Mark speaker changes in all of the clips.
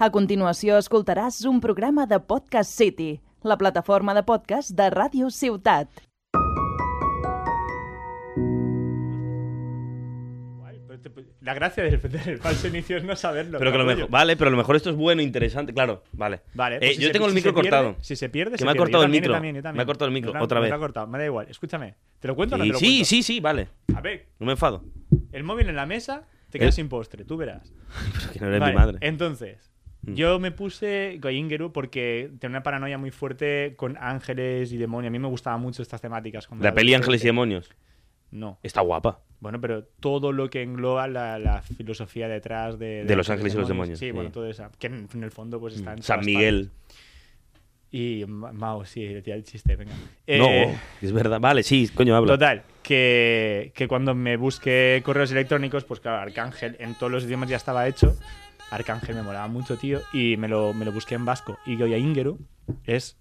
Speaker 1: A continuació escoltaràs un programa de Podcast City, la plataforma de podcast de Ràdio Ciutat.
Speaker 2: Guay, pero te- pues, La gracia del, del falso inicio es no saberlo.
Speaker 3: Pero que lo
Speaker 2: capullo.
Speaker 3: mejor, vale, pero a lo mejor esto es bueno, interesante, claro, vale.
Speaker 2: Vale,
Speaker 3: Eh,
Speaker 2: pues si
Speaker 3: yo
Speaker 2: se-
Speaker 3: tengo el
Speaker 2: si
Speaker 3: micro
Speaker 2: se pierde-
Speaker 3: cortado.
Speaker 2: si se pierde,
Speaker 3: Que
Speaker 2: se
Speaker 3: me ha
Speaker 2: pierde.
Speaker 3: cortado
Speaker 2: Yo
Speaker 3: el
Speaker 2: también,
Speaker 3: micro.
Speaker 2: yo también, yo también.
Speaker 3: Me ha cortado el micro,
Speaker 2: Yo tam-
Speaker 3: otra
Speaker 2: me
Speaker 3: vez.
Speaker 2: lo ha cortado, me da igual. Escúchame, ¿te lo cuento o no
Speaker 3: Y
Speaker 2: te lo
Speaker 3: sí,
Speaker 2: cuento?
Speaker 3: sí, sí, vale.
Speaker 2: A ver,
Speaker 3: No me enfado.
Speaker 2: el móvil en la mesa, te quedas sin postre, tú verás.
Speaker 3: Pero que no eres
Speaker 2: Vale,
Speaker 3: mi madre.
Speaker 2: Entonces,
Speaker 3: Mm.
Speaker 2: yo me puse Goyingeru porque tenía una paranoia muy fuerte con ángeles y demonios. A mí me gustaban mucho estas temáticas. cuando
Speaker 3: la
Speaker 2: era
Speaker 3: peli Ángeles y
Speaker 2: adolescente.
Speaker 3: Demonios.
Speaker 2: No.
Speaker 3: Está guapa.
Speaker 2: Bueno, pero todo lo que engloba la, la filosofía detrás de...
Speaker 3: De los ángeles y los demonios,
Speaker 2: Sí,
Speaker 3: sí. Mm.
Speaker 2: bueno, todo eso. Que en, en el fondo pues está en
Speaker 3: San
Speaker 2: todas
Speaker 3: Miguel.
Speaker 2: partes. Y Ma- Mao, sí, le tira el chiste, venga. Eh,
Speaker 3: No, es verdad. Vale, sí, coño, habla.
Speaker 2: Total, que, que cuando me busqué correos electrónicos, pues claro, Arcángel en todos los idiomas ya estaba hecho. Arcángel me molaba mucho, tío, y me lo, me lo busqué en vasco. Y Goya Ingeru es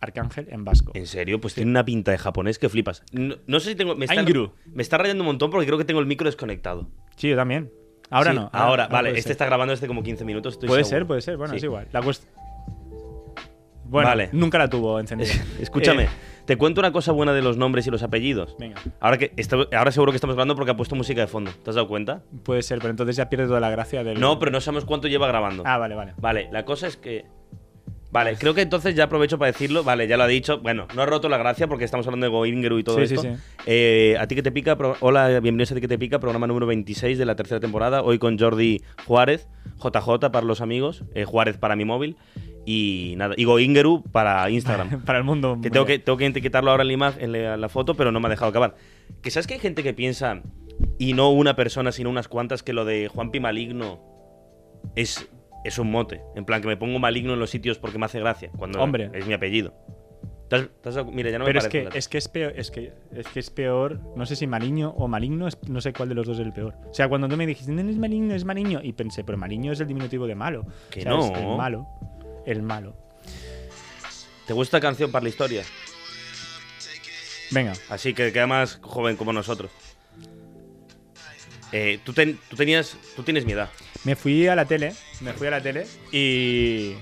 Speaker 2: Arcángel en vasco.
Speaker 3: En serio, pues tiene una pinta de japonés que flipas. No, no sé si tengo. Me está,
Speaker 2: Angru.
Speaker 3: me está rayando un montón porque creo que tengo el micro desconectado.
Speaker 2: Sí, yo también. Ahora
Speaker 3: Sí,
Speaker 2: no.
Speaker 3: Ahora,
Speaker 2: no
Speaker 3: vale.
Speaker 2: puede
Speaker 3: Este
Speaker 2: ser.
Speaker 3: está grabando desde como 15 minutos. estoy
Speaker 2: Puede
Speaker 3: seguro.
Speaker 2: ser, puede ser. Bueno,
Speaker 3: Sí.
Speaker 2: es igual. La cuest- Bueno,
Speaker 3: Vale.
Speaker 2: nunca la tuvo encendida.
Speaker 3: Escúchame,
Speaker 2: Eh,
Speaker 3: te cuento una cosa buena de los nombres y los apellidos.
Speaker 2: venga.
Speaker 3: Ahora, que esta- ahora seguro que estamos hablando porque ha puesto música de fondo. ¿Te has dado cuenta?
Speaker 2: Puede ser, pero entonces ya pierde toda la gracia del.
Speaker 3: No, pero no sabemos cuánto lleva grabando.
Speaker 2: Ah, vale, vale.
Speaker 3: Vale, la cosa es que. Vale, creo que entonces ya aprovecho para decirlo. Vale, ya lo ha dicho. Bueno, no ha roto la gracia porque estamos hablando de Goingeru y todo
Speaker 2: Sí, sí,
Speaker 3: esto.
Speaker 2: sí.
Speaker 3: Eh, a ti que te pica. pro- Hola, bienvenidos a ti que te pica, programa número 26 de la tercera temporada. Hoy con Jordi Juárez, JJ para los amigos, eh, Juárez para mi móvil y nada. Y Goingeru para Instagram.
Speaker 2: Para el mundo.
Speaker 3: Que tengo, que tengo que etiquetarlo ahora en la, imagen, en la- la foto, pero no me ha dejado acabar. Que sabes que hay gente que piensa, y no una persona, sino unas cuantas, que lo de Juanpi maligno es, es un mote. En plan, que me pongo maligno en los sitios porque me hace gracia. Cuando
Speaker 2: Hombre.
Speaker 3: Es mi apellido. ¿Te has- te has dado- mira, ya no me
Speaker 2: pero es
Speaker 3: parece
Speaker 2: que,
Speaker 3: gracia.
Speaker 2: es que es peor, es que, es que es peor, no sé si maligno o maligno, es- no sé cuál de los dos es el peor. O sea, cuando tú me dijiste, no es maligno, es maligno, y pensé, pero maligno es el diminutivo de malo.
Speaker 3: Que
Speaker 2: O sea, es
Speaker 3: no.
Speaker 2: El malo. El malo.
Speaker 3: ¿Te gusta esta canción para la historia?
Speaker 2: Venga,
Speaker 3: Así que queda más joven como nosotros. Eh, tú, ten- tú tenías, tú tienes mi edad.
Speaker 2: me fui a la tele, me fui a la tele y.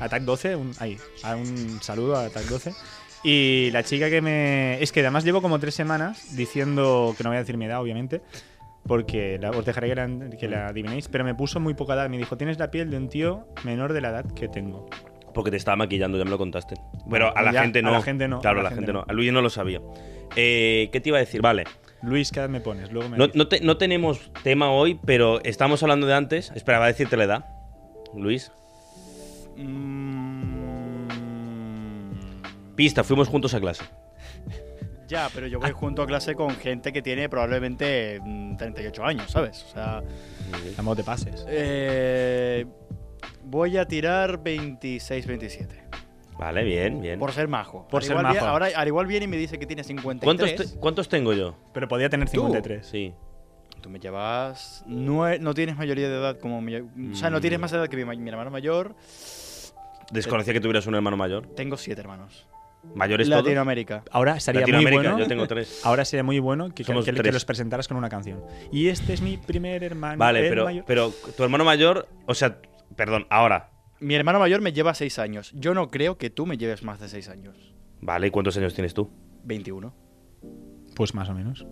Speaker 2: Attack 12, un, ahí, a un saludo a Attack 12. Y la chica que me. Es que además llevo como tres semanas diciendo, que no voy a decir mi edad, obviamente, porque la- os dejaré que la, que la adivinéis, pero me puso muy poca edad. Me dijo, tienes la piel de un tío menor de la edad que tengo.
Speaker 3: Porque te estaba maquillando, ya me lo contaste. Pero a la
Speaker 2: Ya,
Speaker 3: gente no.
Speaker 2: a la gente no,
Speaker 3: Claro, a la, gente, no. A Luis no lo sabía. Eh, ¿Qué te iba a decir? Vale.
Speaker 2: Luis, ¿qué edad me pones? Luego me
Speaker 3: No,
Speaker 2: dices.
Speaker 3: no te- no tenemos tema hoy, pero estamos hablando de antes. Espera, va a decirte la edad. Luis.
Speaker 4: Mm,
Speaker 3: Pista, fuimos juntos a clase.
Speaker 4: Ya, pero yo voy junto a clase con gente que tiene probablemente mm, 38 años, ¿sabes? O sea,
Speaker 2: Tampoco te pases.
Speaker 4: eh, voy a tirar 26, 27.
Speaker 3: Vale, bien, bien.
Speaker 4: Por ser majo.
Speaker 2: Por
Speaker 4: Al
Speaker 2: ser
Speaker 4: igual
Speaker 2: majo.
Speaker 4: vi- ahora, al igual viene y me dice que tiene 53.
Speaker 3: ¿Cuántos, te- cuántos tengo yo?
Speaker 2: Pero podía tener 53.
Speaker 3: Sí.
Speaker 4: Tú me llevas. No, e- no tienes mayoría de edad como mi. O sea, no tienes más edad que mi, ma- mi hermano mayor.
Speaker 3: Desconocía que tuvieras un hermano mayor.
Speaker 4: Tengo siete hermanos.
Speaker 3: ¿Mayores todos?
Speaker 4: Latinoamérica.
Speaker 2: Ahora estaría muy
Speaker 3: Latinoamérica,
Speaker 2: bueno.
Speaker 3: yo tengo tres.
Speaker 2: Ahora sería muy bueno que, que-
Speaker 3: Somos
Speaker 2: que- que
Speaker 3: tres.
Speaker 2: los presentaras con una canción. Y este es mi primer hermano.
Speaker 3: Vale,
Speaker 2: el
Speaker 3: pero,
Speaker 2: mayor-
Speaker 3: pero tu hermano mayor, o sea, perdón, ahora.
Speaker 4: Mi hermano mayor me lleva seis años. Yo no creo que tú me lleves más de seis años.
Speaker 3: Vale, ¿y cuántos años tienes tú?
Speaker 4: 21.
Speaker 2: Pues más o menos.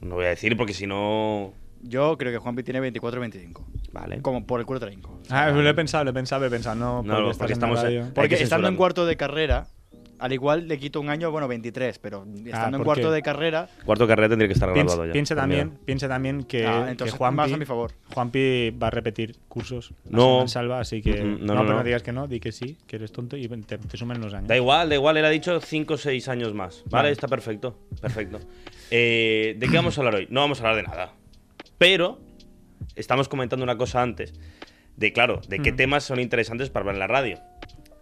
Speaker 3: No voy a decir porque si no.
Speaker 4: Yo creo que Juanpi tiene 24 25.
Speaker 3: Vale.
Speaker 4: Como por el culo trinco.
Speaker 2: Ah, lo he pensado, lo he pensado, lo he pensado. No,
Speaker 3: No,
Speaker 2: porque
Speaker 3: porque
Speaker 2: estás en
Speaker 3: estamos-
Speaker 2: la radio.
Speaker 3: Hay
Speaker 4: Porque
Speaker 3: que
Speaker 4: estando en
Speaker 3: censurarlo.
Speaker 4: cuarto de carrera, al igual le quito un año, bueno, 23, pero estando
Speaker 2: Ah, ¿por
Speaker 4: en cuarto
Speaker 2: qué?
Speaker 4: de carrera,
Speaker 3: Cuarto de carrera tendría que estar
Speaker 2: Piensa,
Speaker 3: graduado ya.
Speaker 2: piensa
Speaker 3: Mira.
Speaker 2: también, piensa también que,
Speaker 4: ah,
Speaker 2: que
Speaker 4: entonces
Speaker 2: Juanpi,
Speaker 4: más a mi favor.
Speaker 2: Juanpi va a repetir cursos. a
Speaker 3: No.
Speaker 2: Semana Salva, así que.
Speaker 3: Mm, mm,
Speaker 2: no,
Speaker 3: no, no,
Speaker 2: pero no.
Speaker 3: no.
Speaker 2: digas que no, di que sí, que eres tonto y te, te sumen los años.
Speaker 3: Da igual, da igual, él ha dicho 5 o 6 años más. Vale,
Speaker 2: Vale.
Speaker 3: está perfecto, perfecto. Eh, ¿De qué vamos a hablar hoy? No vamos a hablar de nada. Pero estamos comentando una cosa antes. De claro, de qué temas son interesantes para hablar en la radio.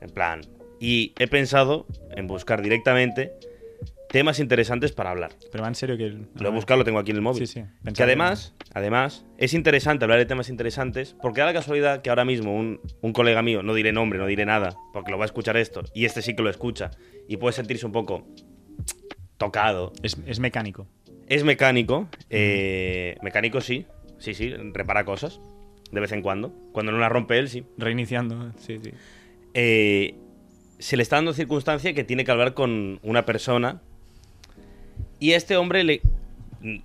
Speaker 3: En plan. Y he pensado en buscar directamente temas interesantes para hablar.
Speaker 2: Pero va en serio que. el-
Speaker 3: Lo he buscado, lo tengo aquí en el móvil.
Speaker 2: Sí, sí,
Speaker 3: Que
Speaker 2: pensaba que
Speaker 3: además, además, es interesante hablar de temas interesantes, porque da la casualidad que ahora mismo un, un colega mío, no diré nombre, no diré nada, porque lo va a escuchar esto, y este sí que lo escucha, y puede sentirse un poco tocado.
Speaker 2: Es, es mecánico.
Speaker 3: Es mecánico, eh, mecánico sí, sí, sí, repara cosas, de vez en cuando. Cuando no la rompe él, sí.
Speaker 2: Reiniciando, sí, sí.
Speaker 3: Eh, se le está dando circunstancia que tiene que hablar con una persona. Y este hombre le.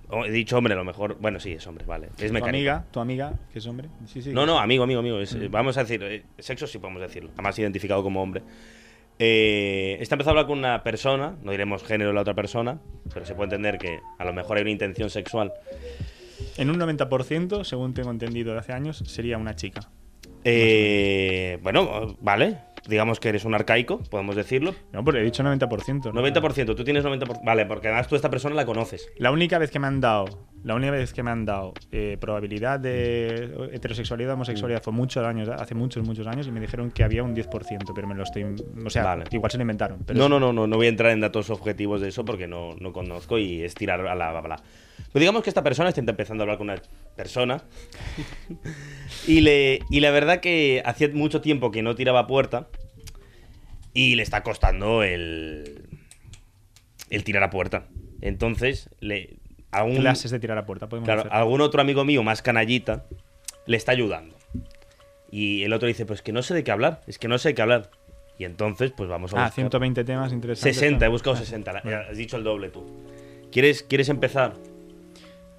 Speaker 3: o He dicho hombre, a lo mejor. Bueno, sí, es hombre, vale. Es
Speaker 2: Tu
Speaker 3: mecánico.
Speaker 2: amiga, Mm. tu amiga, que es hombre. Sí, sí.
Speaker 3: No, no, amigo, amigo, amigo. Es- Vamos a decir, eh, sexo sí podemos decirlo. Además, identificado como hombre. Eh, está empezando a hablar con una persona, no diremos género de la otra persona, pero se puede entender que a lo mejor hay una intención sexual.
Speaker 2: En un 90%, según tengo entendido de hace años, sería una chica.
Speaker 3: Eh, bueno, vale. Digamos que eres un arcaico, podemos decirlo.
Speaker 2: No, porque he dicho 90%. ¿no?
Speaker 3: 90%, tú tienes 90%. Vale, porque además tú a esta persona la conoces.
Speaker 2: La única vez que me han dado, la única vez que me han dado eh, probabilidad de heterosexualidad homosexualidad fue muchos años, hace muchos, muchos años, y me dijeron que había un 10%, pero me lo estoy. O sea,
Speaker 3: Vale.
Speaker 2: igual se lo inventaron. Pero
Speaker 3: No, no, no, no, no voy a entrar en datos objetivos de eso porque no, no conozco y es tirar a la bla. Pero digamos que esta persona está empezando a hablar con una persona y, le, y la verdad que hacía mucho tiempo que no tiraba a puerta y le está costando el, el tirar a puerta. Entonces, le, a un,
Speaker 2: Clases de tirar a puerta, podemos
Speaker 3: Claro,
Speaker 2: hacer. Ah,
Speaker 3: algún otro amigo mío más canallita le está ayudando. Y el otro dice, pues que no sé de qué hablar, es que no sé de qué hablar. Y entonces, pues vamos a
Speaker 2: Ah,
Speaker 3: buscar.
Speaker 2: 120 temas interesantes.
Speaker 3: 60, he
Speaker 2: claro.
Speaker 3: buscado 60. la- Has dicho el doble tú. ¿Quieres, quieres empezar?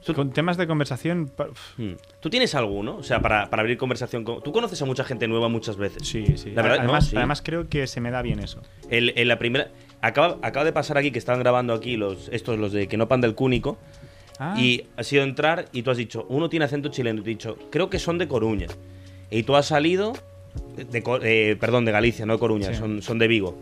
Speaker 3: tú-
Speaker 2: Con temas de conversación. pa- uf,
Speaker 3: Hmm. ¿Tú tienes alguno? O sea, para, para abrir conversación con... Tú conoces a mucha gente nueva muchas veces.
Speaker 2: Sí, sí.
Speaker 3: La verdad, no,
Speaker 2: además,
Speaker 3: sí.
Speaker 2: además creo que se me da bien eso.
Speaker 3: El- en la primera... Acaba, acaba de pasar aquí que están grabando aquí los estos, los de que no panda el cúnico.
Speaker 2: Ah,
Speaker 3: Y ha sido entrar y tú has dicho, uno tiene acento chileno. Y te he dicho, creo que son de Coruña. Y tú has salido. De, Co- eh, perdón, de Galicia, no de Coruña,
Speaker 2: Sí.
Speaker 3: son, son de Vigo.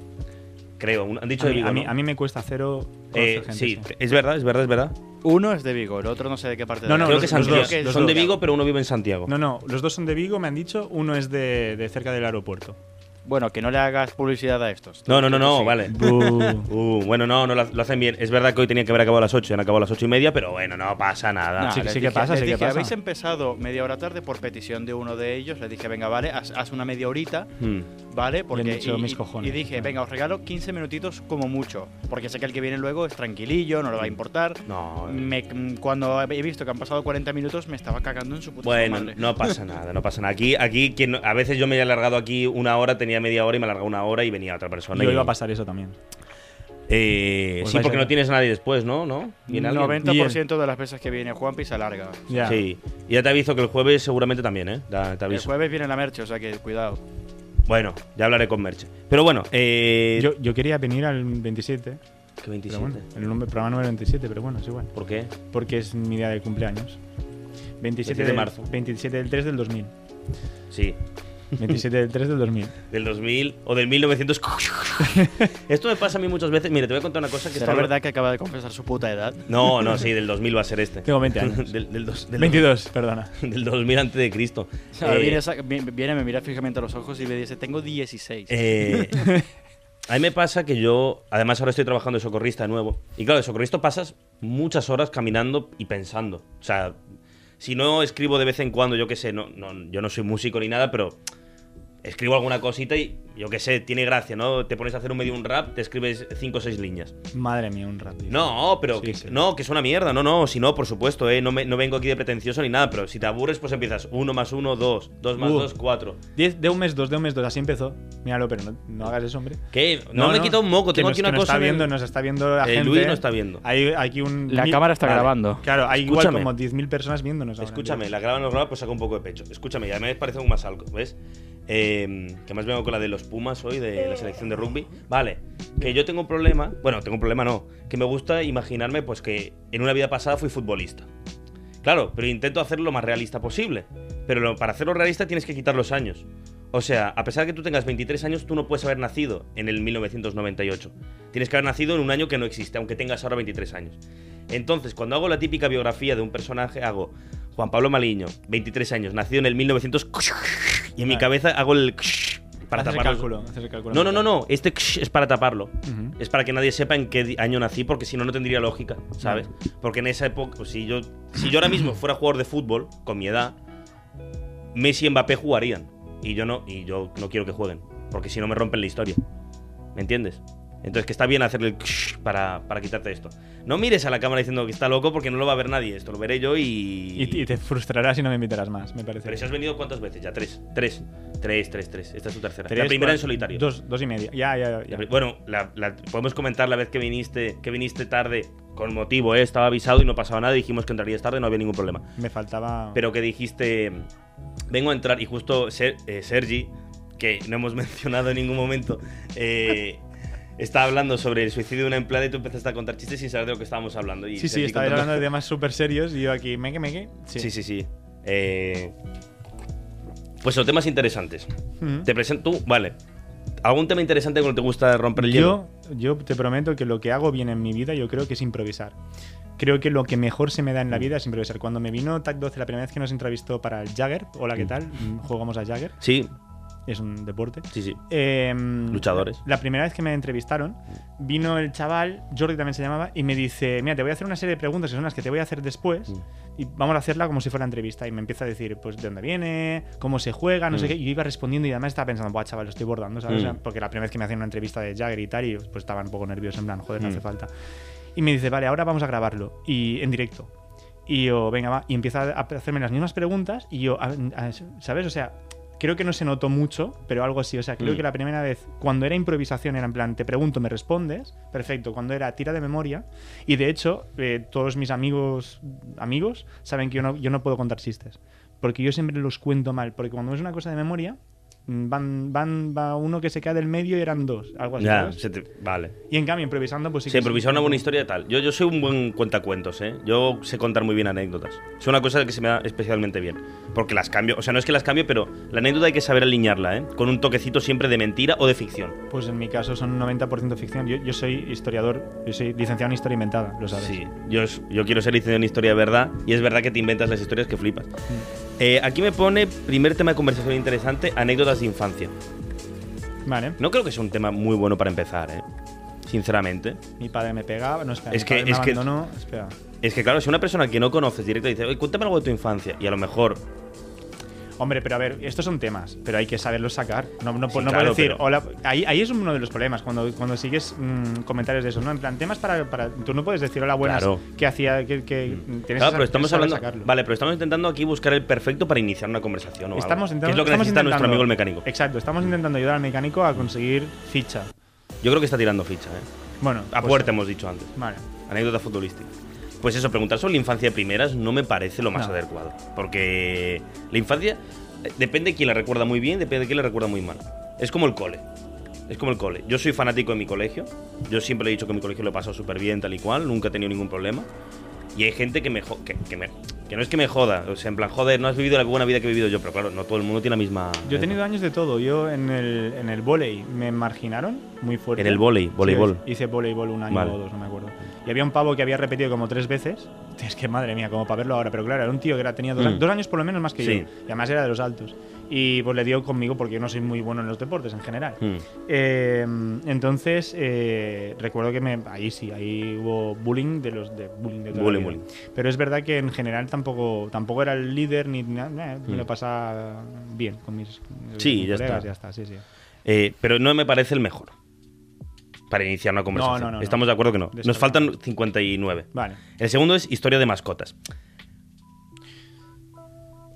Speaker 3: Creo, un- han dicho
Speaker 2: a,
Speaker 3: de
Speaker 2: mí,
Speaker 3: Vigo.
Speaker 2: a mí-
Speaker 3: ¿no?
Speaker 2: a mí me cuesta cero.
Speaker 3: Eh,
Speaker 2: conocer gente,
Speaker 3: sí, es verdad, es verdad, es verdad.
Speaker 4: Uno es de Vigo, el otro no sé de qué parte
Speaker 2: No,
Speaker 4: de
Speaker 2: no,
Speaker 3: creo
Speaker 2: los-
Speaker 3: que
Speaker 2: los
Speaker 3: Santiago.
Speaker 2: dos, los
Speaker 3: son de
Speaker 2: dos.
Speaker 3: Vigo, pero uno vive en Santiago.
Speaker 2: No, no, los dos son de Vigo, me han dicho. Uno es de, de cerca del aeropuerto.
Speaker 4: Bueno, que no le hagas publicidad a estos.
Speaker 3: No, no, no, no, vale.
Speaker 2: Bu.
Speaker 3: Uh, bueno, no, no lo, lo hacen bien. Es verdad que hoy tenían que haber acabado a las 8, han acabado a las 8 y media, pero bueno, no pasa nada.
Speaker 4: Nah,
Speaker 2: sí,
Speaker 4: les
Speaker 2: sí que
Speaker 4: dije-
Speaker 2: pasa,
Speaker 4: les
Speaker 2: sí que
Speaker 4: dije,
Speaker 2: pasa.
Speaker 4: Habéis empezado media hora tarde por petición de uno de ellos. Le dije, venga, vale, haz, haz una media horita,
Speaker 3: Hmm.
Speaker 4: ¿vale? Porque,
Speaker 2: dicho, mis cojones.
Speaker 4: y dije,
Speaker 2: Claro.
Speaker 4: venga, os regalo 15 minutitos como mucho. Porque sé que el que viene luego es tranquilillo, no le va a importar.
Speaker 3: No.
Speaker 4: Me- mm, cuando he visto que han pasado 40 minutos, me estaba cagando en su puta
Speaker 3: Bueno,
Speaker 4: madre.
Speaker 3: no pasa nada, no pasa nada. Aquí, aquí quien, no- a veces yo me he alargado aquí una hora, tenía media hora y me alargaba una hora y venía otra persona.
Speaker 2: Yo
Speaker 3: y-
Speaker 2: iba a pasar eso también.
Speaker 3: Eh,
Speaker 2: Pues
Speaker 3: sí,
Speaker 2: vais
Speaker 3: porque
Speaker 2: a-
Speaker 3: no tienes a nadie después, ¿no? ¿No? ¿Viene alguien?
Speaker 4: 90% de las veces que viene Juanpi se alarga.
Speaker 2: Ya.
Speaker 3: Sí. Y ya te aviso que el jueves seguramente también, ¿eh? Ya te
Speaker 4: El
Speaker 3: aviso.
Speaker 4: jueves viene la merche, o sea que cuidado.
Speaker 3: Bueno, ya hablaré con Merche. Pero bueno, eh,
Speaker 2: Yo, yo quería venir al 27,
Speaker 3: ¿Qué
Speaker 2: pero
Speaker 3: 27?
Speaker 2: bueno, el nombre- programa número 27, pero bueno, es igual.
Speaker 3: ¿Por qué?
Speaker 2: Porque es mi día de cumpleaños. 27
Speaker 3: de
Speaker 2: del-
Speaker 3: marzo.
Speaker 2: 27 del 3 del 2000.
Speaker 3: Sí.
Speaker 2: 27 del 3 del 2000.
Speaker 3: Del 2000 o del 1900. Esto me pasa a mí muchas veces. Mire, te voy a contar una cosa que
Speaker 4: ¿Será
Speaker 3: esto-
Speaker 4: verdad que acaba de confesar su puta edad?
Speaker 3: No, no, sí, del 2000 va a ser este.
Speaker 2: Tengo 20 años.
Speaker 3: Del, del dos- del-
Speaker 2: 22, perdona.
Speaker 3: del 2000 antes de Cristo.
Speaker 4: Ahora
Speaker 3: Eh,
Speaker 4: viene, esa- vi- viene, me mira fijamente a los ojos y me dice, tengo 16.
Speaker 3: eh, a mí me pasa que yo, además ahora estoy trabajando de socorrista de nuevo. Y claro, de socorrista pasas muchas horas caminando y pensando. O sea, si no escribo de vez en cuando, yo qué sé, no, no, yo no soy músico ni nada, pero escribo alguna cosita y yo qué sé, tiene gracia, ¿no? Te pones a hacer un medio un rap, te escribes cinco o seis líneas.
Speaker 2: Madre mía, un ratito.
Speaker 3: No, pero
Speaker 2: Sí,
Speaker 3: que-
Speaker 2: sí.
Speaker 3: no, que es una mierda. No, no, si no, por supuesto, eh, no, me- no vengo aquí de pretencioso ni nada, pero si te aburres, pues empiezas uno más uno, dos, dos más
Speaker 2: Uh.
Speaker 3: dos, cuatro.
Speaker 2: 10 de un mes, dos de un mes, dos. Así empezó. Míralo, pero no, no hagas eso, hombre.
Speaker 3: ¿Qué? No, me he quitado un moco,
Speaker 2: que
Speaker 3: tengo
Speaker 2: nos-
Speaker 3: aquí una
Speaker 2: que nos
Speaker 3: cosa.
Speaker 2: Está
Speaker 3: en el-
Speaker 2: viendo, Nos está viendo la
Speaker 3: Eh,
Speaker 2: gente.
Speaker 3: Luis no está viendo.
Speaker 2: Hay aquí un.
Speaker 4: La
Speaker 2: mil-
Speaker 4: cámara está
Speaker 2: Vale.
Speaker 4: grabando.
Speaker 2: Claro, hay igual
Speaker 3: Escúchame.
Speaker 2: como 10.000 personas viéndonos. ahora en
Speaker 3: Escúchame,
Speaker 2: directo.
Speaker 3: la graba no graba, pues saca un poco de pecho. Escúchame, ya me parece aún más algo, ¿ves? Eh, que más vengo con la de los Pumas hoy, de la selección de rugby. Vale, que yo tengo un problema, bueno, tengo un problema no, que me gusta imaginarme pues que en una vida pasada fui futbolista. Claro, pero intento hacerlo lo más realista posible. Pero lo- para hacerlo realista tienes que quitar los años. O sea, a pesar de que tú tengas 23 años, tú no puedes haber nacido en el 1998. Tienes que haber nacido en un año que no existe, aunque tengas ahora 23 años. Entonces, cuando hago la típica biografía de un personaje, hago Juan Pablo Maliño, 23 años, nacido en el 1900... Y en mi
Speaker 2: Vale.
Speaker 3: cabeza hago el... Para
Speaker 2: Haces el
Speaker 3: tapar los-
Speaker 2: cálculo. haces el cálculo.
Speaker 3: No, no, no, no. Este es para taparlo.
Speaker 2: Ujú.
Speaker 3: Es para que nadie sepa en qué di- año nací, porque si no, no tendría lógica, ¿sabes?
Speaker 2: Mm.
Speaker 3: Porque en esa época, pues, si yo, si yo ahora mismo fuera jugador de fútbol, con mi edad, Messi y Mbappé jugarían. Y yo no, y yo no quiero que jueguen. Porque si no me rompen la historia. ¿Me entiendes? Entonces, que está bien hacerle el para, para quitarte esto. No mires a la cámara diciendo que está loco porque no lo va a ver nadie. Esto lo veré yo y.
Speaker 2: Y, y te frustrarás y no me invitarás más, me parece.
Speaker 3: Pero si has venido cuántas veces ya, tres. Tres. Tres, tres, tres. Esta es tu tercera.
Speaker 2: Tres,
Speaker 3: la primera en
Speaker 2: cuatro,
Speaker 3: solitario.
Speaker 2: Dos, dos y media. Ya, ya, ya.
Speaker 3: La pri- Bueno, la- la- podemos comentar la vez que viniste, que viniste tarde con motivo, ¿eh? estaba avisado y no pasaba nada. Dijimos que entrarías tarde, no había ningún problema.
Speaker 2: Me faltaba.
Speaker 3: Pero que dijiste, vengo a entrar y justo Ser- eh, Sergi, que no hemos mencionado en ningún momento, eh, está hablando sobre el suicidio de una empleada y tú empezaste a contar chistes sin saber de lo que estábamos hablando. Y
Speaker 2: sí, sí,
Speaker 3: Sergi
Speaker 2: estaba
Speaker 3: contando-
Speaker 2: hablando de temas súper serios y yo aquí, meque, meque. Sí,
Speaker 3: Sí, sí, sí. Eh, pues son temas interesantes.
Speaker 2: Ujú.
Speaker 3: Te presento tú, vale. ¿Algún tema interesante con el que te gusta romper el hielo?
Speaker 2: Yo, yo te prometo que lo que hago bien en mi vida, yo creo que es improvisar. Creo que lo que mejor se me da en
Speaker 3: Mm.
Speaker 2: la vida es improvisar. Cuando me vino TAC 12, la primera vez que nos entrevistó para el Jagger, hola, ¿qué tal? Mm, Jugamos a Jagger,
Speaker 3: Sí,
Speaker 2: es un deporte.
Speaker 3: sí, sí.
Speaker 2: Eh,
Speaker 3: Luchadores.
Speaker 2: La primera vez que me entrevistaron, vino el chaval, Jordi también se llamaba, y me dice, mira, te voy a hacer una serie de preguntas que son las que te voy a hacer después,
Speaker 3: Mm.
Speaker 2: y vamos a hacerla como si fuera entrevista. Y me empieza a decir, pues, de dónde viene, cómo se juega, no sé
Speaker 3: Mm.
Speaker 2: qué. Y yo iba respondiendo y además estaba pensando, buah, chaval, lo estoy bordando, ¿sabes? O sea,
Speaker 3: Mm.
Speaker 2: porque la primera vez que me hacían una entrevista de Jagger y tal, y pues estaba un poco nervioso, en plan, joder, no
Speaker 3: Mm.
Speaker 2: hace falta. Y me dice, vale, ahora vamos a grabarlo, y en directo. Y yo, venga, va. Y empieza a hacerme las mismas preguntas. Y yo, a- a- ¿sabes? O sea, creo que no se notó mucho, pero algo así. O sea, creo
Speaker 3: Mm.
Speaker 2: que la primera vez, cuando era improvisación, era en plan, te pregunto, me respondes. Perfecto. Cuando era tira de memoria. Y de hecho, eh, todos mis amigos, amigos, saben que yo no, yo no puedo contar chistes. Porque yo siempre los cuento mal. Porque cuando es una cosa de memoria, mm, van, van, va uno que se queda del medio y eran dos. Algo así.
Speaker 3: Ya,
Speaker 2: ¿sabes?
Speaker 3: se te- vale.
Speaker 2: Y en cambio, improvisando, pues sí.
Speaker 3: Se
Speaker 2: que-
Speaker 3: improvisar una buena historia tal. Yo, yo soy un buen cuentacuentos, ¿eh? Yo sé contar muy bien anécdotas. Es una cosa que se me da especialmente bien. Porque las cambio, o sea, no es que las cambie, pero la anécdota hay que saber alinearla, ¿eh? Con un toquecito siempre de mentira o de ficción.
Speaker 2: Pues en mi caso son un 90% ficción. Yo, yo soy historiador, yo soy licenciado en historia inventada, lo sabes.
Speaker 3: Sí, yo, es- yo quiero ser licenciado en historia de verdad y es verdad que te inventas las historias que flipas.
Speaker 2: Mm.
Speaker 3: Eh, aquí me pone primer tema de conversación interesante, anécdotas de infancia.
Speaker 2: Vale.
Speaker 3: No creo que sea un tema muy bueno para empezar, ¿eh? Sinceramente.
Speaker 2: Mi padre me pegaba, no espera.
Speaker 3: Es
Speaker 2: mi
Speaker 3: que-
Speaker 2: padre me
Speaker 3: es que-
Speaker 2: abandonó, espera.
Speaker 3: Es que claro, si una persona que no conoces directo dice, oye, cuéntame algo de tu infancia y a lo mejor
Speaker 2: Hombre, pero a ver, estos son temas, pero hay que saberlos sacar. No, no,
Speaker 3: Sí,
Speaker 2: no
Speaker 3: claro,
Speaker 2: puedo decir,
Speaker 3: pero-
Speaker 2: hola. Ahí, ahí es uno de los problemas, cuando, cuando sigues mm, comentarios de esos, ¿no? En plan, temas para, para- Tú no puedes decir, hola, buenas,
Speaker 3: Claro. Mm.
Speaker 2: que hacía. Que, que- tienes que
Speaker 3: Claro,
Speaker 2: saber-
Speaker 3: pero estamos
Speaker 2: saber
Speaker 3: hablando.
Speaker 2: sacarlo.
Speaker 3: Vale, pero estamos intentando aquí buscar el perfecto para iniciar una conversación. O
Speaker 2: Estamos
Speaker 3: algo,
Speaker 2: intentando,
Speaker 3: que es lo que
Speaker 2: estamos
Speaker 3: necesita nuestro
Speaker 2: intentando-
Speaker 3: amigo el mecánico.
Speaker 2: Exacto, estamos intentando ayudar al mecánico a conseguir ficha.
Speaker 3: Yo creo que está tirando ficha, ¿eh?
Speaker 2: Bueno,
Speaker 3: A
Speaker 2: pues-
Speaker 3: puerta hemos dicho antes.
Speaker 2: Vale.
Speaker 3: Anécdota futbolística. Pues eso, preguntar sobre la infancia de primeras no me parece lo más
Speaker 2: No.
Speaker 3: adecuado. Porque la infancia eh, depende de quién la recuerda muy bien, depende de quién la recuerda muy mal. Es como el cole. Es como el cole. Yo soy fanático de mi colegio. Yo siempre he dicho que mi colegio lo he pasado súper bien, tal y cual. Nunca he tenido ningún problema. Y hay gente que me, jo- que, que me- que no es que me joda. O sea, en plan, joder, no has vivido la buena vida que he vivido yo. Pero claro, no todo el mundo tiene la misma.
Speaker 2: Yo he tenido años de todo. Yo en el, en el vóley me marginaron muy fuerte.
Speaker 3: En el vóley,
Speaker 2: Sí,
Speaker 3: voleibol.
Speaker 2: hice voleibol un año
Speaker 3: Vale.
Speaker 2: o dos, no me acuerdo. Y había un pavo que había repetido como tres veces. Es que madre mía, como para verlo ahora. Pero claro, era un tío que era, tenía dos,
Speaker 3: Mm.
Speaker 2: años- dos años por lo menos más que
Speaker 3: Sí.
Speaker 2: yo. Y además era de los altos. Y pues le dio conmigo porque yo no soy muy bueno en los deportes en general.
Speaker 3: Hmm.
Speaker 2: Eh, entonces, eh, recuerdo que me, ahí sí, ahí hubo bullying de los de bullying de toda la
Speaker 3: Bullying,
Speaker 2: vida.
Speaker 3: bullying.
Speaker 2: Pero es verdad que en general tampoco tampoco era el líder ni nada, eh, me lo pasaba bien con mis,
Speaker 3: Mm. Sí,
Speaker 2: mis
Speaker 3: ya
Speaker 2: colegas,
Speaker 3: está.
Speaker 2: ya está, sí, sí.
Speaker 3: Eh, pero no me parece el mejor para iniciar una conversación.
Speaker 2: no, no.
Speaker 3: Estamos de acuerdo que no. Nos
Speaker 2: Descartado.
Speaker 3: faltan 59.
Speaker 2: Vale.
Speaker 3: El segundo es historia de mascotas.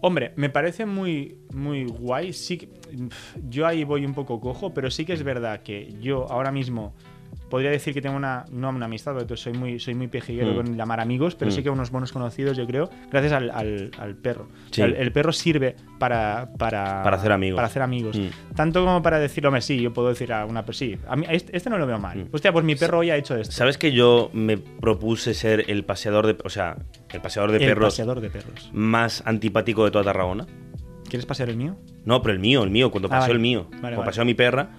Speaker 2: Hombre, me parece muy, muy guay. Sí, que- pf, yo ahí voy un poco cojo, pero sí que es verdad que yo ahora mismo podría decir que tengo una, no una amistad, porque soy muy, soy muy pejiguero
Speaker 3: Mm.
Speaker 2: con llamar amigos, pero
Speaker 3: Mm.
Speaker 2: sí que unos buenos conocidos, yo creo, gracias al, al- al perro.
Speaker 3: Sí.
Speaker 2: El, el perro sirve para, para,
Speaker 3: Para hacer amigos.
Speaker 2: Para hacer amigos.
Speaker 3: Mm.
Speaker 2: Tanto como para decir, hombre, sí, yo puedo decir a una persona, sí, a mí- a este, este no lo veo mal.
Speaker 3: Mm.
Speaker 2: Hostia, pues mi perro hoy ha hecho esto.
Speaker 3: ¿Sabes que yo me propuse ser el paseador de, o sea, el paseador de
Speaker 2: el
Speaker 3: perros
Speaker 2: paseador de perros.
Speaker 3: más antipático de toda Tarragona?
Speaker 2: ¿Quieres pasear el mío?
Speaker 3: No, pero el mío, el mío, cuando
Speaker 2: Ah,
Speaker 3: pasó
Speaker 2: vale.
Speaker 3: el mío,
Speaker 2: Vale,
Speaker 3: cuando
Speaker 2: vale.
Speaker 3: pasó a mi perra,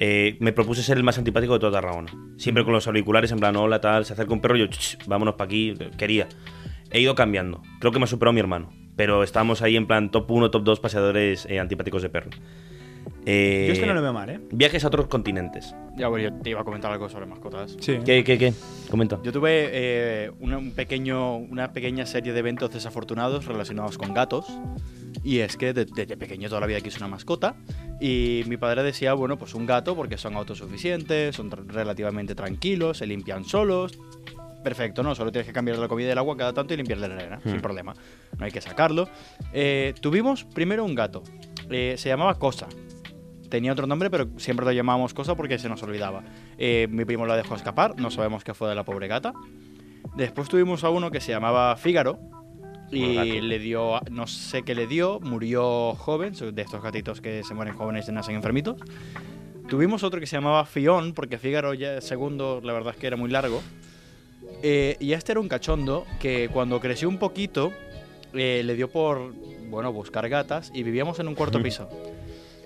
Speaker 3: eh, me propuse ser el más antipático de toda Tarragona. Siempre con los auriculares, en plan, hola, tal, se acerca un perro, yo, "Ch, vámonos para aquí, quería. He ido cambiando, creo que me ha superado mi hermano, pero estábamos ahí en plan top 1, top 2 paseadores eh, antipáticos de perro. Eh,
Speaker 2: Yo este no lo veo mal, ¿eh?
Speaker 3: Viajes a otros continentes.
Speaker 4: Ya, bueno, yo te iba a comentar algo sobre mascotas.
Speaker 2: Sí.
Speaker 3: ¿Qué, qué, qué? Comenta.
Speaker 4: Yo tuve eh, una, un pequeño, una pequeña serie de eventos desafortunados relacionados con gatos. Y es que de- desde pequeño toda la vida quise una mascota. Y mi padre decía, bueno, pues un gato porque son autosuficientes, son tr- relativamente tranquilos, se limpian solos. Perfecto, ¿no? Solo tienes que cambiar la comida y el agua cada tanto y limpiarle la arena, sin problema. No hay que sacarlo. Eh, tuvimos primero un gato. Eh, se llamaba Cosa. Tenía otro nombre, pero siempre lo llamábamos Cosa porque se nos olvidaba. Eh, mi primo la dejó escapar, no sabemos qué fue de la pobre gata. Después tuvimos a uno que se llamaba Fígaro.
Speaker 3: Buen
Speaker 4: Y
Speaker 3: gato.
Speaker 4: le dio, no sé qué le dio, murió joven, son de estos gatitos que se mueren jóvenes y nacen enfermitos. Tuvimos otro que se llamaba Fion, porque Fígaro ya segundo, la verdad es que era muy largo. Eh, y este era un cachondo que cuando creció un poquito eh, le dio por, bueno, buscar gatas y vivíamos en un cuarto piso.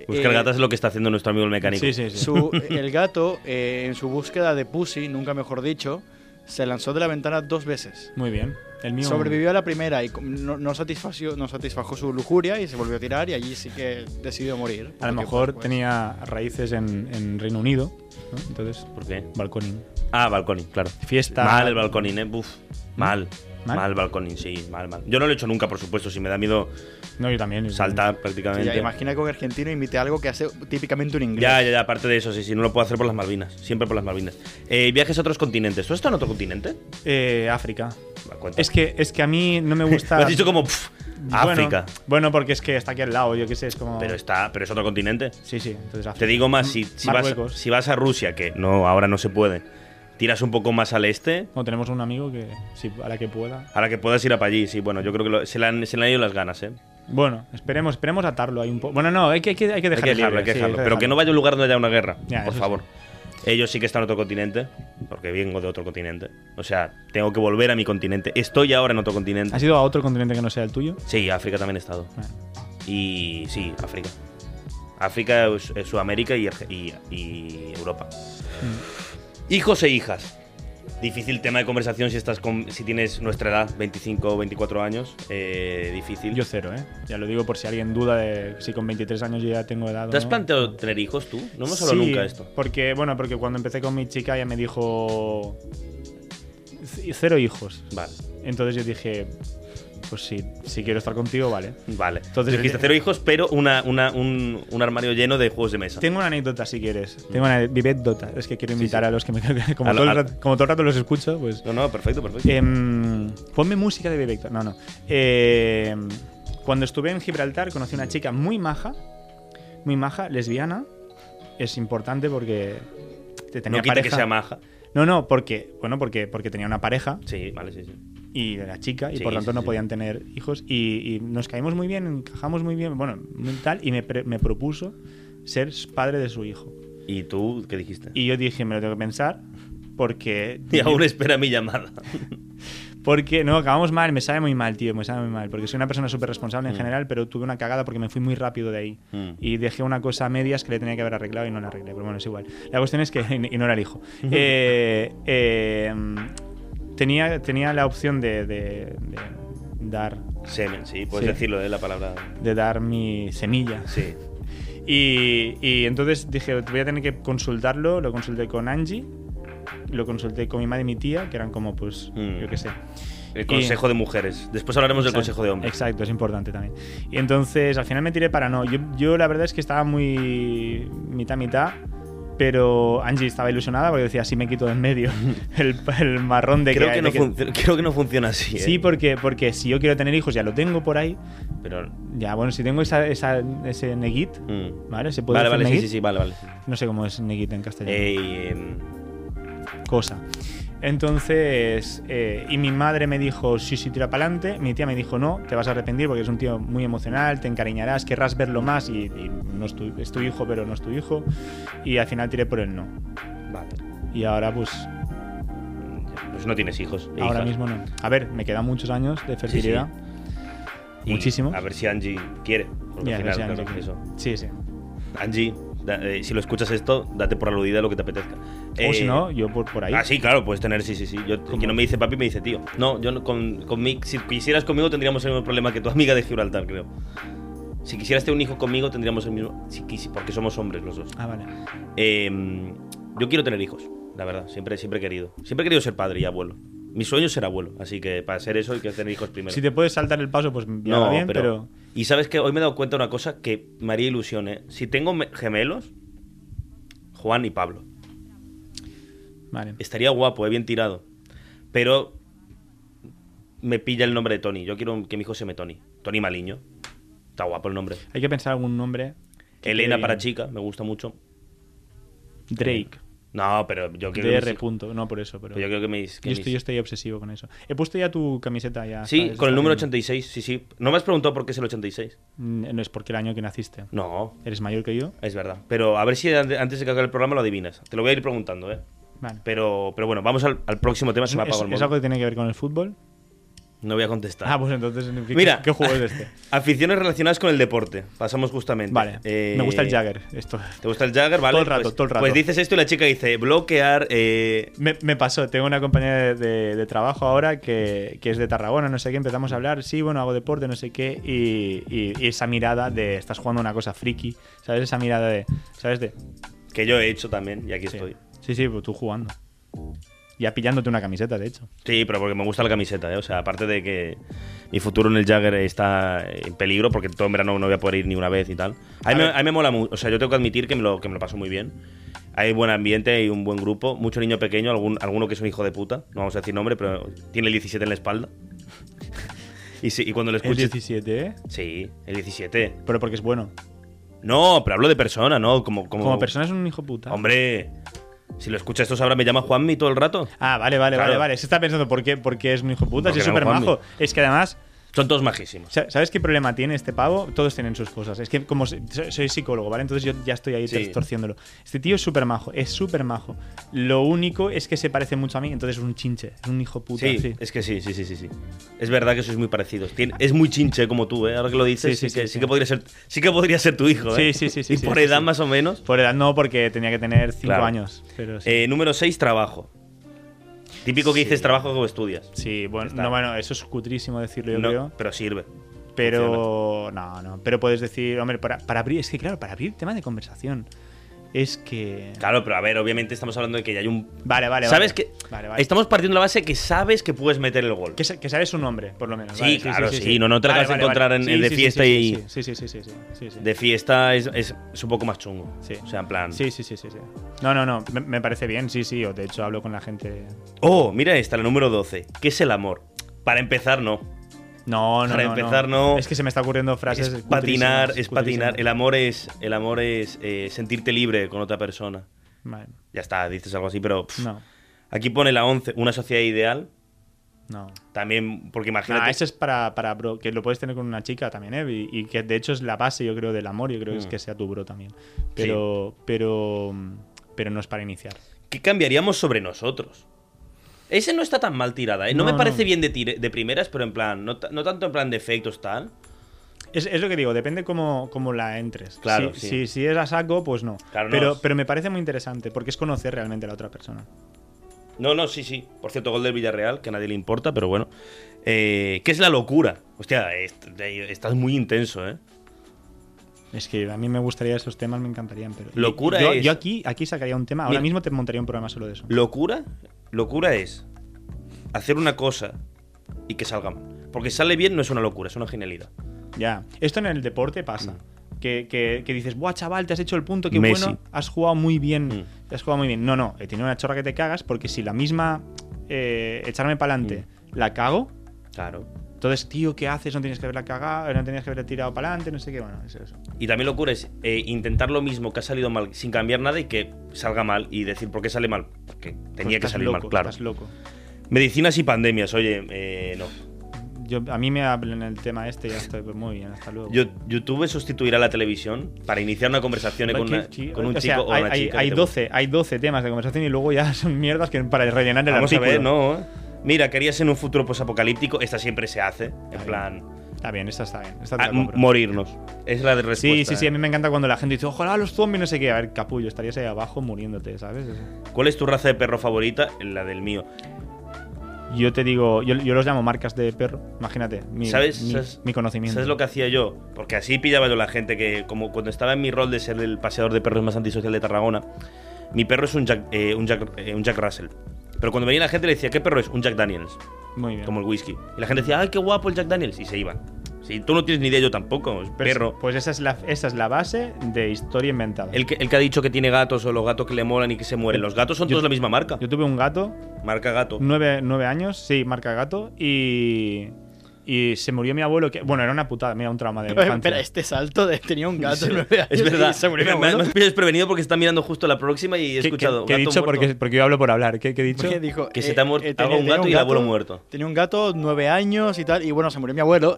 Speaker 3: Buscar
Speaker 4: Eh,
Speaker 3: gatas es lo Pues que está haciendo nuestro amigo el mecánico.
Speaker 2: Sí, sí, sí.
Speaker 4: su- el gato, eh, en su búsqueda de pussy, nunca mejor dicho, se lanzó de la ventana dos veces.
Speaker 2: Muy bien. El mío.
Speaker 4: Sobrevivió a la primera y com- no, no satisfació, no satisfajo su lujuria y se volvió a tirar y allí sí que decidió morir.
Speaker 2: A lo
Speaker 4: Porque,
Speaker 2: mejor
Speaker 4: pues,
Speaker 2: tenía raíces en, en Reino Unido. ¿no? Entonces,
Speaker 3: ¿Por qué?
Speaker 2: balconing.
Speaker 3: Ah, balconing, claro.
Speaker 2: Fiesta.
Speaker 3: Mal el balconing, eh. Buf. Mal.
Speaker 2: ¿Mm? ¿Mal?
Speaker 3: Mal, balconing, sí, mal, mal. Yo no lo he hecho nunca, por supuesto. Si me da miedo
Speaker 2: No, yo también. yo
Speaker 3: saltar
Speaker 4: pues, sí,
Speaker 3: prácticamente.
Speaker 4: ya, imagina que un argentino imite algo que hace típicamente un inglés.
Speaker 3: Ya, ya, ya, aparte de eso, sí, sí, no lo puedo hacer por las Malvinas, siempre por las Malvinas. Eh, viajes a otros continentes. ¿Tú has estado en otro continente?
Speaker 2: también. Eh, África.
Speaker 3: Va, cuenta.
Speaker 2: Es que, es que a mí no me gusta.
Speaker 3: Lo has dicho como pf,
Speaker 2: Bueno,
Speaker 3: África,
Speaker 2: Bueno, porque es que está aquí al lado, yo qué sé, es como.
Speaker 3: pero está, pero es otro continente.
Speaker 2: Sí, sí, entonces África.
Speaker 3: Te digo más, si, si vas,
Speaker 2: Marruecos.
Speaker 3: si vas a Rusia, que no, ahora no se puede, tiras un poco más al este,
Speaker 2: Bueno, tenemos un amigo que, si, a la que pueda.
Speaker 3: ahora que puedas ir a para allí, sí, bueno, yo creo que lo- se, le han, se le han ido las ganas, ¿eh?
Speaker 2: Bueno, esperemos, esperemos atarlo ahí un poco. Bueno, no, hay que, hay que, hay que
Speaker 3: Hay
Speaker 2: dejarlo.
Speaker 3: que dejarlo,
Speaker 2: libre,
Speaker 3: hay que
Speaker 2: sí,
Speaker 3: dejarlo. Pero que no vaya a un lugar donde haya una guerra,
Speaker 2: Ya,
Speaker 3: por
Speaker 2: eso
Speaker 3: favor. Ellos sí que están en otro continente, porque vengo de otro continente. O sea, tengo que volver a mi continente. Estoy ahora en otro continente.
Speaker 2: ¿Has ido a otro continente que no sea el tuyo?
Speaker 3: Sí, África también he estado.
Speaker 2: Bueno,
Speaker 3: Y sí, África. África, Su- eh, Sudamérica y, Arge- y- y Europa.
Speaker 2: Mm.
Speaker 3: Hijos e hijas. Difícil tema de conversación si estás con, si tienes nuestra edad, 25 o 24 años. Eh, difícil.
Speaker 2: Yo cero, ¿eh? Ya lo digo por si alguien duda de si con 23 años yo ya tengo edad. o
Speaker 3: ¿Te has
Speaker 2: no.
Speaker 3: planteado tener hijos tú? No hemos hablado
Speaker 2: Sí,
Speaker 3: nunca de esto.
Speaker 2: Porque, bueno, porque cuando empecé con mi chica ella me dijo "C- cero hijos.
Speaker 3: Vale.
Speaker 2: Entonces yo dije, pues sí, si quiero estar contigo, vale.
Speaker 3: Vale.
Speaker 2: Entonces- eh,
Speaker 3: Entonces dijiste cero hijos, pero una, una- un, un armario lleno de juegos de mesa.
Speaker 2: Tengo una anécdota si quieres. Tengo una anécdota. Es que quiero invitar a los que me como,
Speaker 3: Mm. A lo-
Speaker 2: todo el
Speaker 3: a-
Speaker 2: rato, como todo el rato los escucho, pues.
Speaker 3: No, no, perfecto, perfecto.
Speaker 2: Em, ponme música de Bebe Vector. No, no. Em, cuando estuve en Gibraltar conocí una chica muy maja, muy maja, lesbiana. Es importante porque te tenía
Speaker 3: no quita que
Speaker 2: pareja.
Speaker 3: sea maja.
Speaker 2: No, no, porque, bueno, porque, porque tenía una pareja
Speaker 3: Sí, vale, sí, sí.
Speaker 2: y era chica y
Speaker 3: Sí,
Speaker 2: por tanto
Speaker 3: sí,
Speaker 2: no
Speaker 3: sí.
Speaker 2: podían tener hijos y, y nos caímos muy bien, encajamos muy bien, bueno, muy tal, y me, pre- me propuso ser padre de su hijo.
Speaker 3: ¿Y tú qué dijiste?
Speaker 2: Y yo dije, me lo tengo que pensar porque...
Speaker 3: y aún espera mi llamada.
Speaker 2: Porque no, acabamos mal, me sabe muy mal, tío, me sabe muy mal. Porque soy una persona súper responsable en general, pero tuve una cagada porque me fui muy rápido de ahí.
Speaker 3: Mm.
Speaker 2: Y dejé una cosa a medias que le tenía que haber arreglado y no la arreglé. Pero bueno, es igual. La cuestión es que. Y no era el hijo. Eh, eh, tenía, tenía la opción de, de- de dar,
Speaker 3: Semen, sí, puedes
Speaker 2: Sí.
Speaker 3: decirlo, ¿eh? La palabra.
Speaker 2: de dar mi semilla.
Speaker 3: Sí.
Speaker 2: Y, y entonces dije, voy a tener que consultarlo. Lo consulté con Angie, lo consulté con mi madre y mi tía, que eran como, pues,
Speaker 3: Mm.
Speaker 2: yo qué sé.
Speaker 3: El
Speaker 2: Y-
Speaker 3: consejo de mujeres. Después hablaremos del
Speaker 2: Exacto,
Speaker 3: consejo de hombres.
Speaker 2: Exacto, es importante también. Y entonces al final me tiré para no. Yo, yo la verdad es que estaba muy mitad-mitad, pero Angie estaba ilusionada porque decía, así me quito de en medio el, el marrón de
Speaker 3: Creo que, no
Speaker 2: de
Speaker 3: func- creo que no funciona así. ¿eh?
Speaker 2: Sí, porque, porque si yo quiero tener hijos, ya lo tengo por ahí.
Speaker 3: Pero.
Speaker 2: Ya, bueno, si tengo esa, esa- ese negit,
Speaker 3: mm.
Speaker 2: ¿vale? ¿Se puede
Speaker 3: Vale,
Speaker 2: decir
Speaker 3: vale, sí,
Speaker 2: negit?
Speaker 3: sí, sí, vale, vale.
Speaker 2: No sé cómo es negit en castellano.
Speaker 3: Eh, em,
Speaker 2: cosa. Entonces, eh, y mi madre me dijo, sí, sí, tira para adelante. Mi tía me dijo, no, te vas a arrepentir porque es un tío muy emocional, te encariñarás, querrás verlo más y, y no es tu, es tu hijo, pero no es tu hijo. Y al final tiré por el no.
Speaker 3: vale.
Speaker 2: Y ahora, pues,
Speaker 3: Pues no tienes hijos. e
Speaker 2: ahora
Speaker 3: hijas.
Speaker 2: mismo no. A ver, me quedan muchos años de fertilidad.
Speaker 3: Y
Speaker 2: muchísimos.
Speaker 3: A ver si Angie quiere. porque
Speaker 2: Y a
Speaker 3: al
Speaker 2: ver si
Speaker 3: final, claro,
Speaker 2: Angie-
Speaker 3: eso.
Speaker 2: sí, sí.
Speaker 3: Angie, da- eh, si lo escuchas esto, date por aludida de lo que te apetezca.
Speaker 2: o
Speaker 3: Eh,
Speaker 2: si no, yo por, por ahí.
Speaker 3: Ah, sí, claro, puedes tener, sí, sí, sí. Yo, que no me dice papi, me dice tío. No, yo no- con, conmigo, si quisieras conmigo tendríamos el mismo problema que tu amiga de Gibraltar, creo. Si quisieras tener un hijo conmigo tendríamos el mismo, si quisi- porque somos hombres los dos.
Speaker 2: Ah, vale.
Speaker 3: Eh, yo quiero tener hijos, la verdad, siempre, siempre he querido. Siempre he querido ser padre y abuelo. Mi sueño es ser abuelo, así que para ser eso hay que tener hijos primero.
Speaker 2: Si te puedes saltar el paso, pues ya va bien, pero...
Speaker 3: Y sabes que hoy me he dado cuenta de una cosa que me haría ilusión, ¿eh? Si tengo me- gemelos, Juan y Pablo.
Speaker 2: Vale.
Speaker 3: Estaría guapo, ¿eh? bien tirado. Pero me pilla el nombre de Tony. Yo quiero que mi hijo se llame Tony. Tony Maliño. Está guapo el nombre.
Speaker 2: Hay que pensar algún nombre. que
Speaker 3: Elena
Speaker 2: quede
Speaker 3: para
Speaker 2: bien.
Speaker 3: chica, me gusta mucho.
Speaker 2: Drake.
Speaker 3: No, pero yo quiero que
Speaker 2: DR.
Speaker 3: mis hijos-
Speaker 2: Punto. No, por eso, pero.
Speaker 3: pero yo creo que mis...
Speaker 2: yo
Speaker 3: que mis-
Speaker 2: estoy, yo estoy obsesivo con eso. He puesto ya tu camiseta ya.
Speaker 3: Sí,
Speaker 2: ¿sabes?
Speaker 3: con el
Speaker 2: Está
Speaker 3: número
Speaker 2: bien.
Speaker 3: 86, sí, sí. No me has preguntado por qué es el 86.
Speaker 2: Mm, No es porque el año que naciste.
Speaker 3: No,
Speaker 2: ¿Eres mayor que yo?
Speaker 3: es verdad. Pero a ver si an- antes de que acabe el programa lo adivinas. Te lo voy a ir preguntando, ¿eh?
Speaker 2: Vale.
Speaker 3: Pero, pero bueno, vamos al, al próximo tema.
Speaker 2: ¿Es,
Speaker 3: Se me ha apagado el
Speaker 2: es- es
Speaker 3: móvil.
Speaker 2: algo que tiene que ver con el fútbol?
Speaker 3: No voy a contestar.
Speaker 2: Ah, pues entonces, ¿qué,
Speaker 3: Mira.
Speaker 2: ¿qué juego es este?
Speaker 3: Aficiones relacionadas con el deporte. Pasamos justamente.
Speaker 2: Vale.
Speaker 3: Eh,
Speaker 2: Me gusta el Jagger. Esto.
Speaker 3: ¿Te gusta el Jagger? Vale.
Speaker 2: Todo el rato,
Speaker 3: pues,
Speaker 2: todo el rato.
Speaker 3: Pues dices esto y la chica dice bloquear. eh,
Speaker 2: Me, me pasó, tengo una compañera de, de- de trabajo ahora que, que es de Tarragona, no sé qué, empezamos a hablar, sí, bueno, hago deporte, no sé qué, y, y- y esa mirada de estás jugando a una cosa friki, ¿sabes? Esa mirada de, ¿sabes? De,
Speaker 3: que yo he hecho también y aquí
Speaker 2: sí,
Speaker 3: estoy.
Speaker 2: sí, sí, pues tú jugando. Ya pillándote una camiseta, de hecho.
Speaker 3: Sí, pero porque me gusta la camiseta, ¿eh? O sea, aparte de que mi futuro en el Jagger está en peligro porque todo en verano no voy a poder ir ni una vez y tal. A
Speaker 2: A
Speaker 3: mí, me,
Speaker 2: ver.
Speaker 3: a mí me mola mucho. O sea, yo tengo que admitir que me, lo, que me lo paso muy bien. Hay buen ambiente, hay un buen grupo, mucho niño pequeño, algún, alguno que es un hijo de puta, no vamos a decir nombre, pero tiene el 17 en la espalda. y, sí, y cuando lo
Speaker 2: Es
Speaker 3: escuches...
Speaker 2: 17, ¿eh?
Speaker 3: Sí, el 17.
Speaker 2: Pero porque es bueno.
Speaker 3: No, pero hablo de persona, ¿no? Como, como,
Speaker 2: Como, persona es un hijo puta.
Speaker 3: Hombre, si lo escuchas esto ahora me llama Juanmi todo el rato.
Speaker 2: Ah, vale, vale,
Speaker 3: Claro.
Speaker 2: vale, vale. Se está pensando por qué, por qué es un hijo puta, si
Speaker 3: Porque
Speaker 2: es
Speaker 3: no,
Speaker 2: súper majo. Es que además,
Speaker 3: Son todos majísimos.
Speaker 2: Sa- ¿Sabes qué problema tiene este pavo? Todos tienen sus cosas. Es que como so- soy psicólogo, ¿vale? Entonces yo ya estoy ahí
Speaker 3: Sí.
Speaker 2: torciéndolo Este tío es súper majo, es súper majo. Lo único es que se parece mucho a mí, entonces es un chinche, es un hijo puta.
Speaker 3: Sí,
Speaker 2: sí.
Speaker 3: es que sí, sí, sí, sí, sí. Es verdad que sois muy parecidos. Tien- es muy chinche como tú, ¿eh? Ahora que lo dices, sí,
Speaker 2: Sí, sí,
Speaker 3: que,
Speaker 2: sí,
Speaker 3: sí,
Speaker 2: sí.
Speaker 3: que podría ser, sí que podría ser tu hijo,
Speaker 2: Sí,
Speaker 3: ¿eh?
Speaker 2: sí, sí, sí,
Speaker 3: Y
Speaker 2: sí,
Speaker 3: por
Speaker 2: sí,
Speaker 3: edad
Speaker 2: sí.
Speaker 3: más o menos.
Speaker 2: Por edad no, porque tenía que tener 5
Speaker 3: Claro.
Speaker 2: años. Pero sí.
Speaker 3: Eh, número 6, trabajo. Típico que
Speaker 2: Sí.
Speaker 3: dices trabajo como estudias.
Speaker 2: Sí, bueno,
Speaker 3: está.
Speaker 2: no, bueno, eso es cutrísimo decirlo, yo
Speaker 3: No,
Speaker 2: creo.
Speaker 3: pero sirve.
Speaker 2: Pero no, no. Pero puedes decir, hombre, para, para abrir, es que claro, para abrir tema de conversación. Es que.
Speaker 3: Claro, pero a ver, obviamente estamos hablando de que ya hay un...
Speaker 2: Vale, vale,
Speaker 3: ¿Sabes
Speaker 2: vale.
Speaker 3: que
Speaker 2: Vale, vale.
Speaker 3: Estamos partiendo de la base que sabes que puedes meter el gol.
Speaker 2: Que, sa- que sabes su nombre, por lo menos.
Speaker 3: Sí,
Speaker 2: Vale,
Speaker 3: claro, sí. No- no te la acabas de encontrar en- en de
Speaker 2: sí,
Speaker 3: fiesta
Speaker 2: sí,
Speaker 3: y-
Speaker 2: Sí, sí, sí, sí, sí, sí, sí.
Speaker 3: De fiesta es, es, es un poco más chungo.
Speaker 2: Sí.
Speaker 3: O sea, en plan...
Speaker 2: Sí, sí, sí, sí, sí. No, no, no. Me, me parece bien, sí, sí. O de hecho hablo con la gente.
Speaker 3: Oh, mira esta, la número 12. ¿Qué es el amor? Para empezar, no.
Speaker 2: No, no,
Speaker 3: Para
Speaker 2: no,
Speaker 3: empezar, no.
Speaker 2: Es que se me está ocurriendo frases.
Speaker 3: es patinar, es
Speaker 2: cutrísimas,
Speaker 3: patinar.
Speaker 2: cutrísimas.
Speaker 3: El amor es, el amor es eh, sentirte libre con otra persona.
Speaker 2: Vale.
Speaker 3: Ya está, dices algo así, pero pff.
Speaker 2: No,
Speaker 3: aquí pone la 11, una sociedad ideal.
Speaker 2: no.
Speaker 3: También, porque imagínate.
Speaker 2: Ah, ese es para, para bro, que lo puedes tener con una chica también, ¿eh? Y, y que de hecho es la base, yo creo, del amor. Yo creo que es
Speaker 3: Mm.
Speaker 2: que sea tu bro también. Pero, pero, mm, pero no es para iniciar.
Speaker 3: ¿Qué cambiaríamos sobre nosotros? Ese no está tan mal tirada, ¿eh? No,
Speaker 2: No,
Speaker 3: me
Speaker 2: no.
Speaker 3: parece bien de, tire- de primeras, pero en plan, no, ta- no tanto en plan de efectos tal.
Speaker 2: Es, es lo que digo, depende cómo, cómo la entres.
Speaker 3: Claro,
Speaker 2: Si,
Speaker 3: sí.
Speaker 2: si, si es a saco, pues no.
Speaker 3: Claro, no.
Speaker 2: pero, pero me parece muy interesante porque es conocer realmente a la otra persona.
Speaker 3: No, no, sí, sí. Por cierto, gol del Villarreal, que a nadie le importa, pero bueno. Eh, ¿Qué es la locura? Hostia, est- eh, estás muy intenso, ¿eh?
Speaker 2: Es que a mí me gustaría esos temas, me encantarían. Pero
Speaker 3: Locura
Speaker 2: yo,
Speaker 3: es-
Speaker 2: Yo aquí, aquí sacaría un tema. Ahora
Speaker 3: Mira.
Speaker 2: mismo te montaría un programa solo de eso.
Speaker 3: Locura, locura es hacer una cosa y que salga mal. Porque si sale bien no es una locura, es una genialidad.
Speaker 2: Ya. Esto en el deporte pasa. Que, que- que dices, buah, chaval, te has hecho el punto, qué
Speaker 3: Mm. Messi.
Speaker 2: bueno, has jugado muy bien.
Speaker 3: Mm.
Speaker 2: Has jugado muy bien. No, no, he tenido una chorra que te cagas porque si la misma eh, echarme para adelante
Speaker 3: Mm.
Speaker 2: la cago,
Speaker 3: Claro.
Speaker 2: Entonces, tío, ¿qué haces? No tienes que haberla cagado, eh, no tenías que haberla tirado para adelante, no sé qué. Bueno, eso, eso.
Speaker 3: Y también locura es eh, intentar lo mismo que ha salido mal sin cambiar nada y que salga mal y decir por qué sale mal. Porque tenía
Speaker 2: Pues
Speaker 3: que
Speaker 2: estás
Speaker 3: salir
Speaker 2: loco,
Speaker 3: mal, claro.
Speaker 2: Estás loco.
Speaker 3: Medicinas y pandemias, oye, eh, no.
Speaker 2: Yo, a mí me hablan el tema este y ya estoy pues, muy bien, hasta luego.
Speaker 3: Yo- YouTube sustituirá la televisión para iniciar una conversación
Speaker 2: Pero
Speaker 3: con,
Speaker 2: que-
Speaker 3: una-
Speaker 2: que-
Speaker 3: con un
Speaker 2: Pues, o
Speaker 3: chico
Speaker 2: sea,
Speaker 3: o
Speaker 2: hay,
Speaker 3: una
Speaker 2: hay-
Speaker 3: chica. que
Speaker 2: hay
Speaker 3: te guste.
Speaker 2: 12, hay 12 temas de conversación y luego ya son mierdas que para rellenar el
Speaker 3: Vamos a
Speaker 2: artículo.
Speaker 3: ver, ¿no? ¿eh? Mira, querías en un futuro posapocalíptico, esta siempre se hace. En
Speaker 2: bien.
Speaker 3: plan,
Speaker 2: Está bien, esta está bien. Esta te
Speaker 3: ah,
Speaker 2: la compro.
Speaker 3: morirnos. Es la de respuesta.
Speaker 2: Sí, sí, sí,
Speaker 3: ¿eh?
Speaker 2: a mí me encanta cuando la gente dice, ojalá los zombies, no sé qué. A ver, capullo, estarías ahí abajo muriéndote, ¿sabes?
Speaker 3: ¿Cuál es tu raza de perro favorita? La del mío.
Speaker 2: Yo te digo, yo, yo los llamo marcas de perro, imagínate, mi,
Speaker 3: ¿Sabes?
Speaker 2: mi,
Speaker 3: ¿Sabes?
Speaker 2: mi conocimiento.
Speaker 3: ¿Sabes lo que hacía yo? Porque así pillaba yo la gente que, como cuando estaba en mi rol de ser el paseador de perros más antisocial de Tarragona, mi perro es un Jack, eh, un Jack, eh, un Jack Russell. Pero cuando venía la gente le decía, ¿qué perro es? Un Jack Daniels,
Speaker 2: Muy bien.
Speaker 3: como el whisky. Y la gente decía, ¡ay, qué guapo el Jack Daniels! Y se iban. O Si tú no tienes ni idea, yo tampoco. Es
Speaker 2: Pero-
Speaker 3: perro.
Speaker 2: Pues esa es, la, esa es la base de historia inventada.
Speaker 3: El que, el que ha dicho que tiene gatos o los gatos que le molan y que se mueren. Los gatos son
Speaker 2: Yo-
Speaker 3: todos la misma marca.
Speaker 2: Yo tuve un gato,
Speaker 3: Marca gato.
Speaker 2: nueve, nueve años, sí, marca gato, y, y se murió mi abuelo. que Bueno, era una putada, mira, un trauma de
Speaker 4: Espera,
Speaker 2: infancia.
Speaker 4: este salto de tenía un gato de nueve años
Speaker 3: Es verdad.
Speaker 4: y se murió mi
Speaker 3: me, me-
Speaker 4: abuelo.
Speaker 3: me he desprevenido porque está mirando justo la próxima y he
Speaker 2: ¿Qué- qué-
Speaker 3: escuchado.
Speaker 2: qué he
Speaker 3: gato
Speaker 2: dicho?
Speaker 3: muerto.
Speaker 2: Porque, porque yo hablo por hablar. ¿Qué, qué he dicho?
Speaker 4: Porque dijo, eh,
Speaker 3: Que se te ha muerto-
Speaker 4: tenía-
Speaker 3: hago un
Speaker 4: tenía
Speaker 3: gato y el abuelo muerto.
Speaker 4: Tenía un gato, nueve años y tal, y bueno, se murió mi abuelo.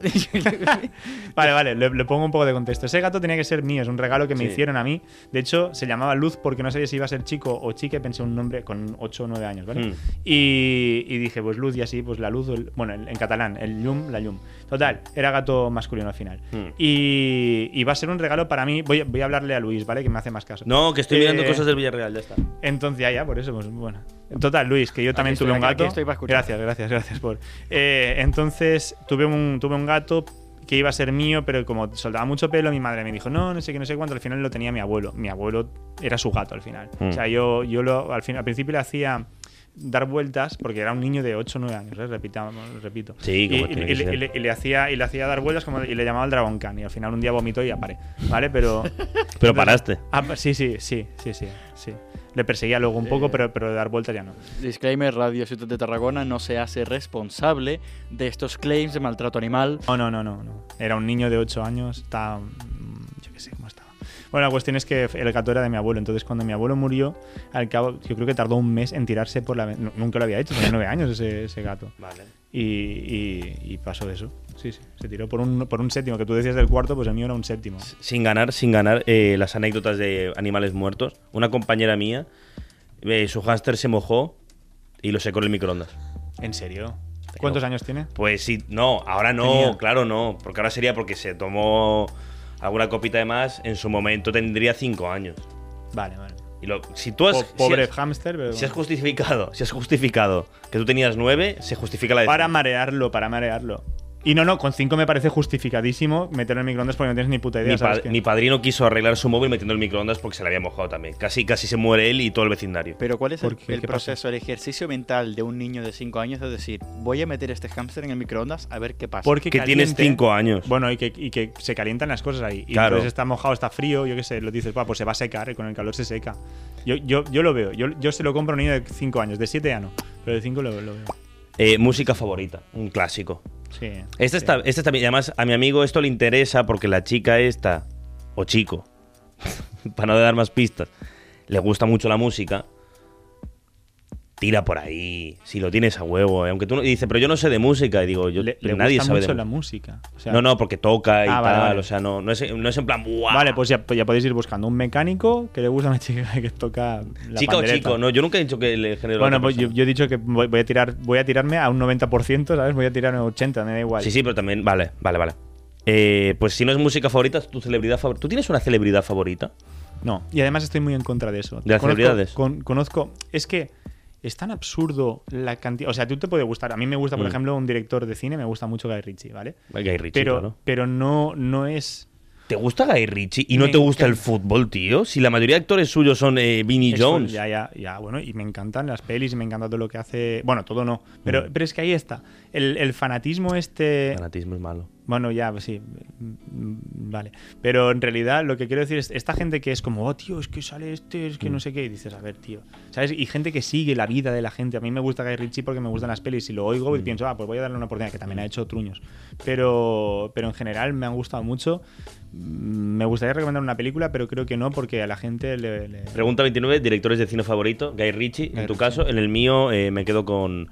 Speaker 2: Vale, vale, le, le pongo un poco de contexto. Ese gato tenía que ser mío, es un regalo que me
Speaker 3: Sí.
Speaker 2: hicieron a mí. De hecho, se llamaba Luz porque no sabía si iba a ser chico o chica, pensé un nombre con 8 o 9 años, ¿vale?
Speaker 3: Mm.
Speaker 2: Y, y dije, pues Luz y así, pues la luz, o el- bueno, en en catalán, el llum, la llum. Total, era gato masculino al final.
Speaker 3: Mm.
Speaker 2: Y, y va a ser un regalo para mí, voy, a- voy a hablarle a Luis, ¿vale? Que me hace más caso.
Speaker 3: No, que estoy mirando
Speaker 2: Eh,
Speaker 3: cosas del Villarreal, ya está.
Speaker 2: Entonces, ya, ya, por eso, pues bueno. Total, Luis, que yo también
Speaker 4: estoy,
Speaker 2: tuve un
Speaker 4: aquí- aquí
Speaker 2: gato.
Speaker 4: estoy para escuchar.
Speaker 2: gracias, gracias, gracias por. Eh, entonces, tuve un, tuve un gato que iba a ser mío, pero como soltaba mucho pelo, mi madre me dijo, no, no sé qué, no sé cuánto. Al final lo tenía mi abuelo. Mi abuelo era su gato al final.
Speaker 3: Mm.
Speaker 2: O sea, yo, yo lo, al, fin- al principio le hacía dar vueltas porque era un niño de 8 o 9 años, ¿eh? Repitamos- repito.
Speaker 3: Sí,
Speaker 2: y,
Speaker 3: como
Speaker 2: y-
Speaker 3: tiene
Speaker 2: y
Speaker 3: que
Speaker 2: le-
Speaker 3: ser.
Speaker 2: y le- y le hacía, y le hacía dar vueltas como, y le llamaba el Dragon Khan y al final un día vomitó y ya paré, ¿vale? Pero
Speaker 3: Pero paraste.
Speaker 2: Ah, pa- sí, sí, sí, sí, sí, sí. Le perseguía luego un poco, pero, pero de dar vueltas ya no.
Speaker 4: Disclaimer, Radio Ciudad de Tarragona no se hace responsable de estos claims de maltrato animal.
Speaker 2: No, no, no, no. no. Era un niño de 8 años, está... mm, Yo qué sé cómo estaba. Bueno, la cuestión es que el gato era de mi abuelo, entonces cuando mi abuelo murió, al cabo, yo creo que tardó un mes en tirarse por la... ve- nu- Nunca lo había hecho, tenía 9 años ese, ese gato.
Speaker 3: Vale.
Speaker 2: Y, y, y pasó de eso. Sí, sí. Se tiró por un, por un séptimo, que tú decías del cuarto, pues el mío era un séptimo.
Speaker 3: Sin ganar, sin ganar eh, las anécdotas de animales muertos. Una compañera mía, eh, su hámster se mojó y lo secó en el microondas.
Speaker 2: ¿En serio? ¿Cuántos años tiene?
Speaker 3: Pues sí, no, ahora no,
Speaker 2: Tenía.
Speaker 3: claro no, porque ahora sería porque se tomó alguna copita de más, en su momento tendría cinco años.
Speaker 2: Vale, vale.
Speaker 3: Y lo, Pues, si tú has,
Speaker 2: Po- pobre
Speaker 3: si has,
Speaker 2: hámster, pero...
Speaker 3: si has justificado, si has justificado que tú tenías nueve, se justifica la de
Speaker 2: Para
Speaker 3: cinco.
Speaker 2: marearlo, para marearlo. Y no, no, con 5 me parece justificadísimo meterlo en el microondas porque no tienes ni puta idea.
Speaker 3: mi,
Speaker 2: ¿sabes
Speaker 3: pad-
Speaker 2: qué?
Speaker 3: mi padrino quiso arreglar su móvil metiendo el microondas porque se le había mojado también. Casi, casi se muere él y todo el vecindario.
Speaker 4: Pero ¿cuál es
Speaker 2: ¿Por
Speaker 4: el,
Speaker 2: qué?
Speaker 4: el
Speaker 2: ¿Qué pasa?
Speaker 4: proceso, el ejercicio mental de un niño de 5 años? Es decir, voy a meter este hámster en el microondas a ver qué pasa.
Speaker 2: Porque
Speaker 3: que tienes
Speaker 2: caliente-
Speaker 3: cinco años.
Speaker 2: Bueno, y que, y que se calientan las cosas ahí. Y
Speaker 3: Claro.
Speaker 2: entonces está mojado, está frío, yo qué sé, lo dices, "Buah, pues se va a secar, y con el calor se seca. Yo, yo, yo lo veo, yo, yo se lo compro a un niño de 5 años, de 7 ya no, pero de 5 lo, lo veo.
Speaker 3: Eh, música favorita, un clásico.
Speaker 2: Sí.
Speaker 3: Esta
Speaker 2: sí.
Speaker 3: Este está, esta está bien. Y Además, a mi amigo esto le interesa porque la chica esta, o chico, para no dar más pistas, le gusta mucho la música. Tira por ahí, si lo tienes a huevo. eh. Aunque tú no, y dice, pero yo no sé de música. Y digo, yo,
Speaker 2: Le, le
Speaker 3: nadie
Speaker 2: gusta
Speaker 3: sabe
Speaker 2: mucho
Speaker 3: de
Speaker 2: la
Speaker 3: mu-
Speaker 2: música. o sea-
Speaker 3: No, no, porque toca y
Speaker 2: Ah,
Speaker 3: tal.
Speaker 2: vale, vale.
Speaker 3: O sea, no, no, es, no es en plan, ¡buah!
Speaker 2: Vale, pues ya, ya podéis ir buscando un mecánico que le gusta a una chica que toca la
Speaker 3: chica o
Speaker 2: pandereta.
Speaker 3: chico, no, yo nunca he dicho que el género.
Speaker 2: Bueno,
Speaker 3: era
Speaker 2: pues
Speaker 3: otra
Speaker 2: yo,
Speaker 3: cosa.
Speaker 2: yo he dicho que voy, voy a tirar, voy a tirarme a un 90%, ¿sabes? Voy a tirarme a un 80%, me da igual.
Speaker 3: Sí, sí, pero también. Vale, vale, vale. Eh, pues si no es música favorita, tu celebridad favorita. ¿Tú tienes una celebridad favorita?
Speaker 2: No, y además estoy muy en contra de eso.
Speaker 3: De las
Speaker 2: Conozco-
Speaker 3: celebridades.
Speaker 2: con- conozco, es que es tan absurdo la cantidad, o sea, tú te puede gustar, a mí me gusta, por
Speaker 3: Mm.
Speaker 2: ejemplo, un director de cine, me gusta mucho Guy Ritchie, ¿vale?
Speaker 3: Guy Ritchie,
Speaker 2: pero
Speaker 3: claro.
Speaker 2: pero no no es
Speaker 3: ¿Te gusta Guy Ritchie y no
Speaker 2: Me
Speaker 3: te gusta el
Speaker 2: encanta.
Speaker 3: fútbol, tío? Si la mayoría de actores suyos son eh, Vinnie
Speaker 2: Eso,
Speaker 3: Jones.
Speaker 2: Ya, ya, ya, bueno, y me encantan las pelis y me encanta todo lo que hace. Bueno, todo no. Pero,
Speaker 3: Mm.
Speaker 2: pero es que ahí está. El, el fanatismo este.
Speaker 3: Fanatismo es malo.
Speaker 2: Bueno, ya, pues sí. mm, Vale. Pero en realidad lo que quiero decir es esta gente que es como, oh, tío, es que sale este, es que
Speaker 3: Mm.
Speaker 2: no sé qué. Y dices, a ver, tío. ¿Sabes? Y gente que sigue la vida de la gente. A mí me gusta Guy Ritchie porque me gustan las pelis. Y lo oigo y pienso, ah, pues voy a darle una oportunidad, que también ha hecho truños. Pero, pero en general me han gustado mucho. Mm, Me gustaría recomendar una película, pero creo que no, porque a la gente le. le-
Speaker 3: Pregunta 29, directores de cine favorito. Guy Ritchie, en
Speaker 2: Guy
Speaker 3: tu
Speaker 2: Ritchie.
Speaker 3: caso. En el mío eh, me quedo con...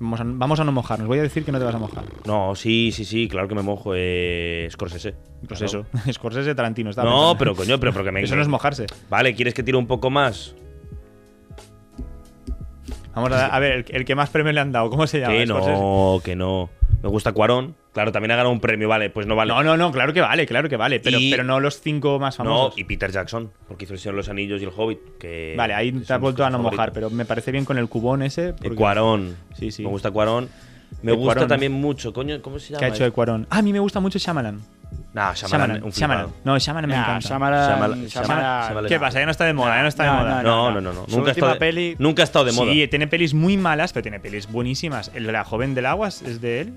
Speaker 2: Vamos, a, vamos a no mojarnos. Voy a decir que no te vas a mojar.
Speaker 3: No, sí, sí, sí, claro que me mojo. Eh, Scorsese.
Speaker 2: Pues
Speaker 3: Claro.
Speaker 2: eso. Scorsese Tarantino. estaba
Speaker 3: No,
Speaker 2: pensando.
Speaker 3: pero coño, pero porque me
Speaker 2: Eso no es mojarse.
Speaker 3: Vale, ¿quieres que tire un poco más?
Speaker 2: Vamos a, a ver, el, el que más premios le han dado, ¿cómo se llama?
Speaker 3: que
Speaker 2: Scorsese.
Speaker 3: no, que no. Me gusta Cuarón. Claro, también ha ganado un premio, vale, pues no vale.
Speaker 2: No, no, no, claro que vale, claro que vale, pero,
Speaker 3: Y-
Speaker 2: pero no los cinco más
Speaker 3: No,
Speaker 2: famosos.
Speaker 3: y Peter Jackson, porque hizo el Señor de los Anillos y el Hobbit. Que
Speaker 2: Vale, ahí
Speaker 3: son
Speaker 2: te has
Speaker 3: mis
Speaker 2: vuelto a
Speaker 3: cosas
Speaker 2: no mojar,
Speaker 3: favoritas.
Speaker 2: pero me parece bien con el cubón ese.
Speaker 3: El
Speaker 2: porque-
Speaker 3: Cuarón.
Speaker 2: Sí, sí.
Speaker 3: Me gusta Cuarón. Me
Speaker 2: El
Speaker 3: gusta
Speaker 2: Cuarón.
Speaker 3: también mucho, coño, ¿cómo se llama? este?
Speaker 2: Que ha hecho de Cuarón. Ah, a mí me gusta mucho Shyamalan.
Speaker 3: Nah, Shyamalan,
Speaker 2: Shyamalan.
Speaker 3: un
Speaker 2: Shyamalan.
Speaker 3: flipado.
Speaker 2: No, Shyamalan me
Speaker 4: Nah,
Speaker 2: encanta.
Speaker 4: Shyamalan-
Speaker 3: Shyamalan- Shyamalan-
Speaker 4: Shyamalan-
Speaker 2: ¿Qué pasa? Ya no está de moda, ya no está de
Speaker 4: No,
Speaker 2: moda.
Speaker 3: No, no,
Speaker 4: no,
Speaker 3: no, no. Nunca,
Speaker 4: Su
Speaker 3: ha
Speaker 4: última
Speaker 3: estado de,
Speaker 4: peli-
Speaker 3: nunca ha estado de moda.
Speaker 2: Sí, tiene pelis muy malas, pero tiene pelis buenísimas. El de La joven del aguas es de él.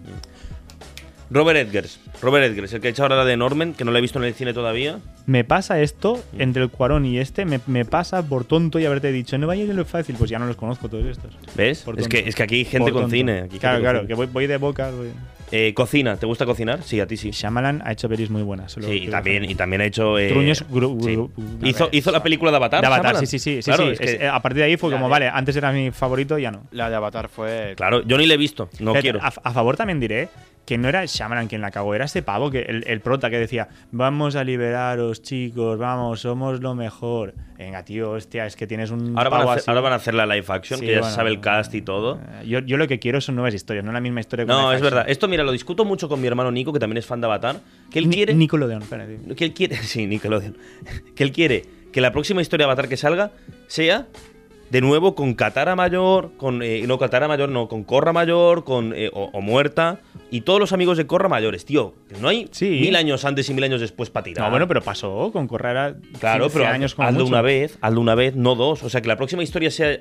Speaker 3: Robert Edgers. Robert Edgers, el que ha hecho ahora la de Norman, que no la he visto en el cine todavía.
Speaker 2: Me pasa esto entre el Cuarón y este, me, me pasa por tonto y haberte dicho, no vaya a lo fácil, pues ya no los conozco todos estos.
Speaker 3: ¿Ves?
Speaker 2: Por
Speaker 3: Es
Speaker 2: tonto.
Speaker 3: que, es que aquí hay gente
Speaker 2: Por
Speaker 3: con
Speaker 2: tonto.
Speaker 3: cine. aquí hay
Speaker 2: claro,
Speaker 3: gente
Speaker 2: claro,
Speaker 3: con
Speaker 2: que
Speaker 3: cine.
Speaker 2: voy, voy de boca. voy-
Speaker 3: Eh, cocina, ¿te gusta cocinar? Sí, a ti sí. Sí,
Speaker 2: Shyamalan ha hecho pelis muy buenas. solo
Speaker 3: y
Speaker 2: quiero
Speaker 3: también, y
Speaker 2: dejar.
Speaker 3: también ha hecho. eh,
Speaker 2: Truños gru-
Speaker 3: sí.
Speaker 2: gru- gru-
Speaker 3: Hizo, hizo la película de Avatar.
Speaker 2: De Avatar,
Speaker 3: Shyamalan.
Speaker 2: sí, sí, sí. sí,
Speaker 3: Claro,
Speaker 2: sí,
Speaker 3: es
Speaker 2: es-
Speaker 3: que-
Speaker 2: eh, a partir de ahí fue
Speaker 4: Ya,
Speaker 2: como,
Speaker 4: ya.
Speaker 2: vale, antes era mi favorito, ya no.
Speaker 4: La de Avatar fue.
Speaker 3: claro, yo ni la he visto. No
Speaker 2: Pero
Speaker 3: quiero.
Speaker 2: A, a favor también diré que no era Shyamalan quien la cagó, era este pavo, que el, el prota que decía, vamos a liberaros, chicos, vamos, somos lo mejor. Venga, tío, hostia, es que tienes un
Speaker 3: Ahora van,
Speaker 2: pavo
Speaker 3: a hacer,
Speaker 2: así.
Speaker 3: ahora van a hacer la live action,
Speaker 2: Sí,
Speaker 3: que ya
Speaker 2: bueno,
Speaker 3: se sabe el cast y todo.
Speaker 2: Eh, Yo, yo lo que quiero son nuevas historias, no la misma historia. que
Speaker 3: No,
Speaker 2: una
Speaker 3: es
Speaker 2: faction.
Speaker 3: verdad. Esto, mira, lo discuto mucho con mi hermano Nico, que también es fan de Avatar. Que él
Speaker 2: Ni-
Speaker 3: quiere.
Speaker 2: Nickelodeon, espérate.
Speaker 3: que él quiere. Sí, Nickelodeon. que él quiere que la próxima historia de Avatar que salga sea. De nuevo con Katara Mayor, con. eh, no, Katara Mayor, no, con Corra Mayor, con. eh, o, o Muerta. Y todos los amigos de Corra Mayores, tío. No hay
Speaker 2: Sí.
Speaker 3: mil años antes y mil años después para tirar.
Speaker 2: No, bueno, pero pasó con Correra.
Speaker 3: Claro,
Speaker 2: 15
Speaker 3: pero
Speaker 2: años
Speaker 3: haz-
Speaker 2: como
Speaker 3: hazlo
Speaker 2: mucho.
Speaker 3: una vez, hazlo una vez, no dos. O sea, que la próxima historia sea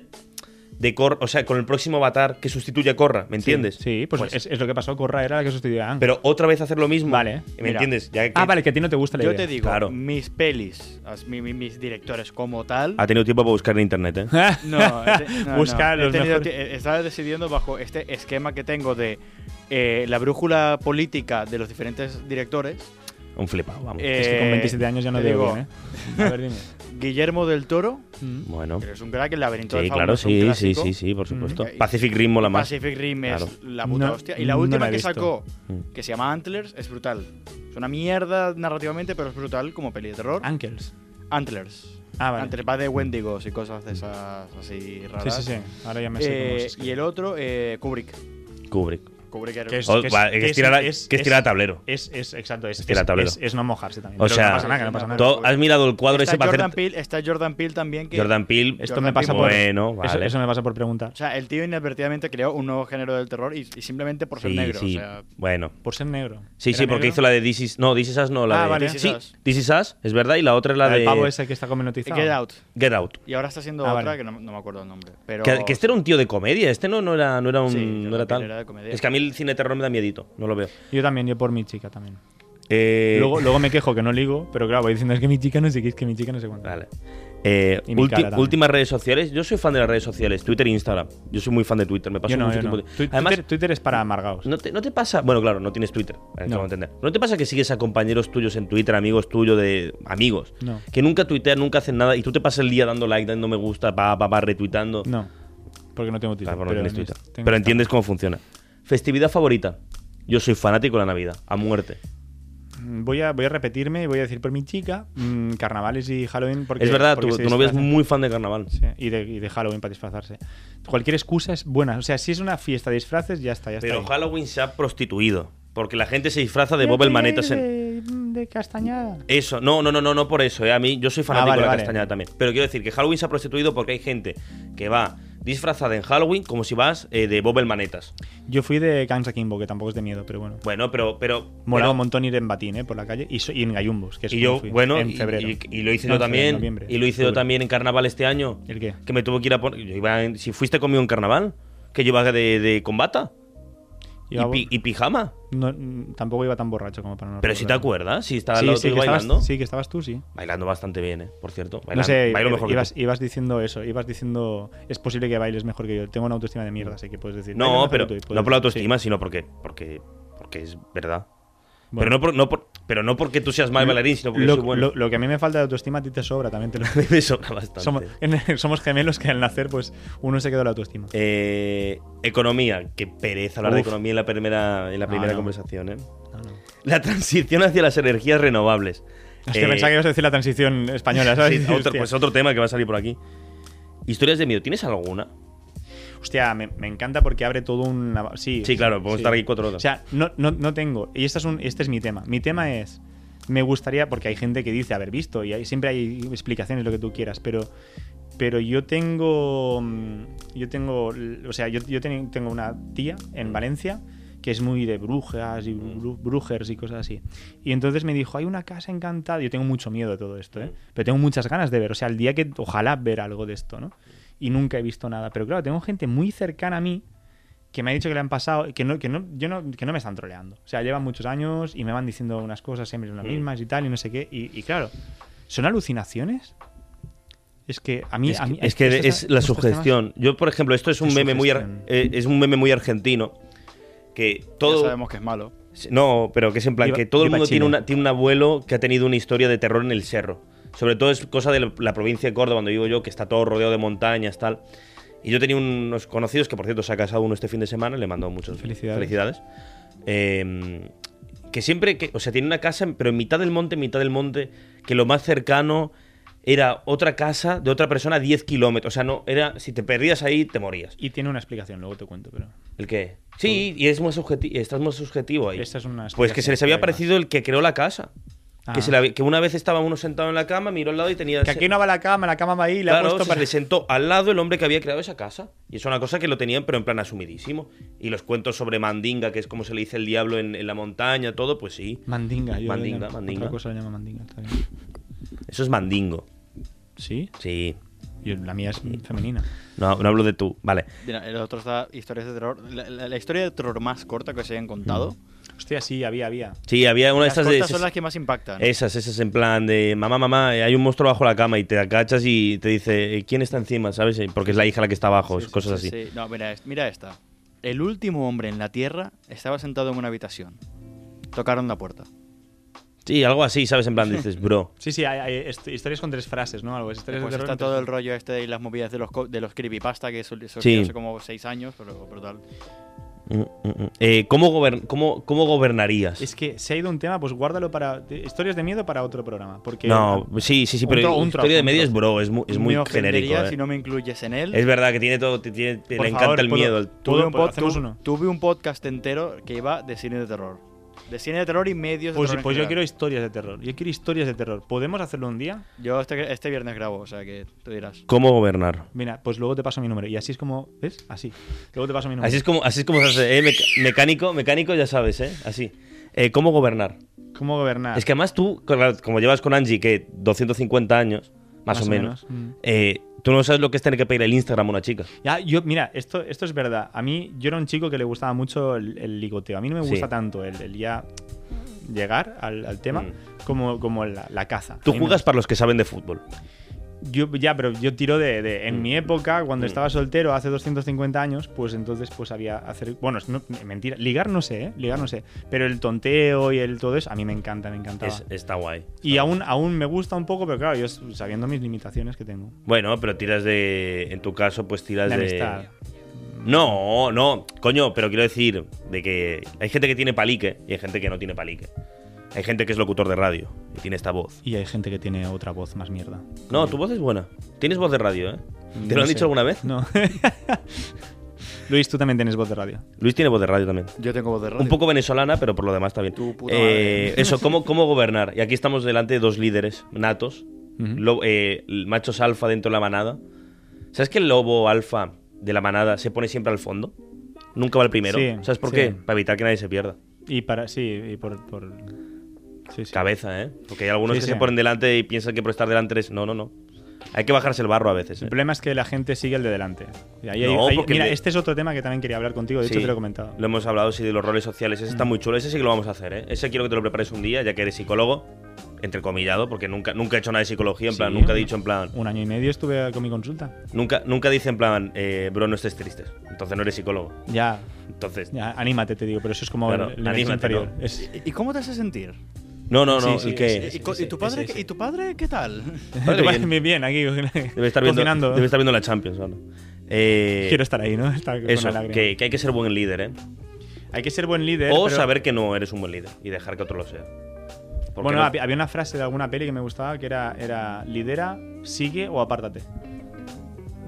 Speaker 3: de Cor, o sea, con el próximo avatar que sustituya a Corra, ¿me entiendes?
Speaker 2: Sí, pues, es, es lo que pasó. Corra era la que sustituía a Ang.
Speaker 3: Pero otra vez hacer lo mismo.
Speaker 2: Vale,
Speaker 3: ¿Me
Speaker 4: mira.
Speaker 3: entiendes? Ya que
Speaker 2: ah, vale, que a ti no te gusta la
Speaker 4: Yo
Speaker 2: idea.
Speaker 4: te digo,
Speaker 3: Claro.
Speaker 4: mis pelis, as- mi- mi- mis directores como tal.
Speaker 3: Ha tenido tiempo para buscar en internet, ¿eh?
Speaker 4: No, he te- no,
Speaker 2: Busca
Speaker 4: no. He
Speaker 2: los
Speaker 4: tenido
Speaker 2: mejores.
Speaker 4: ti- eh, Estaba decidiendo bajo este esquema que tengo de eh, la brújula política de los diferentes directores.
Speaker 3: Un flipado, vamos.
Speaker 4: Eh,
Speaker 2: Es que con 27 años ya no
Speaker 4: te
Speaker 2: te
Speaker 4: digo-
Speaker 2: digo, ¿eh? A ver, dime.
Speaker 4: Guillermo del Toro,
Speaker 2: Mm.
Speaker 3: bueno.
Speaker 4: que es un crack, el laberinto del
Speaker 3: Sí,
Speaker 4: fauno
Speaker 3: claro,
Speaker 4: es un
Speaker 3: sí, sí,
Speaker 4: clásico.
Speaker 3: sí, sí, por supuesto.
Speaker 4: Mm.
Speaker 3: Pacific Rim mola más.
Speaker 4: Pacific Rim es
Speaker 3: Claro.
Speaker 4: la puta
Speaker 2: No,
Speaker 4: hostia. Y la
Speaker 2: no
Speaker 4: última
Speaker 2: la he
Speaker 4: que
Speaker 2: visto.
Speaker 4: sacó,
Speaker 3: Mm.
Speaker 4: que se llama Antlers, es brutal. Es una mierda narrativamente, pero es brutal como peli de terror.
Speaker 2: Ankles.
Speaker 4: Antlers.
Speaker 2: Ah, vale.
Speaker 4: Antlers va de Wendigos y cosas de esas así
Speaker 2: Sí,
Speaker 4: raras.
Speaker 2: sí, sí. Ahora ya me sé cómo
Speaker 4: Eh,
Speaker 2: se
Speaker 4: y
Speaker 2: escribe.
Speaker 4: el otro, eh, Kubrick.
Speaker 3: Kubrick.
Speaker 4: Kubrick era
Speaker 2: Que es-
Speaker 3: Oh,
Speaker 2: que
Speaker 3: va, que
Speaker 2: que
Speaker 3: es tirar a-
Speaker 2: es-
Speaker 3: que es
Speaker 2: es-
Speaker 3: tirar a tablero.
Speaker 2: Es, es, exacto, es,
Speaker 3: Es tirar a
Speaker 2: es-
Speaker 3: tablero.
Speaker 2: es- es no mojarse también.
Speaker 3: O
Speaker 2: Pero
Speaker 3: sea,
Speaker 2: no pasa nada, que no pasa nada.
Speaker 3: Todo- has mirado el cuadro
Speaker 4: está
Speaker 3: ese para
Speaker 4: Jordan
Speaker 3: hacer.
Speaker 4: Peele, está Jordan Peele también que
Speaker 3: Jordan Peele.
Speaker 2: Esto
Speaker 4: Jordan
Speaker 2: me pasa
Speaker 4: Peele.
Speaker 2: por.
Speaker 3: Bueno,
Speaker 2: eso-
Speaker 3: vale.
Speaker 2: Eso, me pasa por preguntar.
Speaker 4: o sea, el tío inadvertidamente creó un nuevo género del terror y, y simplemente por ser
Speaker 3: Sí,
Speaker 4: negro,
Speaker 3: sí.
Speaker 4: o sea,
Speaker 3: Bueno.
Speaker 2: Por ser negro.
Speaker 3: Sí,
Speaker 2: ¿Era
Speaker 3: sí, porque
Speaker 2: negro?
Speaker 3: hizo la de This Is- No, This Is Us no, la
Speaker 4: Ah,
Speaker 3: de.
Speaker 4: vale, This
Speaker 3: sí,
Speaker 4: Is Us.
Speaker 3: This Is Us, es verdad, y la otra es la,
Speaker 2: La del
Speaker 3: de.
Speaker 2: pavo ese que está conmenotizado.
Speaker 4: Get Out.
Speaker 3: Get Out.
Speaker 4: Y ahora está haciendo
Speaker 2: Ah,
Speaker 4: otra
Speaker 2: vale.
Speaker 4: que no, no me acuerdo el nombre, pero
Speaker 3: Que, que este era un tío de comedia, este no, no era, no era un.
Speaker 4: Sí,
Speaker 3: no era
Speaker 4: Jordan Peele
Speaker 3: tal.
Speaker 4: era de comedia.
Speaker 3: Es que a mí el cine de terror me da miedito, no lo veo.
Speaker 2: Yo también, yo por mi chica también.
Speaker 3: Eh,
Speaker 2: Luego, luego me quejo que no ligo, pero claro, voy diciendo es que mi chica no sé qué, es que mi chica no sé cuánto.
Speaker 3: Vale. Eh,
Speaker 2: Y mi
Speaker 3: ulti-
Speaker 2: cara también.
Speaker 3: últimas redes sociales. Yo soy fan de las redes sociales, Twitter e Instagram. Yo soy muy fan de Twitter, me paso
Speaker 2: Yo no,
Speaker 3: mucho
Speaker 2: yo
Speaker 3: tiempo.
Speaker 2: no.
Speaker 3: de-
Speaker 2: Tu-
Speaker 3: Además,
Speaker 2: Twitter, Twitter es para amargados.
Speaker 3: ¿no te, no te pasa. Bueno, claro, no tienes Twitter. eh, te
Speaker 2: No.
Speaker 3: lo voy a entender. ¿No te pasa que sigues a compañeros tuyos en Twitter, amigos tuyos de amigos?
Speaker 2: No.
Speaker 3: Que nunca tuitean, nunca hacen nada y tú te pasas el día dando like, dando me gusta, pa, pa, pa, retuitando.
Speaker 2: No, porque no tengo Twitter.
Speaker 3: Claro, porque no
Speaker 2: pero
Speaker 3: tienes
Speaker 2: ni-
Speaker 3: Twitter.
Speaker 2: tengo
Speaker 3: Pero
Speaker 2: Instagram.
Speaker 3: entiendes cómo funciona. Festividad favorita. Yo soy fanático de la Navidad, a muerte.
Speaker 2: Mm, Voy a, voy a repetirme y voy a decir por mi chica, mm, carnavales y Halloween. Porque,
Speaker 3: es verdad,
Speaker 2: porque
Speaker 3: tu,
Speaker 2: se
Speaker 3: tu novia es
Speaker 2: disfrazan.
Speaker 3: muy fan de carnaval.
Speaker 2: Sí, y, de, y de Halloween para disfrazarse. Cualquier excusa es buena. O sea, si es una fiesta de disfraces, ya está, ya está.
Speaker 3: Pero
Speaker 2: ahí.
Speaker 3: Halloween se ha prostituido. Porque la gente se disfraza de
Speaker 2: Yo
Speaker 3: Bob el
Speaker 2: quería
Speaker 3: Maneta.
Speaker 2: ir
Speaker 3: en-
Speaker 2: De, de castañada.
Speaker 3: Eso, no, no, no, no, no por eso. ¿eh? A mí, yo soy
Speaker 2: Ah,
Speaker 3: fanático
Speaker 2: vale,
Speaker 3: de la
Speaker 2: vale.
Speaker 3: castañada también. Pero quiero decir que Halloween se ha prostituido porque hay gente que va disfrazada en Halloween como si vas eh, de Bob el Manetas.
Speaker 2: Yo fui de Gangs Kimbo, que tampoco es de miedo, pero bueno.
Speaker 3: Bueno, pero. pero
Speaker 2: Molaba
Speaker 3: pero-
Speaker 2: un montón ir en batín, ¿eh? Por la calle. Y, so- y en gallumbos, que es
Speaker 3: y
Speaker 2: como
Speaker 3: yo,
Speaker 2: fui,
Speaker 3: bueno,
Speaker 2: en
Speaker 3: y-
Speaker 2: febrero.
Speaker 3: Y, y lo hice
Speaker 2: No,
Speaker 3: yo
Speaker 2: en febrero,
Speaker 3: también.
Speaker 2: en noviembre,
Speaker 3: y lo hice yo
Speaker 2: octubre.
Speaker 3: también en carnaval este año.
Speaker 2: ¿El qué?
Speaker 3: Que me tuvo que ir a poner. Yo iba en- si fuiste conmigo en carnaval, que yo iba de, de combata y,
Speaker 2: Iba-
Speaker 3: pi- y pijama.
Speaker 2: no, mm, tampoco iba tan borracho como para no
Speaker 3: Pero si te
Speaker 2: recordar.
Speaker 3: acuerdas, si estaba al
Speaker 2: Sí,
Speaker 3: lado
Speaker 2: sí,
Speaker 3: tuyo
Speaker 2: que
Speaker 3: bailando.
Speaker 2: estabas, sí, que estabas tú, sí.
Speaker 3: Bailando bastante bien, ¿eh? Por cierto. Bailando,
Speaker 2: No sé,
Speaker 3: bailo
Speaker 2: i-
Speaker 3: mejor que
Speaker 2: ibas,
Speaker 3: tú.
Speaker 2: ibas diciendo eso, ibas diciendo, es posible que bailes mejor que yo. Tengo una autoestima de mierda, así que puedes decir. "Bailo
Speaker 3: No,
Speaker 2: mejor
Speaker 3: pero
Speaker 2: que tú", y puedes-
Speaker 3: no por la autoestima,
Speaker 2: sí.
Speaker 3: sino porque, porque, porque es verdad.
Speaker 2: Bueno.
Speaker 3: Pero, no por- no por- pero no porque tú seas mal bailarín, sino porque
Speaker 2: lo,
Speaker 3: soy bueno.
Speaker 2: lo- lo que a mí me falta de autoestima, a ti te sobra, también te lo
Speaker 3: A mí me sobra bastante.
Speaker 2: somos, somos gemelos que al nacer, pues uno se quedó la autoestima.
Speaker 3: Eh, economía. Qué pereza hablar de
Speaker 2: Uf.
Speaker 3: economía en la primera, en la
Speaker 2: No,
Speaker 3: primera
Speaker 2: no.
Speaker 3: conversación, ¿eh?
Speaker 2: No, no.
Speaker 3: La transición hacia las energías renovables.
Speaker 2: Es que
Speaker 3: Eh,
Speaker 2: pensaba que ibas a decir la transición española, ¿sabes?
Speaker 3: sí,
Speaker 2: Hostia.
Speaker 3: otro- pues otro tema que va a salir por aquí. Historias de miedo. ¿Tienes alguna?
Speaker 2: Hostia, me, me encanta porque abre todo un. Sí,
Speaker 3: Sí, claro, podemos
Speaker 2: sí.
Speaker 3: estar aquí cuatro
Speaker 2: O
Speaker 3: horas.
Speaker 2: sea, no, no, no tengo. Y este es, un, este es mi tema. Mi tema es. Me gustaría, porque hay gente que dice haber visto y hay- siempre hay explicaciones, lo que tú quieras, pero. Pero yo tengo. mm, Yo tengo. O sea, yo, yo ten- tengo una tía
Speaker 3: Mm.
Speaker 2: en Valencia que es muy de brujas y bru- brujers y cosas así. Y entonces me dijo, hay una casa encantada. Yo tengo mucho miedo de todo esto, ¿eh?
Speaker 3: Mm.
Speaker 2: Pero tengo muchas ganas de ver. O sea, el día que ojalá ver algo de esto, ¿no? Y nunca he visto nada. Pero claro, tengo gente muy cercana a mí que me ha dicho que le han pasado, que no, que no, yo no, que no me están troleando. O sea, llevan muchos años y me van diciendo unas cosas siempre las
Speaker 3: Mm.
Speaker 2: mismas y tal, y no sé qué. Y, y claro, ¿son alucinaciones? Es que a mí.
Speaker 3: Es
Speaker 2: a
Speaker 3: que,
Speaker 2: mí-
Speaker 3: es, que
Speaker 2: estos-
Speaker 3: es la
Speaker 2: estos temas-
Speaker 3: sugestión. Yo, por ejemplo, esto es un
Speaker 2: La
Speaker 3: meme muy ar-
Speaker 2: sugestión.
Speaker 3: eh, es un meme muy argentino que
Speaker 4: Ya
Speaker 3: todo
Speaker 4: sabemos que es malo.
Speaker 3: no, pero que es en plan
Speaker 2: Viva-
Speaker 3: que todo el
Speaker 2: viva
Speaker 3: mundo tiene,
Speaker 2: Chile.
Speaker 3: una- tiene un abuelo que ha tenido una historia de terror en el cerro. Sobre todo es cosa de la, la provincia de Córdoba, donde vivo yo, que está todo rodeado de montañas, tal. Y yo tenía unos conocidos que, por cierto, se ha casado uno este fin de semana, le mandó muchas
Speaker 2: Felicidades.
Speaker 3: felicidades. Eh, que siempre, que, o sea, tiene una casa, pero en mitad del monte, en mitad del monte, que lo más cercano era otra casa de otra persona a 10 kilómetros. O sea, no, era, si te perdías ahí, te morías.
Speaker 2: Y tiene una explicación, luego te cuento, pero.
Speaker 3: ¿El qué? Sí, y es más subjetivo, estás más subjetivo ahí.
Speaker 2: Esta es una
Speaker 3: Pues que se les
Speaker 2: explicación,
Speaker 3: había
Speaker 2: además.
Speaker 3: parecido el que creó la casa.
Speaker 2: Ah.
Speaker 3: Que, se le había- que una vez estaba uno sentado en la cama, miró al lado y tenía...
Speaker 2: Que aquí no va la cama, la cama va ahí, le ha
Speaker 3: Claro,
Speaker 2: puesto
Speaker 3: se,
Speaker 2: para.
Speaker 3: le sentó al lado el hombre que había creado esa casa. Y es una cosa que lo tenían, pero en plan asumidísimo. Y los cuentos sobre Mandinga, que es como se le dice el diablo en, en la montaña, todo, pues sí.
Speaker 2: Mandinga, yo
Speaker 3: Mandinga,
Speaker 2: le llamo-
Speaker 3: mandinga.
Speaker 2: Otra cosa le llamo mandinga, está bien.
Speaker 3: Eso es Mandingo.
Speaker 2: ¿Sí?
Speaker 3: Sí.
Speaker 2: Yo- la mía es femenina.
Speaker 3: No, no hablo de tú. Vale.
Speaker 4: Mira, El otro está historias de terror. La, la- la historia de terror más corta que se hayan contado.
Speaker 2: Hostia, sí, había, había.
Speaker 3: Sí, había una de
Speaker 4: Las
Speaker 3: Mm. estas
Speaker 4: cortas
Speaker 3: de...
Speaker 4: son las que más impactan.
Speaker 3: Esas, esas en plan de mamá, mamá, eh, hay un monstruo bajo la cama y te agachas y te dice eh, quién está encima, ¿sabes? Eh, Porque es la hija la que está abajo,
Speaker 2: Sí, sí,
Speaker 3: cosas
Speaker 4: Sí,
Speaker 3: así.
Speaker 4: sí. No, mira, es- mira esta. El último hombre en la Tierra estaba sentado en una habitación. Tocaron la puerta.
Speaker 3: Sí, algo así, ¿sabes? En plan dices, bro.
Speaker 2: Sí, sí, hay, hay hist- historias con tres frases, ¿no? Algo, es historias
Speaker 4: Pues
Speaker 2: de terror
Speaker 4: está
Speaker 2: con tres
Speaker 4: todo el
Speaker 2: frases.
Speaker 4: rollo este y las movidas de los, co- de los creepypasta, que eso, eso
Speaker 3: Sí.
Speaker 4: hace como seis años, pero brutal.
Speaker 3: Mm, mm, mm. Eh, ¿cómo, gober- cómo, cómo gobernarías?
Speaker 2: Es que se ha ido un tema, pues guárdalo para. te- Historias de miedo para otro programa. Porque.
Speaker 3: no, sí, sí, sí,
Speaker 2: Un
Speaker 3: pero
Speaker 2: tro- un
Speaker 3: historia
Speaker 2: trozo,
Speaker 3: de
Speaker 2: un
Speaker 3: medio es
Speaker 2: trozo.
Speaker 3: bro, es muy, es muy
Speaker 4: Me ofendería
Speaker 3: genérico. eh.
Speaker 4: si no me incluyes en él.
Speaker 3: Es verdad que tiene todo, ti- tiene- le
Speaker 2: Por
Speaker 3: encanta
Speaker 2: favor,
Speaker 3: el
Speaker 2: ¿puedo-
Speaker 3: miedo. el-
Speaker 2: puedo-
Speaker 3: todo-
Speaker 2: puedo- hacemos uno.
Speaker 4: Tuve un podcast entero que iba de cine de terror. De cine de terror y medios
Speaker 2: Pues,
Speaker 4: de terror.
Speaker 2: pues
Speaker 4: en
Speaker 2: yo quiero
Speaker 4: general.
Speaker 2: historias de terror. Yo quiero historias de terror. ¿Podemos hacerlo un día?
Speaker 4: Yo este, este viernes grabo, o sea que tú dirás.
Speaker 3: ¿Cómo gobernar?
Speaker 2: Mira, pues luego te paso mi número. Y así es como. ¿Ves? Así. Luego te paso mi número.
Speaker 3: Así es como, así es como se hace, eh, meca- mecánico, mecánico, ya sabes, ¿eh? Así. Eh, ¿Cómo gobernar?
Speaker 2: ¿Cómo gobernar?
Speaker 3: Es que además tú, claro, como llevas con Angie, que 250 años, más, o menos,
Speaker 2: Mm.
Speaker 3: eh, tú no sabes lo que es tener que pedir el Instagram a una chica.
Speaker 2: Ya, yo, mira, esto, esto es verdad. A mí, yo era un chico que le gustaba mucho el, el ligoteo. A mí no me
Speaker 3: Sí.
Speaker 2: gusta tanto el, el ya llegar al, al tema
Speaker 3: Mm.
Speaker 2: como, como la, la caza.
Speaker 3: Tú
Speaker 2: A mí me-
Speaker 3: juegas para los que saben de fútbol.
Speaker 2: Yo, ya, pero yo tiro de. de- en
Speaker 3: Mm.
Speaker 2: mi época, cuando
Speaker 3: Mm.
Speaker 2: estaba soltero hace 250 años, pues entonces pues había hacer. Bueno, es- no- mentira. Ligar no sé, ¿eh? Ligar no sé. Pero el tonteo y el todo eso, a mí me encanta, me encantaba.
Speaker 3: Es- está guay.
Speaker 2: y aún, aún me gusta un poco, pero claro, yo sabiendo mis limitaciones que tengo.
Speaker 3: Bueno, pero tiras de. En tu caso, pues tiras
Speaker 2: La
Speaker 3: de.
Speaker 2: amistad.
Speaker 3: No, no, coño, pero quiero decir de que hay gente que tiene palique y hay gente que no tiene palique. Hay gente que es locutor de radio y tiene esta voz.
Speaker 2: Y hay gente que tiene otra voz más mierda.
Speaker 3: No, tu voz es buena. Tienes voz de radio, ¿eh? ¿Te
Speaker 2: Mm, No
Speaker 3: lo han
Speaker 2: sé.
Speaker 3: dicho alguna vez?
Speaker 2: No. Luis, tú también tienes voz de radio.
Speaker 3: Luis tiene voz de radio también.
Speaker 4: Yo tengo voz de radio.
Speaker 3: Un poco venezolana, pero por lo demás está bien.
Speaker 4: Tu puta
Speaker 3: Eh,
Speaker 4: madre.
Speaker 3: eso, ¿cómo, ¿cómo gobernar? Y aquí estamos delante de dos líderes natos.
Speaker 2: Ujú.
Speaker 3: Lo- eh, machos alfa dentro de la manada. ¿Sabes que el lobo alfa de la manada se pone siempre al fondo? Nunca va al primero.
Speaker 2: Sí,
Speaker 3: ¿Sabes por
Speaker 2: sí.
Speaker 3: qué? Para evitar que nadie se pierda.
Speaker 2: Y para, sí, y por. por- sí, sí.
Speaker 3: Cabeza, ¿eh? Porque hay algunos
Speaker 2: Sí,
Speaker 3: que
Speaker 2: sí.
Speaker 3: se ponen delante y piensan que por estar delante es... No, no, no. Hay que bajarse el barro a veces. ¿eh?
Speaker 2: El problema es que la gente sigue el de delante. Y ahí hay-
Speaker 3: No,
Speaker 2: hay-
Speaker 3: porque el
Speaker 2: mira,
Speaker 3: de-
Speaker 2: este es otro tema que también quería hablar contigo, de hecho
Speaker 3: Sí.
Speaker 2: te lo he comentado.
Speaker 3: Lo hemos hablado, sí, de los roles sociales.
Speaker 2: Mm.
Speaker 3: Ese está muy chulo. Ese sí que lo vamos a hacer, ¿eh? Ese quiero que te lo prepares un día, ya que eres psicólogo, entrecomillado, porque nunca, nunca he hecho nada de psicología, en
Speaker 2: Sí.
Speaker 3: plan, nunca he dicho en plan...
Speaker 2: Un año y medio estuve con mi consulta.
Speaker 3: Nunca, nunca dice en plan, eh, bro, no estés triste. Entonces no eres psicólogo.
Speaker 2: Ya,
Speaker 3: Entonces...
Speaker 2: ya, anímate, te digo, pero eso es como
Speaker 3: Claro,
Speaker 2: el- el nivel
Speaker 3: anímate,
Speaker 2: inferior.
Speaker 3: ¿no?
Speaker 2: Es-
Speaker 4: ¿Y y cómo te hace sentir?
Speaker 3: No, no, no.
Speaker 2: Sí, sí,
Speaker 3: ¿y qué?
Speaker 2: sí, sí,
Speaker 4: ¿Y,
Speaker 2: sí.
Speaker 4: co- y tu padre, qué- ¿Y tu padre qué tal?
Speaker 3: Vale,
Speaker 2: Tu padre
Speaker 3: bien.
Speaker 2: me- bien, aquí
Speaker 3: Debe estar viendo,
Speaker 2: cocinando.
Speaker 3: debe estar viendo la Champions, ¿no? Eh,
Speaker 2: Quiero estar ahí, ¿no? Estar con
Speaker 3: eso,
Speaker 2: la lágrima.
Speaker 3: que, que hay que ser buen líder, ¿eh?
Speaker 2: Hay que ser buen líder.
Speaker 3: o
Speaker 2: pero-
Speaker 3: saber que no eres un buen líder y dejar que otro lo sea. Porque
Speaker 2: Bueno,
Speaker 3: no-
Speaker 2: hab- había una frase de alguna peli que me gustaba que era, era lidera, sigue o apártate.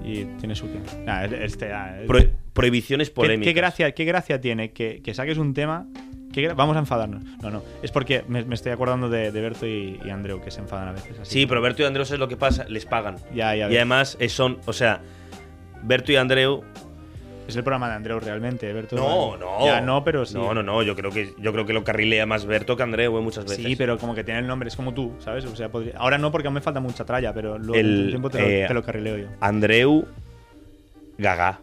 Speaker 2: Y tiene su que. Nah, este, ah,
Speaker 3: pro- prohibiciones
Speaker 2: ¿qué,
Speaker 3: polémicas.
Speaker 2: qué gracia, ¿Qué gracia tiene que, que saques un tema? qué gra- Vamos a enfadarnos. No, no. Es porque me, me estoy acordando de, de Berto y, y Andreu que se enfadan a veces. así.
Speaker 3: Sí, pero Berto y Andreu es lo que pasa, les pagan.
Speaker 2: Ya, ya.
Speaker 3: Y además eh, son, o sea, Berto y Andreu.
Speaker 2: es el programa de Andreu realmente, Berto.
Speaker 3: No, no.
Speaker 2: Ya no, pero sí.
Speaker 3: No, no, no. Yo creo que, yo creo que lo carrilea más Berto que Andreu eh, muchas veces.
Speaker 2: Sí, pero como que tiene el nombre, es como tú, ¿sabes? O sea, podría- ahora no porque aún me falta mucha tralla, pero luego
Speaker 3: El,
Speaker 2: en un tiempo te lo,
Speaker 3: eh,
Speaker 2: te lo carrileo yo.
Speaker 3: Andreu. Gaga.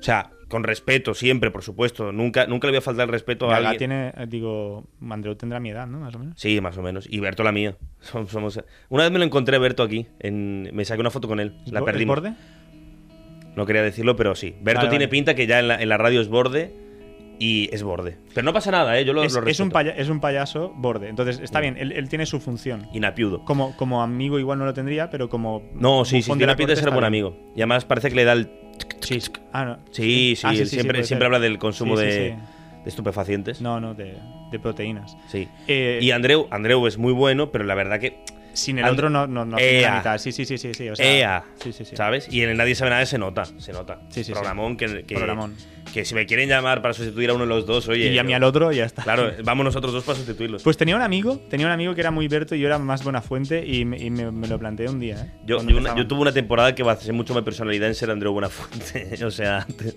Speaker 3: O sea, con respeto siempre, por supuesto. Nunca, nunca le voy a faltar el respeto a
Speaker 2: Gaga
Speaker 3: alguien.
Speaker 2: tiene, eh, digo, Andreu tendrá mi edad, ¿no? Más o menos.
Speaker 3: Sí, más o menos. Y Berto la mía. Som- Somos... Una vez me lo encontré a Berto aquí. en- Me saqué una foto con él. La
Speaker 2: ¿Bo-
Speaker 3: perdí.
Speaker 2: ¿Es borde?
Speaker 3: No quería decirlo, pero sí. Berto
Speaker 2: Vale,
Speaker 3: tiene
Speaker 2: vale.
Speaker 3: pinta que ya en la, en la radio es borde y es borde. Pero no pasa nada, ¿eh? Yo lo,
Speaker 2: Es,
Speaker 3: lo
Speaker 2: es un
Speaker 3: respeto.
Speaker 2: paya- es un payaso borde. Entonces, está bien, él, él tiene su función.
Speaker 3: Y napiudo.
Speaker 2: Como, como amigo igual no lo tendría, pero como...
Speaker 3: No, sí, sí,
Speaker 2: bufón de
Speaker 3: tiene
Speaker 2: la ¿eh?
Speaker 3: pinta de
Speaker 2: corte
Speaker 3: ser
Speaker 2: está
Speaker 3: buen
Speaker 2: bien.
Speaker 3: amigo. Y además parece que le da el...
Speaker 2: Sí, ah, no.
Speaker 3: Sí, sí,
Speaker 2: Ah,
Speaker 3: él siempre,
Speaker 2: puede
Speaker 3: siempre
Speaker 2: ser.
Speaker 3: habla del consumo
Speaker 2: Sí, sí,
Speaker 3: de,
Speaker 2: sí.
Speaker 3: de estupefacientes.
Speaker 2: No, no, de, de proteínas.
Speaker 3: Sí.
Speaker 2: Eh,
Speaker 3: y Andreu, Andreu es muy bueno, pero la verdad que...
Speaker 2: Sin el
Speaker 3: And-
Speaker 2: otro no, no, no hacen la
Speaker 3: Ea.
Speaker 2: mitad. Sí, sí, sí, sí, sí. O sea,
Speaker 3: ¡Ea!
Speaker 2: Sí, sí, sí.
Speaker 3: ¿Sabes? Y en el Nadie Sabe Nada se nota, se nota.
Speaker 2: Sí, sí, sí.
Speaker 3: Programón que, que...
Speaker 2: Programón.
Speaker 3: Que si me quieren llamar para sustituir a uno de los dos, oye...
Speaker 2: Y a
Speaker 3: yo-
Speaker 2: mí al otro y ya está.
Speaker 3: Claro, vamos nosotros dos para sustituirlos.
Speaker 2: Pues tenía un amigo, tenía un amigo que era muy Berto y yo era más buena fuente y, me, y me- me lo planteé un día. ¿eh?
Speaker 3: Yo,
Speaker 2: Cuando
Speaker 3: yo una-
Speaker 2: empezaba.
Speaker 3: yo tuve una temporada que basé mucho mi personalidad en ser Andreu Buenafuente. o sea, te-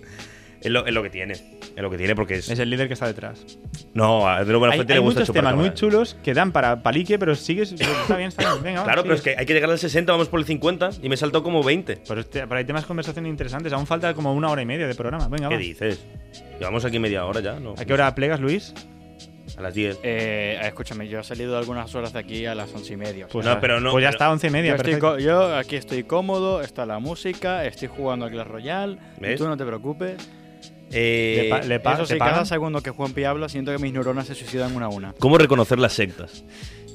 Speaker 3: es lo, es lo que tiene. Es lo que tiene porque es.
Speaker 2: Es el líder que está detrás.
Speaker 3: No, a Andreu
Speaker 2: Hay,
Speaker 3: Buenafuente
Speaker 2: hay
Speaker 3: le gusta
Speaker 2: muchos
Speaker 3: chupar
Speaker 2: temas muy
Speaker 3: cámaras.
Speaker 2: chulos que dan para palique, pero sigues. Está bien, está bien. Venga, va,
Speaker 3: Claro, pero es
Speaker 2: sigues.
Speaker 3: que hay que llegar al 60, vamos por el 50 y me he saltado como 20.
Speaker 2: Pero, este- pero hay temas de conversación interesantes. Aún falta como una hora y media de programa. Venga,
Speaker 3: ¿Qué
Speaker 2: va.
Speaker 3: dices? Llevamos aquí media hora ya, ¿no?
Speaker 2: ¿A qué hora plegas, Luis?
Speaker 3: A las 10.
Speaker 4: Eh, escúchame, yo he salido algunas horas de aquí a las once y media. o sea,
Speaker 2: Pues,
Speaker 3: No,
Speaker 2: a-
Speaker 3: pero no,
Speaker 2: Pues ya
Speaker 3: pero-
Speaker 2: está, once y media.
Speaker 4: yo, estoy
Speaker 2: perfecto.
Speaker 4: co- yo aquí estoy cómodo, está la música, estoy jugando a Clash Royale. y
Speaker 3: ¿Ves?
Speaker 4: Tú no te preocupes.
Speaker 3: Eh,
Speaker 2: Le pa- le pa-
Speaker 4: Eso
Speaker 2: te
Speaker 4: sí,
Speaker 2: pagan?
Speaker 4: cada segundo que Juanpi habla, siento que mis neuronas se suicidan una a una.
Speaker 3: ¿Cómo reconocer las sectas?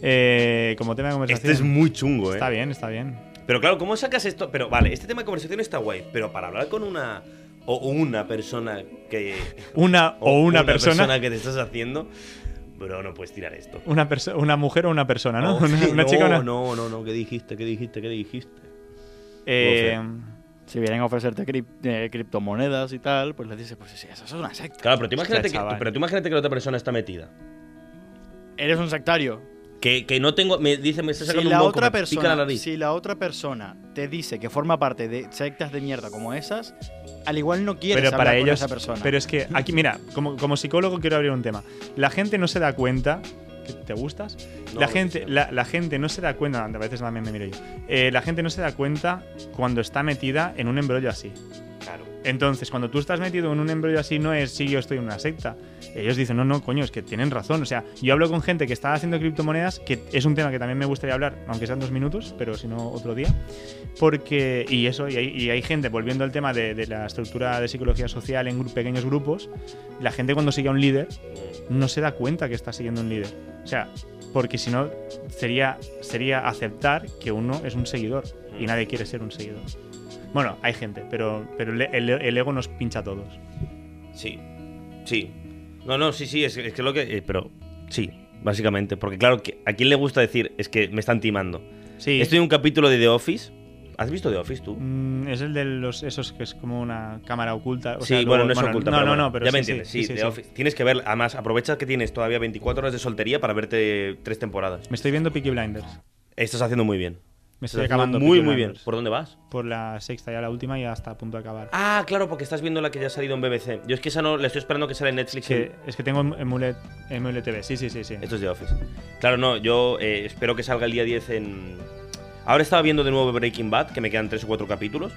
Speaker 2: Eh, como tema de
Speaker 3: Este
Speaker 2: conversación.
Speaker 3: es muy chungo, ¿eh?
Speaker 2: Está bien, está bien.
Speaker 3: Pero claro, ¿cómo sacas esto? Pero vale, este tema de conversación está guay, pero para hablar con una. O una persona que.
Speaker 2: Una o, una, persona.
Speaker 3: que te estás haciendo, bro, no puedes tirar esto.
Speaker 2: Una, perso- una mujer o una persona, Ah, ¿no?
Speaker 3: Oh,
Speaker 2: una,
Speaker 3: sí,
Speaker 2: una chica o
Speaker 3: no,
Speaker 2: una.
Speaker 3: no, no, no, ¿qué dijiste? ¿Qué dijiste? ¿Qué dijiste?
Speaker 2: Eh,
Speaker 4: Si vienen a ofrecerte crip- eh, criptomonedas y tal, pues les dices, pues sí, eso es una secta.
Speaker 3: Claro, pero tú imagínate,
Speaker 2: Hostia,
Speaker 3: que,
Speaker 2: chaval.
Speaker 3: pero tú imagínate que la otra persona está metida.
Speaker 4: Eres un sectario.
Speaker 3: Que, que no tengo, me dice, me está
Speaker 4: Si
Speaker 3: sacando
Speaker 4: la,
Speaker 3: un moco,
Speaker 4: otra
Speaker 3: me pica la
Speaker 4: persona,
Speaker 3: nariz.
Speaker 4: si la otra persona te dice que forma parte de sectas de mierda como esas, al igual no quieres
Speaker 2: pero
Speaker 4: hablar
Speaker 2: para
Speaker 4: con
Speaker 2: ellos.
Speaker 4: esa persona.
Speaker 2: Pero es que aquí, mira, como, como psicólogo quiero abrir un tema. La gente no se da cuenta. ¿que ¿Te gustas?
Speaker 3: No,
Speaker 2: la,
Speaker 3: no,
Speaker 2: gente,
Speaker 3: sí.
Speaker 2: la, la gente no se da cuenta. A veces también me miro yo. Eh, la gente no se da cuenta cuando está metida en un embrollo así.
Speaker 3: Claro.
Speaker 2: Entonces, cuando tú estás metido en un embrollo así, no es si yo estoy en una secta. Ellos dicen, no, no, coño, es que tienen razón. O sea, yo hablo con gente que está haciendo criptomonedas, que es un tema que también me gustaría hablar, aunque sean dos minutos, pero si no, otro día. Porque, y eso, y hay, y hay gente, volviendo al tema de, de la estructura de psicología social en gru- pequeños grupos, la gente cuando sigue a un líder no se da cuenta que está siguiendo un líder. O sea, porque si no, sería, sería aceptar que uno es un seguidor y nadie quiere ser un seguidor. Bueno, hay gente, pero, pero el, el- el ego nos pincha a todos.
Speaker 3: Sí. Sí. No, no, sí, sí, es, es que lo que. eh, pero sí, básicamente. Porque claro, que- ¿a quién le gusta decir es que me están timando?
Speaker 2: Sí,
Speaker 3: Estoy en un capítulo de The Office. ¿Has visto The Office tú?
Speaker 2: Mm, es el de los esos que es como una cámara oculta. o
Speaker 3: sí,
Speaker 2: sea, luego-
Speaker 3: bueno, no es oculta.
Speaker 2: No,
Speaker 3: pero
Speaker 2: no,
Speaker 3: bueno,
Speaker 2: no, pero
Speaker 3: ya
Speaker 2: sí,
Speaker 3: me
Speaker 2: sí,
Speaker 3: entiendes. Sí,
Speaker 2: sí, sí,
Speaker 3: The
Speaker 2: sí.
Speaker 3: Office. Tienes que ver, además, aprovecha que tienes todavía 24 horas de soltería para verte tres temporadas.
Speaker 2: Me estoy viendo Peaky Blinders.
Speaker 3: Estás haciendo muy bien.
Speaker 2: Me
Speaker 3: Estás
Speaker 2: estoy
Speaker 3: haciendo
Speaker 2: acabando.
Speaker 3: muy,
Speaker 2: Peaky
Speaker 3: muy bien.
Speaker 2: Blinders.
Speaker 3: ¿Por dónde vas?
Speaker 2: Por la sexta, ya la última, ya está a punto de acabar.
Speaker 3: Ah, claro, porque estás viendo la que ya ha salido en BBC. Yo es que esa no, la estoy esperando que salga en Netflix.
Speaker 2: Que- es que tengo em-, Emulet, Emulet TV. Sí, sí, sí. sí.
Speaker 3: Esto es de Office. Claro, no, yo eh, espero que salga el día 10 en. Ahora estaba viendo de nuevo Breaking Bad, que me quedan tres o cuatro capítulos.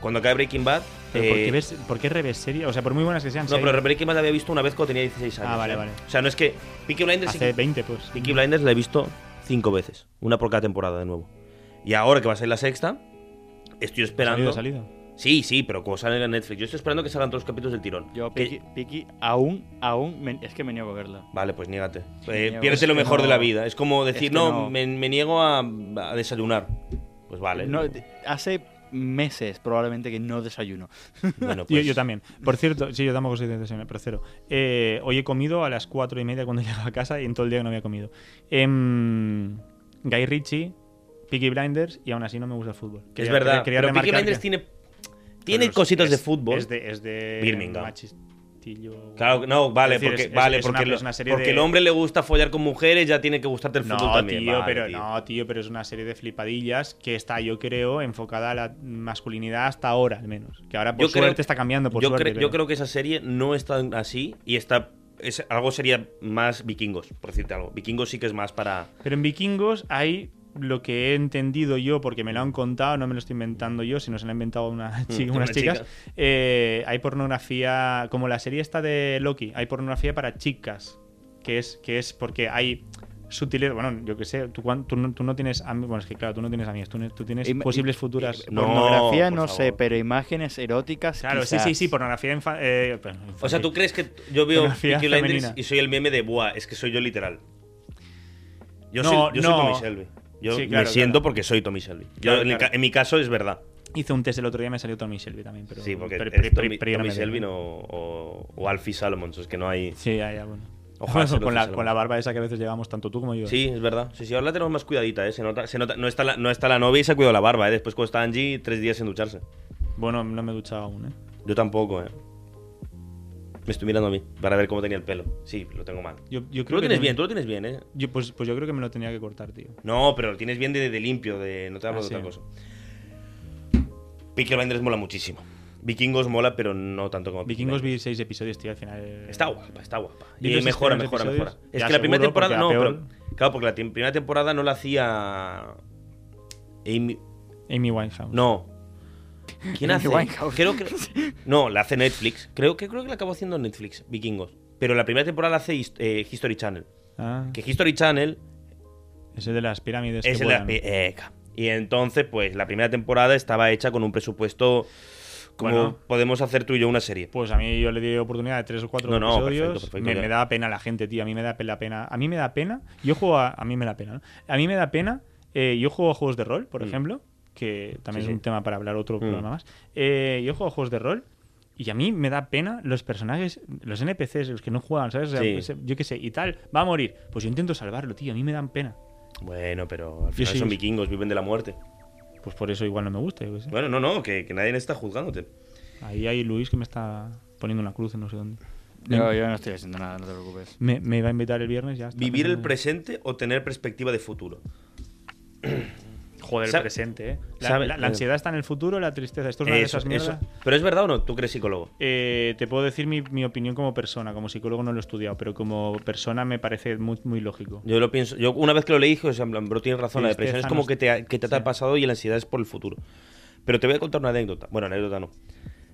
Speaker 3: Cuando acabe Breaking Bad.
Speaker 2: Pero
Speaker 3: eh,
Speaker 2: ¿por, qué ves- ¿Por qué revés serie? O sea, por muy buenas que sean.
Speaker 3: No,
Speaker 2: serie,
Speaker 3: pero Breaking Bad la había visto una vez cuando tenía 16
Speaker 2: Ah,
Speaker 3: años.
Speaker 2: vale,
Speaker 3: ¿eh?
Speaker 2: vale.
Speaker 3: O sea, no es que. Peaky Blinders sí que-
Speaker 2: hace 20, pues.
Speaker 3: Peaky Blinders la he visto cinco veces, una por cada temporada de nuevo. Y ahora que va a salir la sexta, estoy esperando.
Speaker 2: Salido, salido.
Speaker 3: Sí, sí, pero como sale en Netflix, yo estoy esperando que salgan todos los capítulos del tirón.
Speaker 4: Yo,
Speaker 3: Que-
Speaker 4: Piki,
Speaker 2: eh,
Speaker 4: Piki, aún, aún, me- es que me niego a verla.
Speaker 3: Vale, pues niégate.
Speaker 4: Niego,
Speaker 3: piérdete
Speaker 4: es
Speaker 3: lo
Speaker 4: que
Speaker 3: mejor de la
Speaker 4: no-
Speaker 3: vida. Es como decir,
Speaker 4: es que
Speaker 3: no,
Speaker 4: no.
Speaker 3: Me, me niego a, a desayunar. Pues vale.
Speaker 4: No, te- hace meses probablemente que no desayuno.
Speaker 3: Bueno,
Speaker 2: Yo,
Speaker 3: pues-
Speaker 2: yo también. Por cierto, sí, yo tampoco soy de desayunar, pero cero. Eh, hoy he comido a las cuatro y media cuando llegaba a casa y en todo el día que no había comido. Em, Guy Ritchie, Peaky Blinders y aún así no me gusta el fútbol.
Speaker 3: Es
Speaker 2: Quería-
Speaker 3: verdad.
Speaker 2: quería
Speaker 3: pero Peaky
Speaker 2: remarcar
Speaker 3: Blinders
Speaker 2: que-
Speaker 3: tiene, tiene
Speaker 2: Pero es-
Speaker 3: cositas de
Speaker 2: es-
Speaker 3: fútbol.
Speaker 2: Es de, es de
Speaker 3: Birmingham.
Speaker 2: machistillo.
Speaker 3: Claro, no, vale,
Speaker 2: Es decir,
Speaker 3: porque,
Speaker 2: es- es-
Speaker 3: vale,
Speaker 2: es una-
Speaker 3: porque, lo-
Speaker 2: es una serie
Speaker 3: porque
Speaker 2: de-
Speaker 3: el hombre le gusta follar con mujeres, ya tiene que gustarte el
Speaker 2: No,
Speaker 3: fútbol también.
Speaker 2: tío,
Speaker 3: Vale,
Speaker 2: pero
Speaker 3: tío.
Speaker 2: no, tío, pero es una serie de flipadillas que está, yo creo, enfocada a la masculinidad hasta ahora, al menos. Que ahora por
Speaker 3: Yo creo-
Speaker 2: suerte está cambiando, por
Speaker 3: yo,
Speaker 2: suerte.
Speaker 3: cre- yo
Speaker 2: pero-
Speaker 3: creo que esa serie no es tan así y está es, algo sería más vikingos, por decirte algo. Vikingos sí que es más para
Speaker 2: Pero en Vikingos hay lo que he entendido yo, porque me lo han contado, no me lo estoy inventando yo, sino se lo han inventado una chi-
Speaker 3: Mm,
Speaker 2: unas
Speaker 3: unas
Speaker 2: chicas,
Speaker 3: chicas.
Speaker 2: eh, hay pornografía, como la serie esta de Loki, hay pornografía para chicas, que es, que es porque hay sutileza, bueno, yo qué sé, tú, cuan- tú no, tú no tienes, ami- bueno, es que claro, tú no tienes amigos, tú, no- tú tienes
Speaker 4: Im-
Speaker 2: posibles
Speaker 4: i-
Speaker 2: futuras...
Speaker 3: No,
Speaker 4: Pornografía,
Speaker 3: por
Speaker 4: no sé,
Speaker 3: favor.
Speaker 4: pero imágenes eróticas.
Speaker 2: Claro, sí,
Speaker 4: quizás.
Speaker 2: sí, sí, pornografía infa- eh, pero
Speaker 3: O sea,
Speaker 2: infantil.
Speaker 3: ¿tú crees que t- yo veo
Speaker 2: Pornografía
Speaker 3: Peaky Blinders
Speaker 2: femenina.
Speaker 3: y soy el meme de Buah? Es que soy yo literal. Yo,
Speaker 2: No,
Speaker 3: soy, yo soy
Speaker 2: no.
Speaker 3: Tommy Shelby. Yo
Speaker 2: Sí,
Speaker 3: me
Speaker 2: claro,
Speaker 3: siento
Speaker 2: claro.
Speaker 3: porque soy Tommy Shelby. Yo,
Speaker 2: Claro,
Speaker 3: en, el
Speaker 2: claro.
Speaker 3: ca- en mi caso es verdad.
Speaker 2: eh, Hice un test el otro día y me salió Tommy Shelby también, pero...
Speaker 3: sí, porque
Speaker 2: pero-
Speaker 3: eres
Speaker 2: pero-
Speaker 3: Tommy,
Speaker 2: pero yo no
Speaker 3: Tommy
Speaker 2: me
Speaker 3: Shelby
Speaker 2: veo.
Speaker 3: no- o, o Alfie Salomon. Es que no hay.
Speaker 2: Sí, ya, ya, bueno.
Speaker 3: Ojalá se lo
Speaker 2: con, la,
Speaker 3: hiciese
Speaker 2: con la barba esa que a veces llevamos tanto tú como yo. ¿eh?
Speaker 3: Sí, es verdad. Sí, sí, ahora la tenemos más cuidadita, ¿eh? Se nota, se nota, no, está la, no está la novia y se ha cuidado la barba, ¿eh? Después cuando está Angie, tres días sin ducharse.
Speaker 2: Bueno, no me he duchado aún, ¿eh?
Speaker 3: Yo tampoco, ¿eh? Me estoy mirando a mí para ver cómo tenía el pelo. Sí, lo tengo mal.
Speaker 2: Yo, yo
Speaker 3: Tú
Speaker 2: creo que
Speaker 3: lo tienes
Speaker 2: no-
Speaker 3: bien, tú lo tienes bien, ¿eh?
Speaker 2: Yo, pues, pues yo creo que me lo tenía que cortar, tío.
Speaker 3: No, pero lo tienes bien de, de limpio, de, no te hablo
Speaker 2: Ah,
Speaker 3: de otra
Speaker 2: sí.
Speaker 3: cosa. Peaky Blinders mola muchísimo. Vikingos mola, pero no tanto como Peaky
Speaker 2: Vikingos vi
Speaker 3: Blinders.
Speaker 2: seis episodios, tío, al final. eh,
Speaker 3: Está guapa, está guapa.
Speaker 2: Vi
Speaker 3: Y
Speaker 2: los
Speaker 3: mejora,
Speaker 2: primeros
Speaker 3: mejora, mejora.
Speaker 2: episodios,
Speaker 3: Es
Speaker 2: ya
Speaker 3: que la primera
Speaker 2: seguro,
Speaker 3: temporada. No,
Speaker 2: porque a
Speaker 3: pero. Claro, porque la tem- primera temporada no la hacía. Amy.
Speaker 2: Amy Winehouse.
Speaker 3: No. ¿Quién
Speaker 4: Amy
Speaker 3: hace?
Speaker 4: Winehouse.
Speaker 3: Creo que. No, la hace Netflix. Creo que, creo que la acabó haciendo Netflix, Vikingos. Pero la primera temporada la hace Hist- eh, History Channel.
Speaker 2: Ah,
Speaker 3: Que History Channel
Speaker 2: ese de las pirámides.
Speaker 3: es
Speaker 2: que
Speaker 3: el de la-
Speaker 2: vuelan.
Speaker 3: Eca. Y entonces, pues la primera temporada estaba hecha con un presupuesto como
Speaker 2: Bueno.
Speaker 3: podemos hacer tú y yo una serie.
Speaker 2: Pues a mí yo le di oportunidad de tres o cuatro
Speaker 3: No, no,
Speaker 2: episodios.
Speaker 3: perfecto, perfecto,
Speaker 2: me,
Speaker 3: ya.
Speaker 2: me da pena la gente, tío. A mí me da pena, pena. A mí me da pena. Yo juego a. A mí me da pena, ¿no? A mí me da pena. eh, yo juego a juegos de rol, por
Speaker 3: Mm.
Speaker 2: ejemplo. Que también
Speaker 3: Sí,
Speaker 2: es
Speaker 3: sí.
Speaker 2: un tema para hablar otro
Speaker 3: Mm.
Speaker 2: programa más. Eh, yo juego a juegos de rol. Y a mí me da pena los personajes, los NPCs, los que no juegan, ¿sabes? O sea,
Speaker 3: Sí.
Speaker 2: ese- Yo qué sé, y tal, va a morir. Pues yo intento salvarlo, tío. A mí me dan pena.
Speaker 3: Bueno, pero al
Speaker 2: Yo
Speaker 3: final
Speaker 2: sí-
Speaker 3: son vikingos, viven de la muerte.
Speaker 2: Pues por eso igual no me gusta, yo qué sé.
Speaker 3: Bueno, no, no, que, que nadie está juzgándote.
Speaker 2: Ahí hay Luis que me está poniendo una cruz en no sé dónde.
Speaker 4: Yo, yo no estoy haciendo nada, no te preocupes.
Speaker 2: Me, me va a invitar el viernes ya. está
Speaker 3: Vivir el
Speaker 2: pensando-
Speaker 3: presente o tener perspectiva de futuro.
Speaker 2: Joder, el
Speaker 3: Sabe-
Speaker 2: presente, ¿eh? La,
Speaker 3: sabe-
Speaker 2: la- la ansiedad está en el futuro, la tristeza. Esto es una de
Speaker 3: Eso,
Speaker 2: esas mierdas.
Speaker 3: eso. Pero es verdad o no, tú crees psicólogo.
Speaker 2: Eh, te puedo decir mi, mi opinión como persona. Como psicólogo no lo he estudiado, pero como persona me parece muy, muy lógico.
Speaker 3: Yo lo pienso, yo una vez que lo leí dije, o sea, en plan, bro, tienes razón, la
Speaker 2: Tristeza
Speaker 3: depresión es como
Speaker 2: no-
Speaker 3: que te, que te ata
Speaker 2: sí.
Speaker 3: el pasado y la ansiedad es por el futuro. Pero te voy a contar una anécdota. Bueno, anécdota no.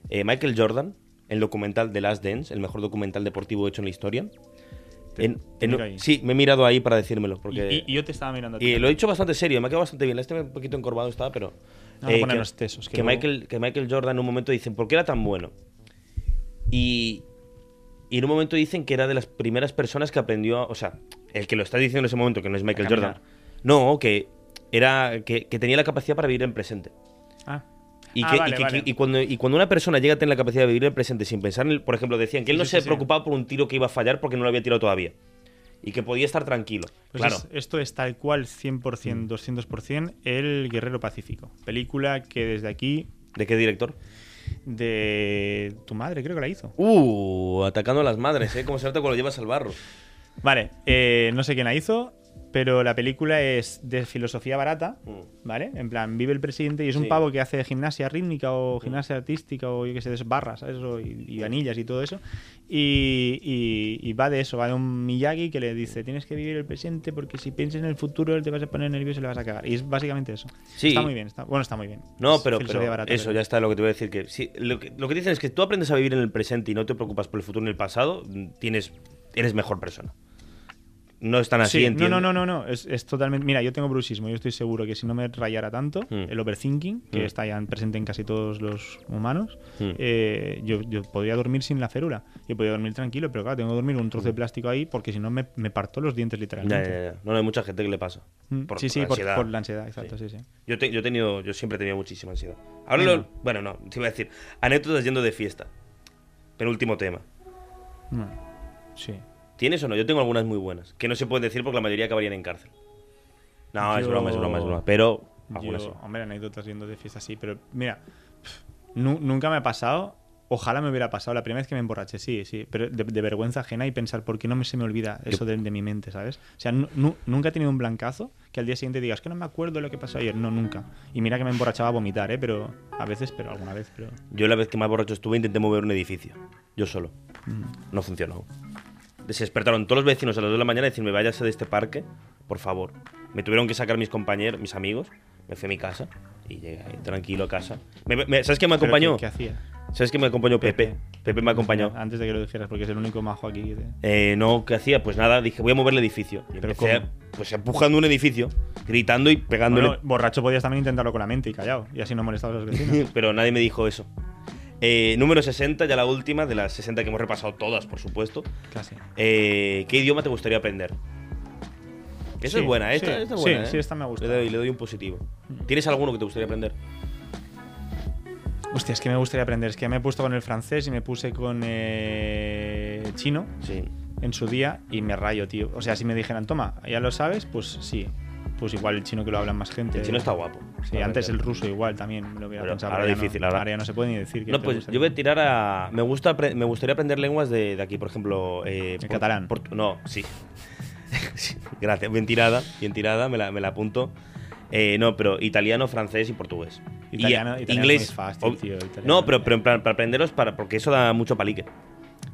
Speaker 3: Eh, Michael Jordan, el documental The Last Dance, el mejor documental deportivo hecho en la historia.
Speaker 2: Te-
Speaker 3: en-
Speaker 2: te
Speaker 3: en-
Speaker 2: miro ahí.
Speaker 3: sí, me he mirado ahí para decírmelo.
Speaker 2: Y,
Speaker 3: Porque,
Speaker 2: y- y yo te estaba mirando a ti.
Speaker 3: y lo he dicho bastante serio, me ha quedado bastante bien. Este un poquito encorvado está, pero. eh,
Speaker 2: Vamos a ponernos tesos, que
Speaker 3: Que,
Speaker 2: luego-
Speaker 3: Michael, que Michael Jordan en un momento dicen, ¿por qué era tan bueno? Y, y en un momento dicen que era de las primeras personas que aprendió. a- o sea, el que lo está diciendo en ese momento, que no es Michael
Speaker 2: caminar.
Speaker 3: Jordan. No, que era que, que tenía la capacidad para vivir en presente.
Speaker 2: Ah.
Speaker 3: Y,
Speaker 2: Ah,
Speaker 3: que- y
Speaker 2: vale,
Speaker 3: que-
Speaker 2: vale.
Speaker 3: y cuando, y cuando una persona llega a tener la capacidad de vivir el presente sin pensar en el. Por ejemplo, decían que él no
Speaker 2: Sí, sí,
Speaker 3: se
Speaker 2: sí.
Speaker 3: preocupaba por un tiro que iba a fallar porque no lo había tirado todavía. Y que podía estar tranquilo.
Speaker 2: Pues
Speaker 3: claro. Mm.
Speaker 2: es- esto es tal cual 100%, 200% El Guerrero Pacífico. Película que desde aquí,
Speaker 3: ¿De qué director?
Speaker 2: de tu madre creo que la hizo.
Speaker 3: Uh, atacando a las madres, ¿eh? Como se nota cuando lo llevas al barro.
Speaker 2: Vale, eh, no sé quién la hizo, pero la película es de filosofía barata,
Speaker 3: Mm.
Speaker 2: ¿vale? En plan, vive el presidente y es un
Speaker 3: Sí.
Speaker 2: pavo que hace gimnasia rítmica o gimnasia artística o yo qué sé, de esas barras, ¿sabes? O- y, y anillas y todo eso. Y, y- y va de eso, va de un Miyagi que le dice, tienes que vivir el presente porque si piensas en el futuro te vas a poner nervioso y le vas a cagar. Y es básicamente eso.
Speaker 3: Sí.
Speaker 2: Está muy bien, está, bueno, está muy bien.
Speaker 3: No,
Speaker 2: Es
Speaker 3: pero,
Speaker 2: filosofía
Speaker 3: pero
Speaker 2: barata,
Speaker 3: eso
Speaker 2: pero-
Speaker 3: ya está lo que te voy a decir. Que, sí, lo, que, lo que dicen es que tú aprendes a vivir en el presente y no te preocupas por el futuro ni el pasado, mm, tienes, eres mejor persona. No es tan
Speaker 2: Sí,
Speaker 3: así,
Speaker 2: no,
Speaker 3: entiendo.
Speaker 2: no, no, no, no. Es, es totalmente. Mira, yo tengo bruxismo. Yo estoy seguro que si no me rayara tanto,
Speaker 3: Mm.
Speaker 2: el overthinking, que
Speaker 3: Mm.
Speaker 2: está ya en- presente en casi todos los humanos,
Speaker 3: Mm.
Speaker 2: eh, yo, yo podría dormir sin la férula. Yo podría dormir tranquilo, pero claro, tengo que dormir con un trozo de plástico ahí porque si no me, me parto los dientes
Speaker 3: Mm. Ya,
Speaker 2: literalmente.
Speaker 3: ya, ya. No, no hay mucha gente que le pasa.
Speaker 2: Mm,
Speaker 3: Por
Speaker 2: sí, sí,
Speaker 3: la
Speaker 2: por,
Speaker 3: ansiedad.
Speaker 2: por la ansiedad, exacto, sí, sí.
Speaker 3: Yo, te- yo he tenido, yo siempre he tenido muchísima ansiedad. Ahora
Speaker 2: Venga.
Speaker 3: lo- bueno, no, te iba a decir, anécdotas yendo de fiesta. Penúltimo tema.
Speaker 2: Bueno, Mm, sí.
Speaker 3: ¿Tienes o no? Yo tengo algunas muy buenas, que no se pueden decir porque la mayoría acabarían en cárcel. No, es
Speaker 2: Yo-
Speaker 3: broma, es broma, es broma. Pero algunas
Speaker 2: Yo-
Speaker 3: sí.
Speaker 2: hombre, anécdotas yendo de fiesta así, pero mira, pf, nu- nunca me ha pasado. Ojalá me hubiera pasado la primera vez que me emborraché, sí, sí, pero de, de vergüenza ajena y pensar por qué no me, se me olvida eso de, de mi mente, ¿sabes? O sea, nu- nu- nunca he tenido un blancazo que al día siguiente digas que no me acuerdo lo que pasó ayer, no, nunca. Y mira que me emborrachaba a vomitar, ¿eh? Pero a veces, pero alguna vez, pero.
Speaker 3: Yo la vez que más borracho estuve intenté mover un edificio. Yo solo.
Speaker 2: Mm.
Speaker 3: No funcionó. Se despertaron todos los vecinos a las 2 de la mañana y decirme, váyase de este parque, por favor. Me tuvieron que sacar mis compañeros, mis amigos. Me fui a mi casa y llegué ahí, tranquilo a casa. Me- me- ¿Sabes quién me
Speaker 2: Pero
Speaker 3: acompañó?
Speaker 2: ¿Qué, qué hacía?
Speaker 3: ¿Sabes quién me acompañó? Pepe. Pepe me acompañó.
Speaker 2: Antes de que lo dijeras, porque es el único majo aquí. que te-
Speaker 3: Eh, no, ¿qué hacía? Pues nada, dije, voy a mover el edificio. Y
Speaker 2: ¿Pero
Speaker 3: empecé,
Speaker 2: cómo?
Speaker 3: pues empujando un edificio, gritando y pegándole.
Speaker 2: Bueno, borracho podías también intentarlo con la mente y callado. Y así no molestabas a los vecinos.
Speaker 3: pero nadie me dijo eso. Eh, número 60, ya la última, de las 60 que hemos repasado todas, por supuesto.
Speaker 2: Casi.
Speaker 3: Eh, ¿Qué idioma te gustaría aprender?
Speaker 2: Sí,
Speaker 3: Esa es buena, esta,
Speaker 2: sí,
Speaker 3: esta es buena.
Speaker 2: sí,
Speaker 3: ¿eh?
Speaker 2: sí, esta me gusta. Mm.
Speaker 3: Le doy, le doy un positivo. ¿Tienes alguno que te gustaría aprender?
Speaker 2: Hostia, es que me gustaría aprender. Es que me he puesto con el francés y me puse con eh, chino
Speaker 3: Sí.
Speaker 2: en su día y me rayo, tío. O sea, si me dijeran, toma, ya lo sabes, pues sí. Pues igual el chino que lo hablan más gente.
Speaker 3: El chino está guapo.
Speaker 2: Sí,
Speaker 3: para
Speaker 2: antes el
Speaker 3: aprender.
Speaker 2: ruso igual también me lo hubiera
Speaker 3: Pero
Speaker 2: pensado.
Speaker 3: ahora
Speaker 2: pero ya
Speaker 3: difícil,
Speaker 2: no,
Speaker 3: ahora.
Speaker 2: ahora ya no se puede ni decir. que
Speaker 3: No,
Speaker 2: te
Speaker 3: pues
Speaker 2: gusta
Speaker 3: yo voy a
Speaker 2: el-
Speaker 3: tirar a. Me, gusta, apre- me gustaría aprender lenguas de, de aquí, por ejemplo. eh,
Speaker 2: El
Speaker 3: por-
Speaker 2: catalán.
Speaker 3: por- no, sí. Sí, Gracias, bien tirada, bien tirada, me la, me la apunto. Eh, no, pero italiano, francés y portugués. Y,
Speaker 2: Italiano- italiano
Speaker 3: eh,
Speaker 2: es
Speaker 3: inglés.
Speaker 2: muy fácil,
Speaker 3: ob-
Speaker 2: tío, italiano.
Speaker 3: no, pero, pero en plan, para aprenderos, para, porque eso da mucho palique.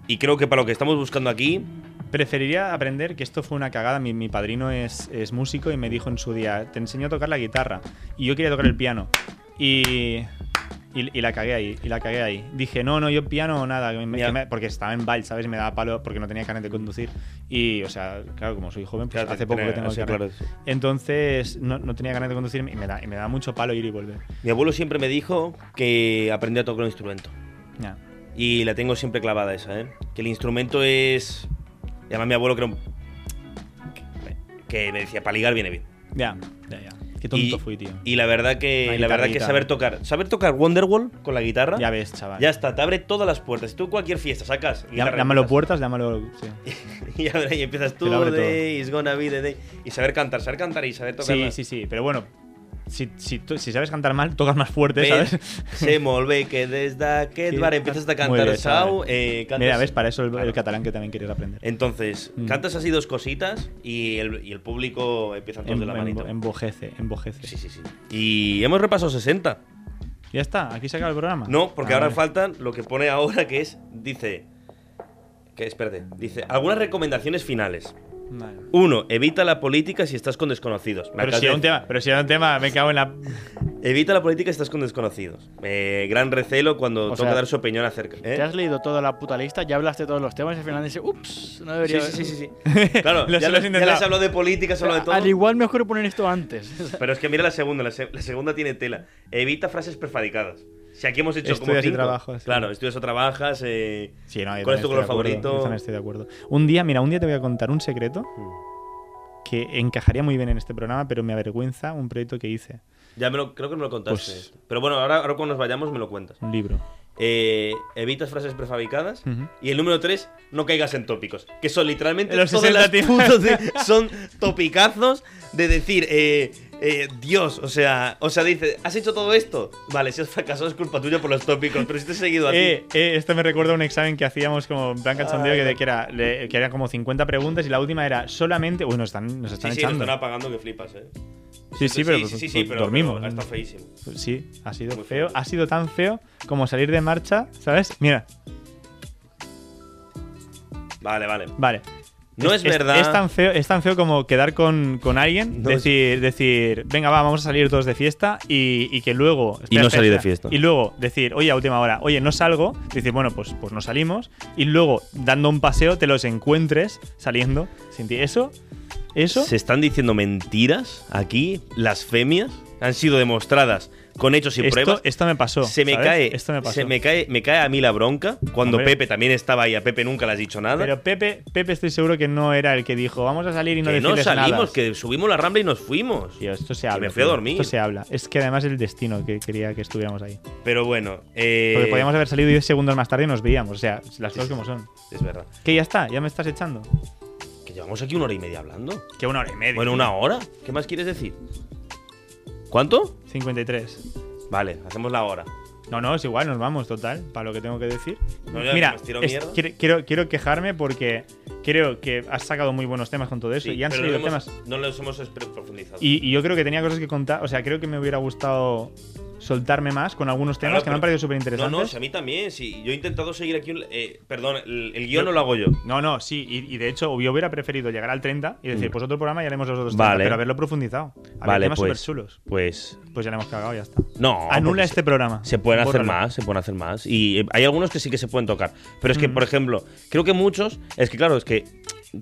Speaker 3: Y creo que para lo que estamos buscando aquí,
Speaker 2: Preferiría aprender que esto fue una cagada. Mi, mi padrino es, es músico y me dijo en su día, te enseñó a tocar la guitarra. Y yo quería tocar el piano. Y, y, y la cagué ahí, y la cagué ahí. Dije, no, no, yo piano o nada. que me-
Speaker 3: Ya.
Speaker 2: que me- porque estaba en baile, ¿sabes? Me daba palo porque no tenía carnet de conducir. Y, o sea, claro, como soy joven, pues
Speaker 3: Claro,
Speaker 2: hace poco
Speaker 3: tener-
Speaker 2: que tengo el
Speaker 3: sí,
Speaker 2: carnet.
Speaker 3: claro, sí.
Speaker 2: Entonces, no, no tenía ganas de conducir y me da, y me da mucho palo ir y volver.
Speaker 3: mi abuelo siempre me dijo que aprendí a tocar un instrumento.
Speaker 2: Ya.
Speaker 3: Y la tengo siempre clavada esa, ¿eh? Que el instrumento es. Y además mi abuelo creo. Que me decía, para ligar viene bien.
Speaker 2: Ya, ya, ya. Qué tonto
Speaker 3: Y-
Speaker 2: fui, tío.
Speaker 3: Y la verdad
Speaker 2: Una
Speaker 3: que. La verdad que
Speaker 2: guitarrita.
Speaker 3: saber tocar. Saber tocar Wonderwall con la guitarra.
Speaker 2: Ya ves, chaval.
Speaker 3: Ya está, te abre todas las puertas. Si tú en cualquier fiesta sacas.
Speaker 2: Llam-
Speaker 3: guitarra y
Speaker 2: llámalo
Speaker 3: empiezas-
Speaker 2: puertas, llámalo. sí.
Speaker 3: Y ahora y empiezas tú,
Speaker 2: Te lo abre todo.
Speaker 3: day, it's gonna be the day. Y saber cantar, saber cantar y saber tocar.
Speaker 2: Sí,
Speaker 3: la-
Speaker 2: sí, sí, pero bueno, si, si, tú- si sabes cantar mal, tocas más fuerte,
Speaker 3: Ves,
Speaker 2: ¿sabes?
Speaker 3: Se molve que desde aquel
Speaker 2: Sí.
Speaker 3: bar empiezas a
Speaker 2: Muy
Speaker 3: cantar
Speaker 2: bien,
Speaker 3: chao.
Speaker 2: chaval.
Speaker 3: Eh, cantas-
Speaker 2: Mira, ves, para eso el,
Speaker 3: Claro. Eh,
Speaker 2: el catalán que también quieres aprender.
Speaker 3: Entonces,
Speaker 2: Mm.
Speaker 3: cantas así dos cositas y el, y el público empieza a todos de la
Speaker 2: Em- em-
Speaker 3: manito.
Speaker 2: embojece, embojece.
Speaker 3: Sí, sí, sí. Y hemos repasado 60.
Speaker 2: Ya está, aquí se acaba el programa.
Speaker 3: No, porque
Speaker 2: Ah,
Speaker 3: ahora
Speaker 2: vale.
Speaker 3: faltan lo que pone ahora que es, dice, que espérate, dice, algunas recomendaciones finales.
Speaker 2: Vale.
Speaker 3: Uno, evita la política si estás con desconocidos. Me
Speaker 2: Pero
Speaker 3: acabas
Speaker 2: si
Speaker 3: de-
Speaker 2: era un tema, pero si era un tema, me cago en la.
Speaker 3: Evita la política si estás con desconocidos. Eh, gran recelo cuando
Speaker 4: O
Speaker 3: toca
Speaker 4: sea,
Speaker 3: dar su opinión acerca. ¿eh?
Speaker 4: Te has leído toda la puta lista, ya hablaste todos los temas y al final dices, ups,
Speaker 3: Sí,
Speaker 4: no debería
Speaker 3: sí, sí,
Speaker 4: haber-
Speaker 3: sí, sí. Claro,
Speaker 2: Lo
Speaker 3: ya,
Speaker 2: has
Speaker 3: les- ya
Speaker 2: intentado.
Speaker 3: les hablo de política, se hablo de todo.
Speaker 4: Al igual mejor poner esto antes.
Speaker 3: Pero es que mira la segunda, la, se- la segunda tiene tela. Evita frases prefabricadas. Si aquí hemos hecho como
Speaker 2: Estudias y
Speaker 3: cinco.
Speaker 2: trabajas, sí.
Speaker 3: Claro, estudias o trabajas. eh,
Speaker 2: Sí, no, yo
Speaker 3: ¿Cuál
Speaker 2: también
Speaker 3: es tu
Speaker 2: estoy de
Speaker 3: color
Speaker 2: acuerdo, yo
Speaker 3: favorito?
Speaker 2: también estoy de acuerdo. Un día, mira, un día te voy a contar un secreto que encajaría muy bien en este programa, pero me avergüenza un proyecto que hice,
Speaker 3: Ya me lo, creo que me lo contaste.
Speaker 2: Pues-
Speaker 3: Pero bueno, ahora, ahora cuando nos vayamos me lo cuentas.
Speaker 2: un libro.
Speaker 3: Eh, evitas frases prefabricadas.
Speaker 2: Ujú.
Speaker 3: Y el número 3, no caigas en tópicos. Que son literalmente
Speaker 2: Los
Speaker 3: todas
Speaker 2: 60
Speaker 3: las
Speaker 2: tiene-
Speaker 3: putas de- son topicazos de decir, eh, eh, Dios, o sea, o sea, dice, ¿has hecho todo esto? Vale, si has fracasado es culpa tuya por los tópicos, pero si te he seguido a ti. Ah,
Speaker 2: Eh, eh, esto me recuerda a un examen que hacíamos como en plan cachondeo
Speaker 3: Ay,
Speaker 2: que, de-
Speaker 3: no.
Speaker 2: que era, le- que eran como 50 preguntas y la última era solamente. Uy, nos están, nos
Speaker 3: Sí,
Speaker 2: están
Speaker 3: sí, nos
Speaker 2: echando.
Speaker 3: están apagando que flipas, eh.
Speaker 2: sí, sí, pero, pues
Speaker 3: sí, sí, sí, pero
Speaker 2: dormimos.
Speaker 3: pero Está feísimo.
Speaker 2: sí, ha sido
Speaker 3: Muy
Speaker 2: feo.
Speaker 3: feo.
Speaker 2: Ha sido tan feo como salir de marcha, ¿sabes? Mira,
Speaker 3: Vale, vale.
Speaker 2: vale.
Speaker 3: No es verdad.
Speaker 2: Es tan feo, es tan feo como quedar con, con alguien,
Speaker 3: No es-
Speaker 2: decir, decir, venga, va, vamos a salir todos de fiesta y, y que luego.
Speaker 3: Y no salir de fiesta.
Speaker 2: Y luego decir, oye, a última hora, oye, no salgo. Decir, bueno, pues, pues no salimos. Y luego, dando un paseo, te los encuentres saliendo sin ti. Eso, eso.
Speaker 3: Se están diciendo mentiras aquí, las femias han sido demostradas con hechos y
Speaker 2: Esto,
Speaker 3: pruebas.
Speaker 2: esto me pasó.
Speaker 3: se me
Speaker 2: ¿sabes?
Speaker 3: cae,
Speaker 2: Esto me pasó.
Speaker 3: se me cae, me cae a mí la bronca cuando
Speaker 2: Hombre.
Speaker 3: Pepe también estaba ahí. A Pepe nunca le has dicho nada.
Speaker 2: Pero Pepe, Pepe estoy seguro que no era el que dijo, vamos a salir y no
Speaker 3: que no
Speaker 2: decirles
Speaker 3: salimos,
Speaker 2: nada.
Speaker 3: que subimos la rambla y nos fuimos.
Speaker 2: Tío, esto se
Speaker 3: Que
Speaker 2: habla.
Speaker 3: me fui a
Speaker 2: tío.
Speaker 3: dormir.
Speaker 2: Esto se habla. Es que además el destino que quería que estuviéramos ahí.
Speaker 3: Pero bueno, eh,
Speaker 2: Porque podíamos haber salido 10 segundos más tarde y nos veíamos. O sea, las
Speaker 3: sí,
Speaker 2: cosas
Speaker 3: sí.
Speaker 2: como son.
Speaker 3: es verdad.
Speaker 2: Que ya está, ya me estás echando.
Speaker 3: Que llevamos aquí una hora y media hablando.
Speaker 2: Que una hora y media.
Speaker 3: Bueno, una hora. ¿Qué más quieres decir? ¿Cuánto?
Speaker 2: 53.
Speaker 3: Vale, hacemos la hora.
Speaker 2: No, no, es igual, nos vamos, total, para lo que tengo que decir.
Speaker 3: No, ya,
Speaker 2: Mira,
Speaker 3: nos tiro
Speaker 2: es-
Speaker 3: mierda.
Speaker 2: quiero, quiero, quiero quejarme porque creo que has sacado muy buenos temas con todo eso
Speaker 3: Sí,
Speaker 2: y han
Speaker 3: pero
Speaker 2: salido
Speaker 3: no hemos-
Speaker 2: temas.
Speaker 3: No los hemos espe- profundizado.
Speaker 2: Y, y yo creo que tenía cosas que contar. O sea, creo que me hubiera gustado soltarme más con algunos temas
Speaker 3: Claro,
Speaker 2: que me han
Speaker 3: pero-
Speaker 2: parecido súper
Speaker 3: No, no, si
Speaker 2: interesantes.
Speaker 3: a mí también. Si yo he intentado seguir aquí. un- eh, perdón, el, el guión no lo hago yo.
Speaker 2: No, no, sí, y, y de hecho yo hubiera preferido llegar al 30 y decir,
Speaker 3: Mm.
Speaker 2: pues otro programa y haremos los otros 30,
Speaker 3: Vale.
Speaker 2: pero haberlo profundizado. Había
Speaker 3: Vale,
Speaker 2: temas
Speaker 3: pues.
Speaker 2: súper chulos.
Speaker 3: Pues.
Speaker 2: Pues ya lo hemos cagado, ya está.
Speaker 3: No. porque
Speaker 2: Anula
Speaker 3: se-
Speaker 2: este programa.
Speaker 3: Se pueden hacer
Speaker 2: Bórralo.
Speaker 3: más, se pueden hacer más. Y eh, hay algunos que sí que se pueden tocar. Pero es que,
Speaker 2: Mm.
Speaker 3: por ejemplo, creo que muchos. Es que, claro, es que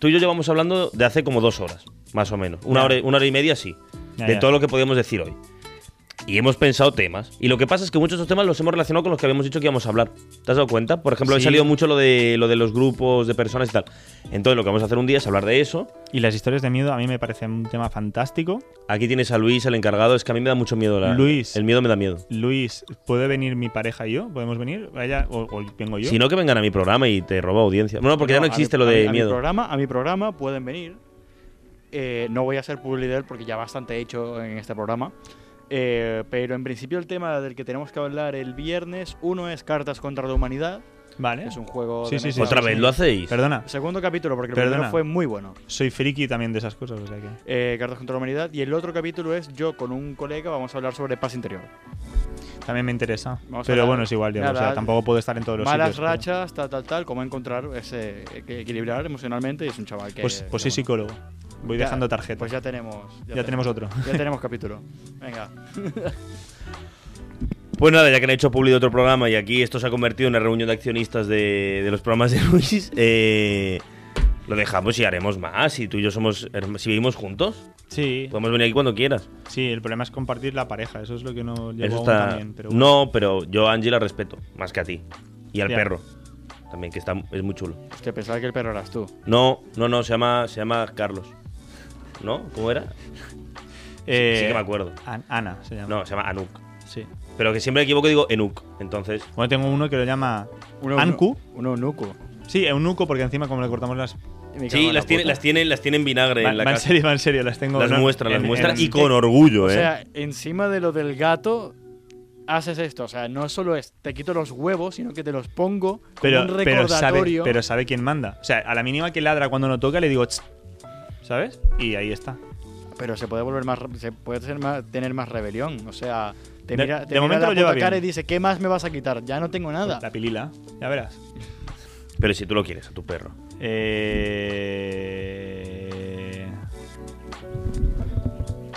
Speaker 3: tú y yo llevamos hablando de hace como dos horas, más o menos. Una,
Speaker 2: Ya.
Speaker 3: hora, una hora y media, sí.
Speaker 2: Ya,
Speaker 3: de
Speaker 2: ya.
Speaker 3: todo lo que podíamos decir hoy. Y hemos pensado temas. Y lo que pasa es que muchos de estos temas los hemos relacionado con los que habíamos dicho que íbamos a hablar. ¿Te has dado cuenta? Por ejemplo, hoy
Speaker 2: Sí.
Speaker 3: salido mucho lo de, lo de los grupos de personas y tal. Entonces, lo que vamos a hacer un día es hablar de eso.
Speaker 2: Y las historias de miedo a mí me parecen un tema fantástico.
Speaker 3: Aquí tienes a Luis, el encargado. Es que a mí me da mucho miedo. La,
Speaker 2: Luis.
Speaker 3: El miedo me da miedo.
Speaker 2: Luis, ¿puede venir mi pareja y yo? ¿Podemos venir? Ella, o, o vengo yo.
Speaker 3: Si no, que vengan a mi programa y te roba audiencia. Bueno, porque ya no
Speaker 4: a mi-
Speaker 3: existe lo
Speaker 4: a mi-
Speaker 3: de
Speaker 4: a mi
Speaker 3: miedo.
Speaker 4: programa, a mi programa pueden venir. Eh, no voy a hacer publicidad porque ya bastante he hecho en este programa. Eh, pero en principio el tema del que tenemos que hablar el viernes, uno es Cartas contra la Humanidad,
Speaker 2: vale.
Speaker 4: que es un juego
Speaker 2: Sí,
Speaker 4: de
Speaker 2: sí,
Speaker 4: mesa.
Speaker 2: sí.
Speaker 3: Otra vez lo hacéis.
Speaker 2: Perdona,
Speaker 4: Segundo capítulo, porque el
Speaker 2: Perdona.
Speaker 4: primero fue muy bueno.
Speaker 2: soy friki también de esas cosas. o sea que-
Speaker 4: eh, Cartas contra la Humanidad. Y el otro capítulo es yo con un colega vamos a hablar sobre paz interior.
Speaker 2: También me interesa.
Speaker 4: Vamos a
Speaker 2: pero
Speaker 4: hablar-
Speaker 2: bueno, es igual, Diego,
Speaker 4: nada,
Speaker 2: o sea, tampoco puedo estar en todos los
Speaker 4: Malas
Speaker 2: sitios, pero-
Speaker 4: rachas, tal, tal, tal, cómo encontrar ese eh, que equilibrar emocionalmente. Y es un chaval que.
Speaker 2: Pues, pues soy
Speaker 4: que, bueno,
Speaker 2: psicólogo. Voy
Speaker 4: ya-
Speaker 2: dejando tarjetas.
Speaker 4: Pues
Speaker 2: ya,
Speaker 4: ya tenemos.
Speaker 2: tenemos otro.
Speaker 4: Ya tenemos capítulo. Venga.
Speaker 3: Pues nada, ya que han hecho publi de otro programa y aquí esto se ha convertido en una reunión de accionistas de, de los programas de Luis, eh, lo dejamos y haremos más. Si tú y yo somos. herma- Si vivimos juntos,
Speaker 2: Sí,
Speaker 3: podemos venir aquí cuando quieras.
Speaker 2: sí, el problema es compartir la pareja. Eso es lo que no llevo
Speaker 3: Eso
Speaker 2: aún
Speaker 3: está.
Speaker 2: también. Pero bueno.
Speaker 3: No, pero yo a Angie la respeto, más que a ti. Y al
Speaker 2: Ya.
Speaker 3: perro. También, que está, es muy chulo.
Speaker 4: Hostia, pensaba que el perro eras tú.
Speaker 3: No, no, no, se llama, se llama Carlos. ¿No? ¿Cómo era?
Speaker 2: Eh,
Speaker 3: sí que me acuerdo.
Speaker 2: An- Ana se llama.
Speaker 3: No, se llama Anuk.
Speaker 2: Sí.
Speaker 3: Pero que siempre me equivoco y digo Enuk. Entonces,
Speaker 2: Bueno, tengo uno que lo llama
Speaker 4: Uno-
Speaker 2: Anku.
Speaker 4: Uno eunuco.
Speaker 2: Sí, eunuco, porque encima como le cortamos las...
Speaker 4: Y me cago
Speaker 3: sí,
Speaker 4: en
Speaker 3: las
Speaker 4: la
Speaker 3: tiene,
Speaker 4: puta.
Speaker 3: las, tiene, las tiene en vinagre
Speaker 2: va,
Speaker 3: en la
Speaker 2: va en
Speaker 3: casa.
Speaker 2: serio, va en serio, las tengo...
Speaker 3: Las
Speaker 2: no,
Speaker 3: muestra, las
Speaker 2: en-
Speaker 3: muestra
Speaker 2: en-
Speaker 3: y con orgullo,
Speaker 4: O
Speaker 3: ¿eh?
Speaker 4: sea, encima de lo del gato, haces esto. O sea, no solo es te quito los huevos, sino que te los pongo como
Speaker 2: Pero,
Speaker 4: un
Speaker 2: pero, sabe,
Speaker 4: recordatorio.
Speaker 2: pero sabe quién manda. O sea, a la mínima que ladra cuando no toca, le digo... "Tss", ¿Sabes? Y ahí está.
Speaker 4: Pero se puede volver más. re- Se puede ser más- tener más rebelión. O sea, te
Speaker 2: De-
Speaker 4: mira,
Speaker 2: de
Speaker 4: te mira
Speaker 2: momento
Speaker 4: la
Speaker 2: lo lleva
Speaker 4: puta cara y
Speaker 2: bien. Pues
Speaker 4: dice: ¿Qué más me vas a quitar? Ya no tengo nada.
Speaker 2: La pilila, ya verás.
Speaker 3: Pero si tú lo quieres, a tu perro.
Speaker 2: Eh...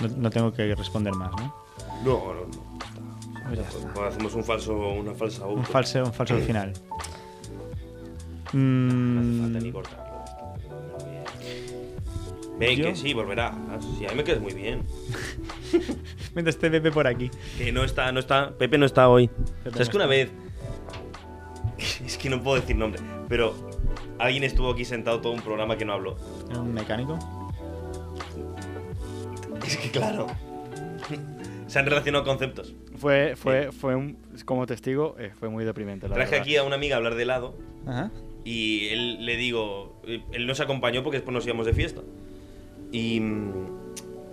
Speaker 2: No, no tengo que responder más, ¿no?
Speaker 3: No, no, no.
Speaker 2: Pues ya está.
Speaker 3: hacemos un falso, una falsa
Speaker 2: Un falso, un falso final. Mm,
Speaker 3: Ven,
Speaker 2: Yo-
Speaker 3: que sí, volverá. Ah, Sí, a mí me quedas muy bien.
Speaker 2: mientras esté Pepe por aquí.
Speaker 3: Que no está, no está. Pepe no está hoy.
Speaker 2: Pepe
Speaker 3: ¿Sabes
Speaker 2: no
Speaker 3: que una
Speaker 2: está.
Speaker 3: vez. Es que no puedo decir nombre, pero alguien estuvo aquí sentado todo un programa que no habló.
Speaker 2: ¿Era un mecánico?
Speaker 3: Es que claro. Se han relacionado conceptos.
Speaker 4: Fue, fue, fue un- como testigo, eh, fue muy deprimente. La
Speaker 3: Traje
Speaker 4: verdad.
Speaker 3: aquí a una amiga a hablar de helado
Speaker 2: Ajá.
Speaker 3: Y él le digo, él nos acompañó porque después nos íbamos de fiesta. Y, mm,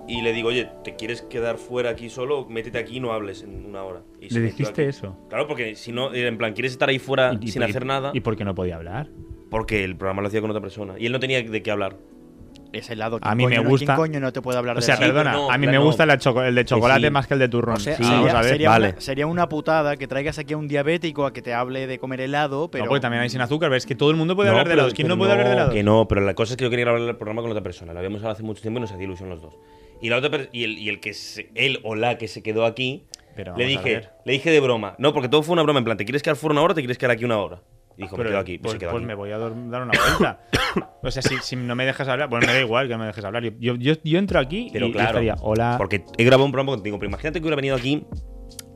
Speaker 3: y le digo, oye, ¿te quieres quedar fuera aquí solo? Métete aquí y no hables en una hora. Y se
Speaker 2: ¿Le
Speaker 3: metió
Speaker 2: dijiste
Speaker 3: aquí.
Speaker 2: eso?
Speaker 3: Claro, porque si no, eh, en plan, ¿quieres estar ahí fuera
Speaker 2: Y- y-
Speaker 3: sin
Speaker 2: y-
Speaker 3: hacer nada?
Speaker 2: ¿Y por qué no podía hablar?
Speaker 3: Porque el programa lo hacía con otra persona. Y él no tenía de qué hablar.
Speaker 4: Es helado.
Speaker 2: A mí me gusta-
Speaker 4: ¿Quién coño no te puede hablar
Speaker 2: O
Speaker 4: de
Speaker 2: sea,
Speaker 4: helado?
Speaker 3: pero-
Speaker 2: perdona,
Speaker 3: no,
Speaker 2: a mí me
Speaker 3: claro, no.
Speaker 2: gusta la choco- el de chocolate
Speaker 3: sí.
Speaker 2: más que el de turrón.
Speaker 4: O sea,
Speaker 2: Sí,
Speaker 4: sería,
Speaker 2: vamos a ver.
Speaker 4: sería
Speaker 3: vale.
Speaker 4: una, sería una putada que traigas aquí a un diabético a que te hable de comer helado, pero.
Speaker 2: No, porque también hay sin azúcar, ¿ves? Que todo el mundo puede hablar de
Speaker 3: pero-
Speaker 2: helados. ¿Quién
Speaker 3: pero
Speaker 2: no puede hablar de helados?
Speaker 3: Que no, pero la cosa es que yo quería grabar el programa con otra persona. Lo habíamos hablado hace mucho tiempo y nos hacía ilusión los dos. Y, la otra per- y, el, y el que se- él o la que se quedó aquí,
Speaker 2: Pero
Speaker 3: le
Speaker 2: vamos a
Speaker 3: dije,
Speaker 2: ver.
Speaker 3: le dije de broma. No, porque todo fue una broma. En plan, ¿te quieres quedar fuera una hora o te quieres quedar aquí una hora? Y dijo, me
Speaker 2: Pero,
Speaker 3: quedo aquí. y
Speaker 2: pues,
Speaker 3: se quedó
Speaker 2: pues
Speaker 3: aquí.
Speaker 2: me voy a dor- dar una vuelta. o sea, si, si no me dejas hablar, bueno, me da igual que no me dejes hablar. Yo, yo, yo entro aquí
Speaker 3: Pero
Speaker 2: y, y
Speaker 3: claro,
Speaker 2: estaría, hola.
Speaker 3: Porque he grabado un programa contigo, pero imagínate que hubiera venido aquí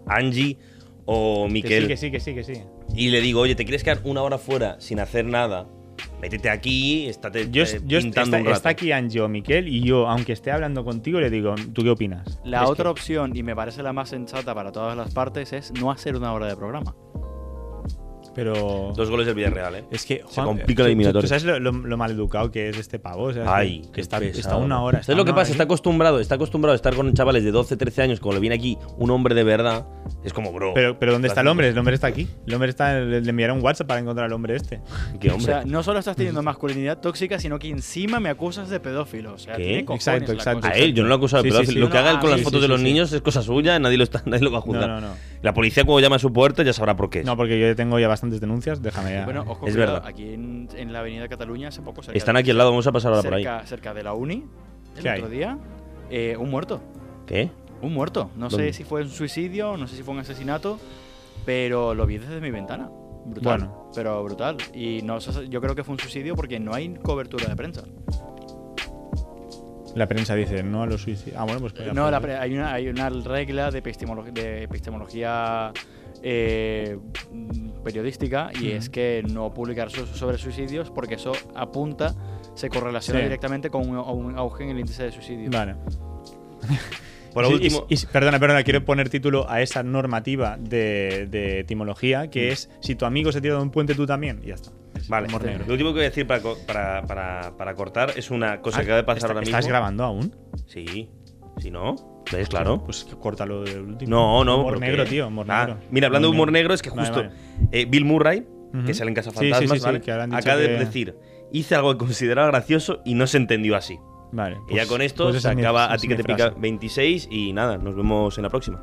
Speaker 3: Angie o
Speaker 2: que
Speaker 3: Miquel
Speaker 2: sí, que sí, que sí, que sí.
Speaker 3: y le digo, oye, ¿te quieres quedar una hora fuera sin hacer nada? Métete aquí, estate
Speaker 2: Yo,
Speaker 3: eh,
Speaker 2: yo- está,
Speaker 3: pintando un rato".
Speaker 2: está aquí Angie o Miquel y yo, aunque esté hablando contigo, le digo, ¿tú qué opinas?
Speaker 4: La
Speaker 2: Es
Speaker 4: otra opción, y me parece la más sensata para todas las partes, es no hacer una hora de programa.
Speaker 2: que- pero.
Speaker 3: Dos goles del Villarreal, ¿eh.
Speaker 2: Es que, Juan,
Speaker 3: complica
Speaker 2: tú- tú-
Speaker 3: la eliminatoria.
Speaker 2: ¿Tú sabes lo, lo- lo maleducado que es este pavo? O sea, es
Speaker 3: Ay,
Speaker 2: que
Speaker 3: qué
Speaker 2: está,
Speaker 3: pesado.
Speaker 2: está una hora. ¿eh?
Speaker 3: ¿Sabes lo que pasa? Está
Speaker 2: con
Speaker 3: acostumbrado, está acostumbrado a estar con chavales de 12, 13 años, como le viene aquí un hombre de verdad, Es como, bro.
Speaker 2: Pero, pero ¿dónde está el
Speaker 3: Bastante.
Speaker 2: hombre? El hombre está aquí. El hombre está. Le le enviaron un WhatsApp para encontrar al hombre Mm. este.
Speaker 3: ¿Qué
Speaker 4: O
Speaker 3: hombre?
Speaker 4: sea, no solo estás teniendo masculinidad tóxica, sino que encima me acusas de pedófilo. O sea,
Speaker 3: ¿Qué?
Speaker 4: tiene cojones
Speaker 2: Exacto,
Speaker 4: la
Speaker 2: exacto.
Speaker 4: cosa.
Speaker 3: a él, yo no lo he acusado de
Speaker 2: Sí, sí,
Speaker 3: pedófilo.
Speaker 2: sí.
Speaker 3: Lo que
Speaker 4: No,
Speaker 3: haga él con
Speaker 4: ah,
Speaker 3: las
Speaker 4: sí,
Speaker 3: fotos
Speaker 2: sí,
Speaker 3: de los
Speaker 2: sí.
Speaker 3: niños es cosa suya, nadie lo, está, nadie lo va a juzgar.
Speaker 2: No, no, no.
Speaker 3: La policía, cuando llame a su puerta, ya sabrá por qué. es.
Speaker 2: No, porque yo tengo ya bastantes denuncias. Déjame ya.
Speaker 4: Bueno, ojo,
Speaker 3: Es
Speaker 4: cuidado,
Speaker 3: verdad.
Speaker 4: aquí en, en la avenida Cataluña hace poco cerca
Speaker 3: Están
Speaker 4: de-
Speaker 3: aquí al lado, vamos a pasar ahora por ahí.
Speaker 4: cerca, cerca de la uni, el
Speaker 2: ¿Qué hay?
Speaker 4: otro día, eh, un muerto.
Speaker 3: ¿Qué?
Speaker 4: Un muerto. No
Speaker 3: ¿Dónde?
Speaker 4: sé si fue un suicidio, no sé si fue un asesinato, pero lo vi desde mi ventana. Brutal.
Speaker 2: Bueno.
Speaker 4: Pero brutal. Y no sé- yo creo que fue un suicidio porque no hay cobertura de prensa.
Speaker 2: La prensa dice no a los suicidios. Ah, bueno, pues. que
Speaker 4: No, la
Speaker 2: prensa.
Speaker 4: pre- hay, una, hay una regla de, epistemolo- de epistemología eh, mm, periodística y
Speaker 2: Ujú.
Speaker 4: es que no publicar so- sobre suicidios porque eso apunta, se correlaciona
Speaker 2: Sí.
Speaker 4: directamente con un, a un auge en el índice de suicidio.
Speaker 2: Vale.
Speaker 3: Por
Speaker 2: Sí,
Speaker 3: último,
Speaker 2: y- y- perdona, perdona, quiero poner título a esa normativa de, de etimología que
Speaker 3: Mm.
Speaker 2: es si tu amigo se tira de un puente, tú también. Y ya está.
Speaker 3: vale.
Speaker 2: Humor negro.
Speaker 3: Lo último que voy a decir para, co- para, para, para cortar es una cosa que acaba de pasar
Speaker 2: Ah, ¿Está-
Speaker 3: ahora mismo.
Speaker 2: ¿Estás grabando aún?
Speaker 3: Sí. Si no, ¿ves? Claro.
Speaker 2: Pues que córtalo del último.
Speaker 3: No, no.
Speaker 2: Humor
Speaker 3: porque-
Speaker 2: negro, tío. Humor
Speaker 3: Ah,
Speaker 2: negro.
Speaker 3: Mira, hablando de humor negro, es que
Speaker 2: Vale,
Speaker 3: justo
Speaker 2: vale.
Speaker 3: eh, Bill Murray,
Speaker 2: Ujú.
Speaker 3: que sale en Casa
Speaker 2: Sí, sí, sí,
Speaker 3: Fantasmas,
Speaker 2: sí,
Speaker 3: ¿vale?
Speaker 2: que ahora han dicho
Speaker 3: acaba de
Speaker 2: que-
Speaker 3: decir, hice algo que consideraba gracioso y no se entendió así.
Speaker 2: Vale.
Speaker 3: y ya
Speaker 2: pues-
Speaker 3: con esto
Speaker 2: pues
Speaker 3: se
Speaker 2: esa es mi-
Speaker 3: acaba
Speaker 2: esa
Speaker 3: a
Speaker 2: es
Speaker 3: ti que
Speaker 2: mi
Speaker 3: te
Speaker 2: frase.
Speaker 3: pica 26 y nada, nos vemos en la próxima.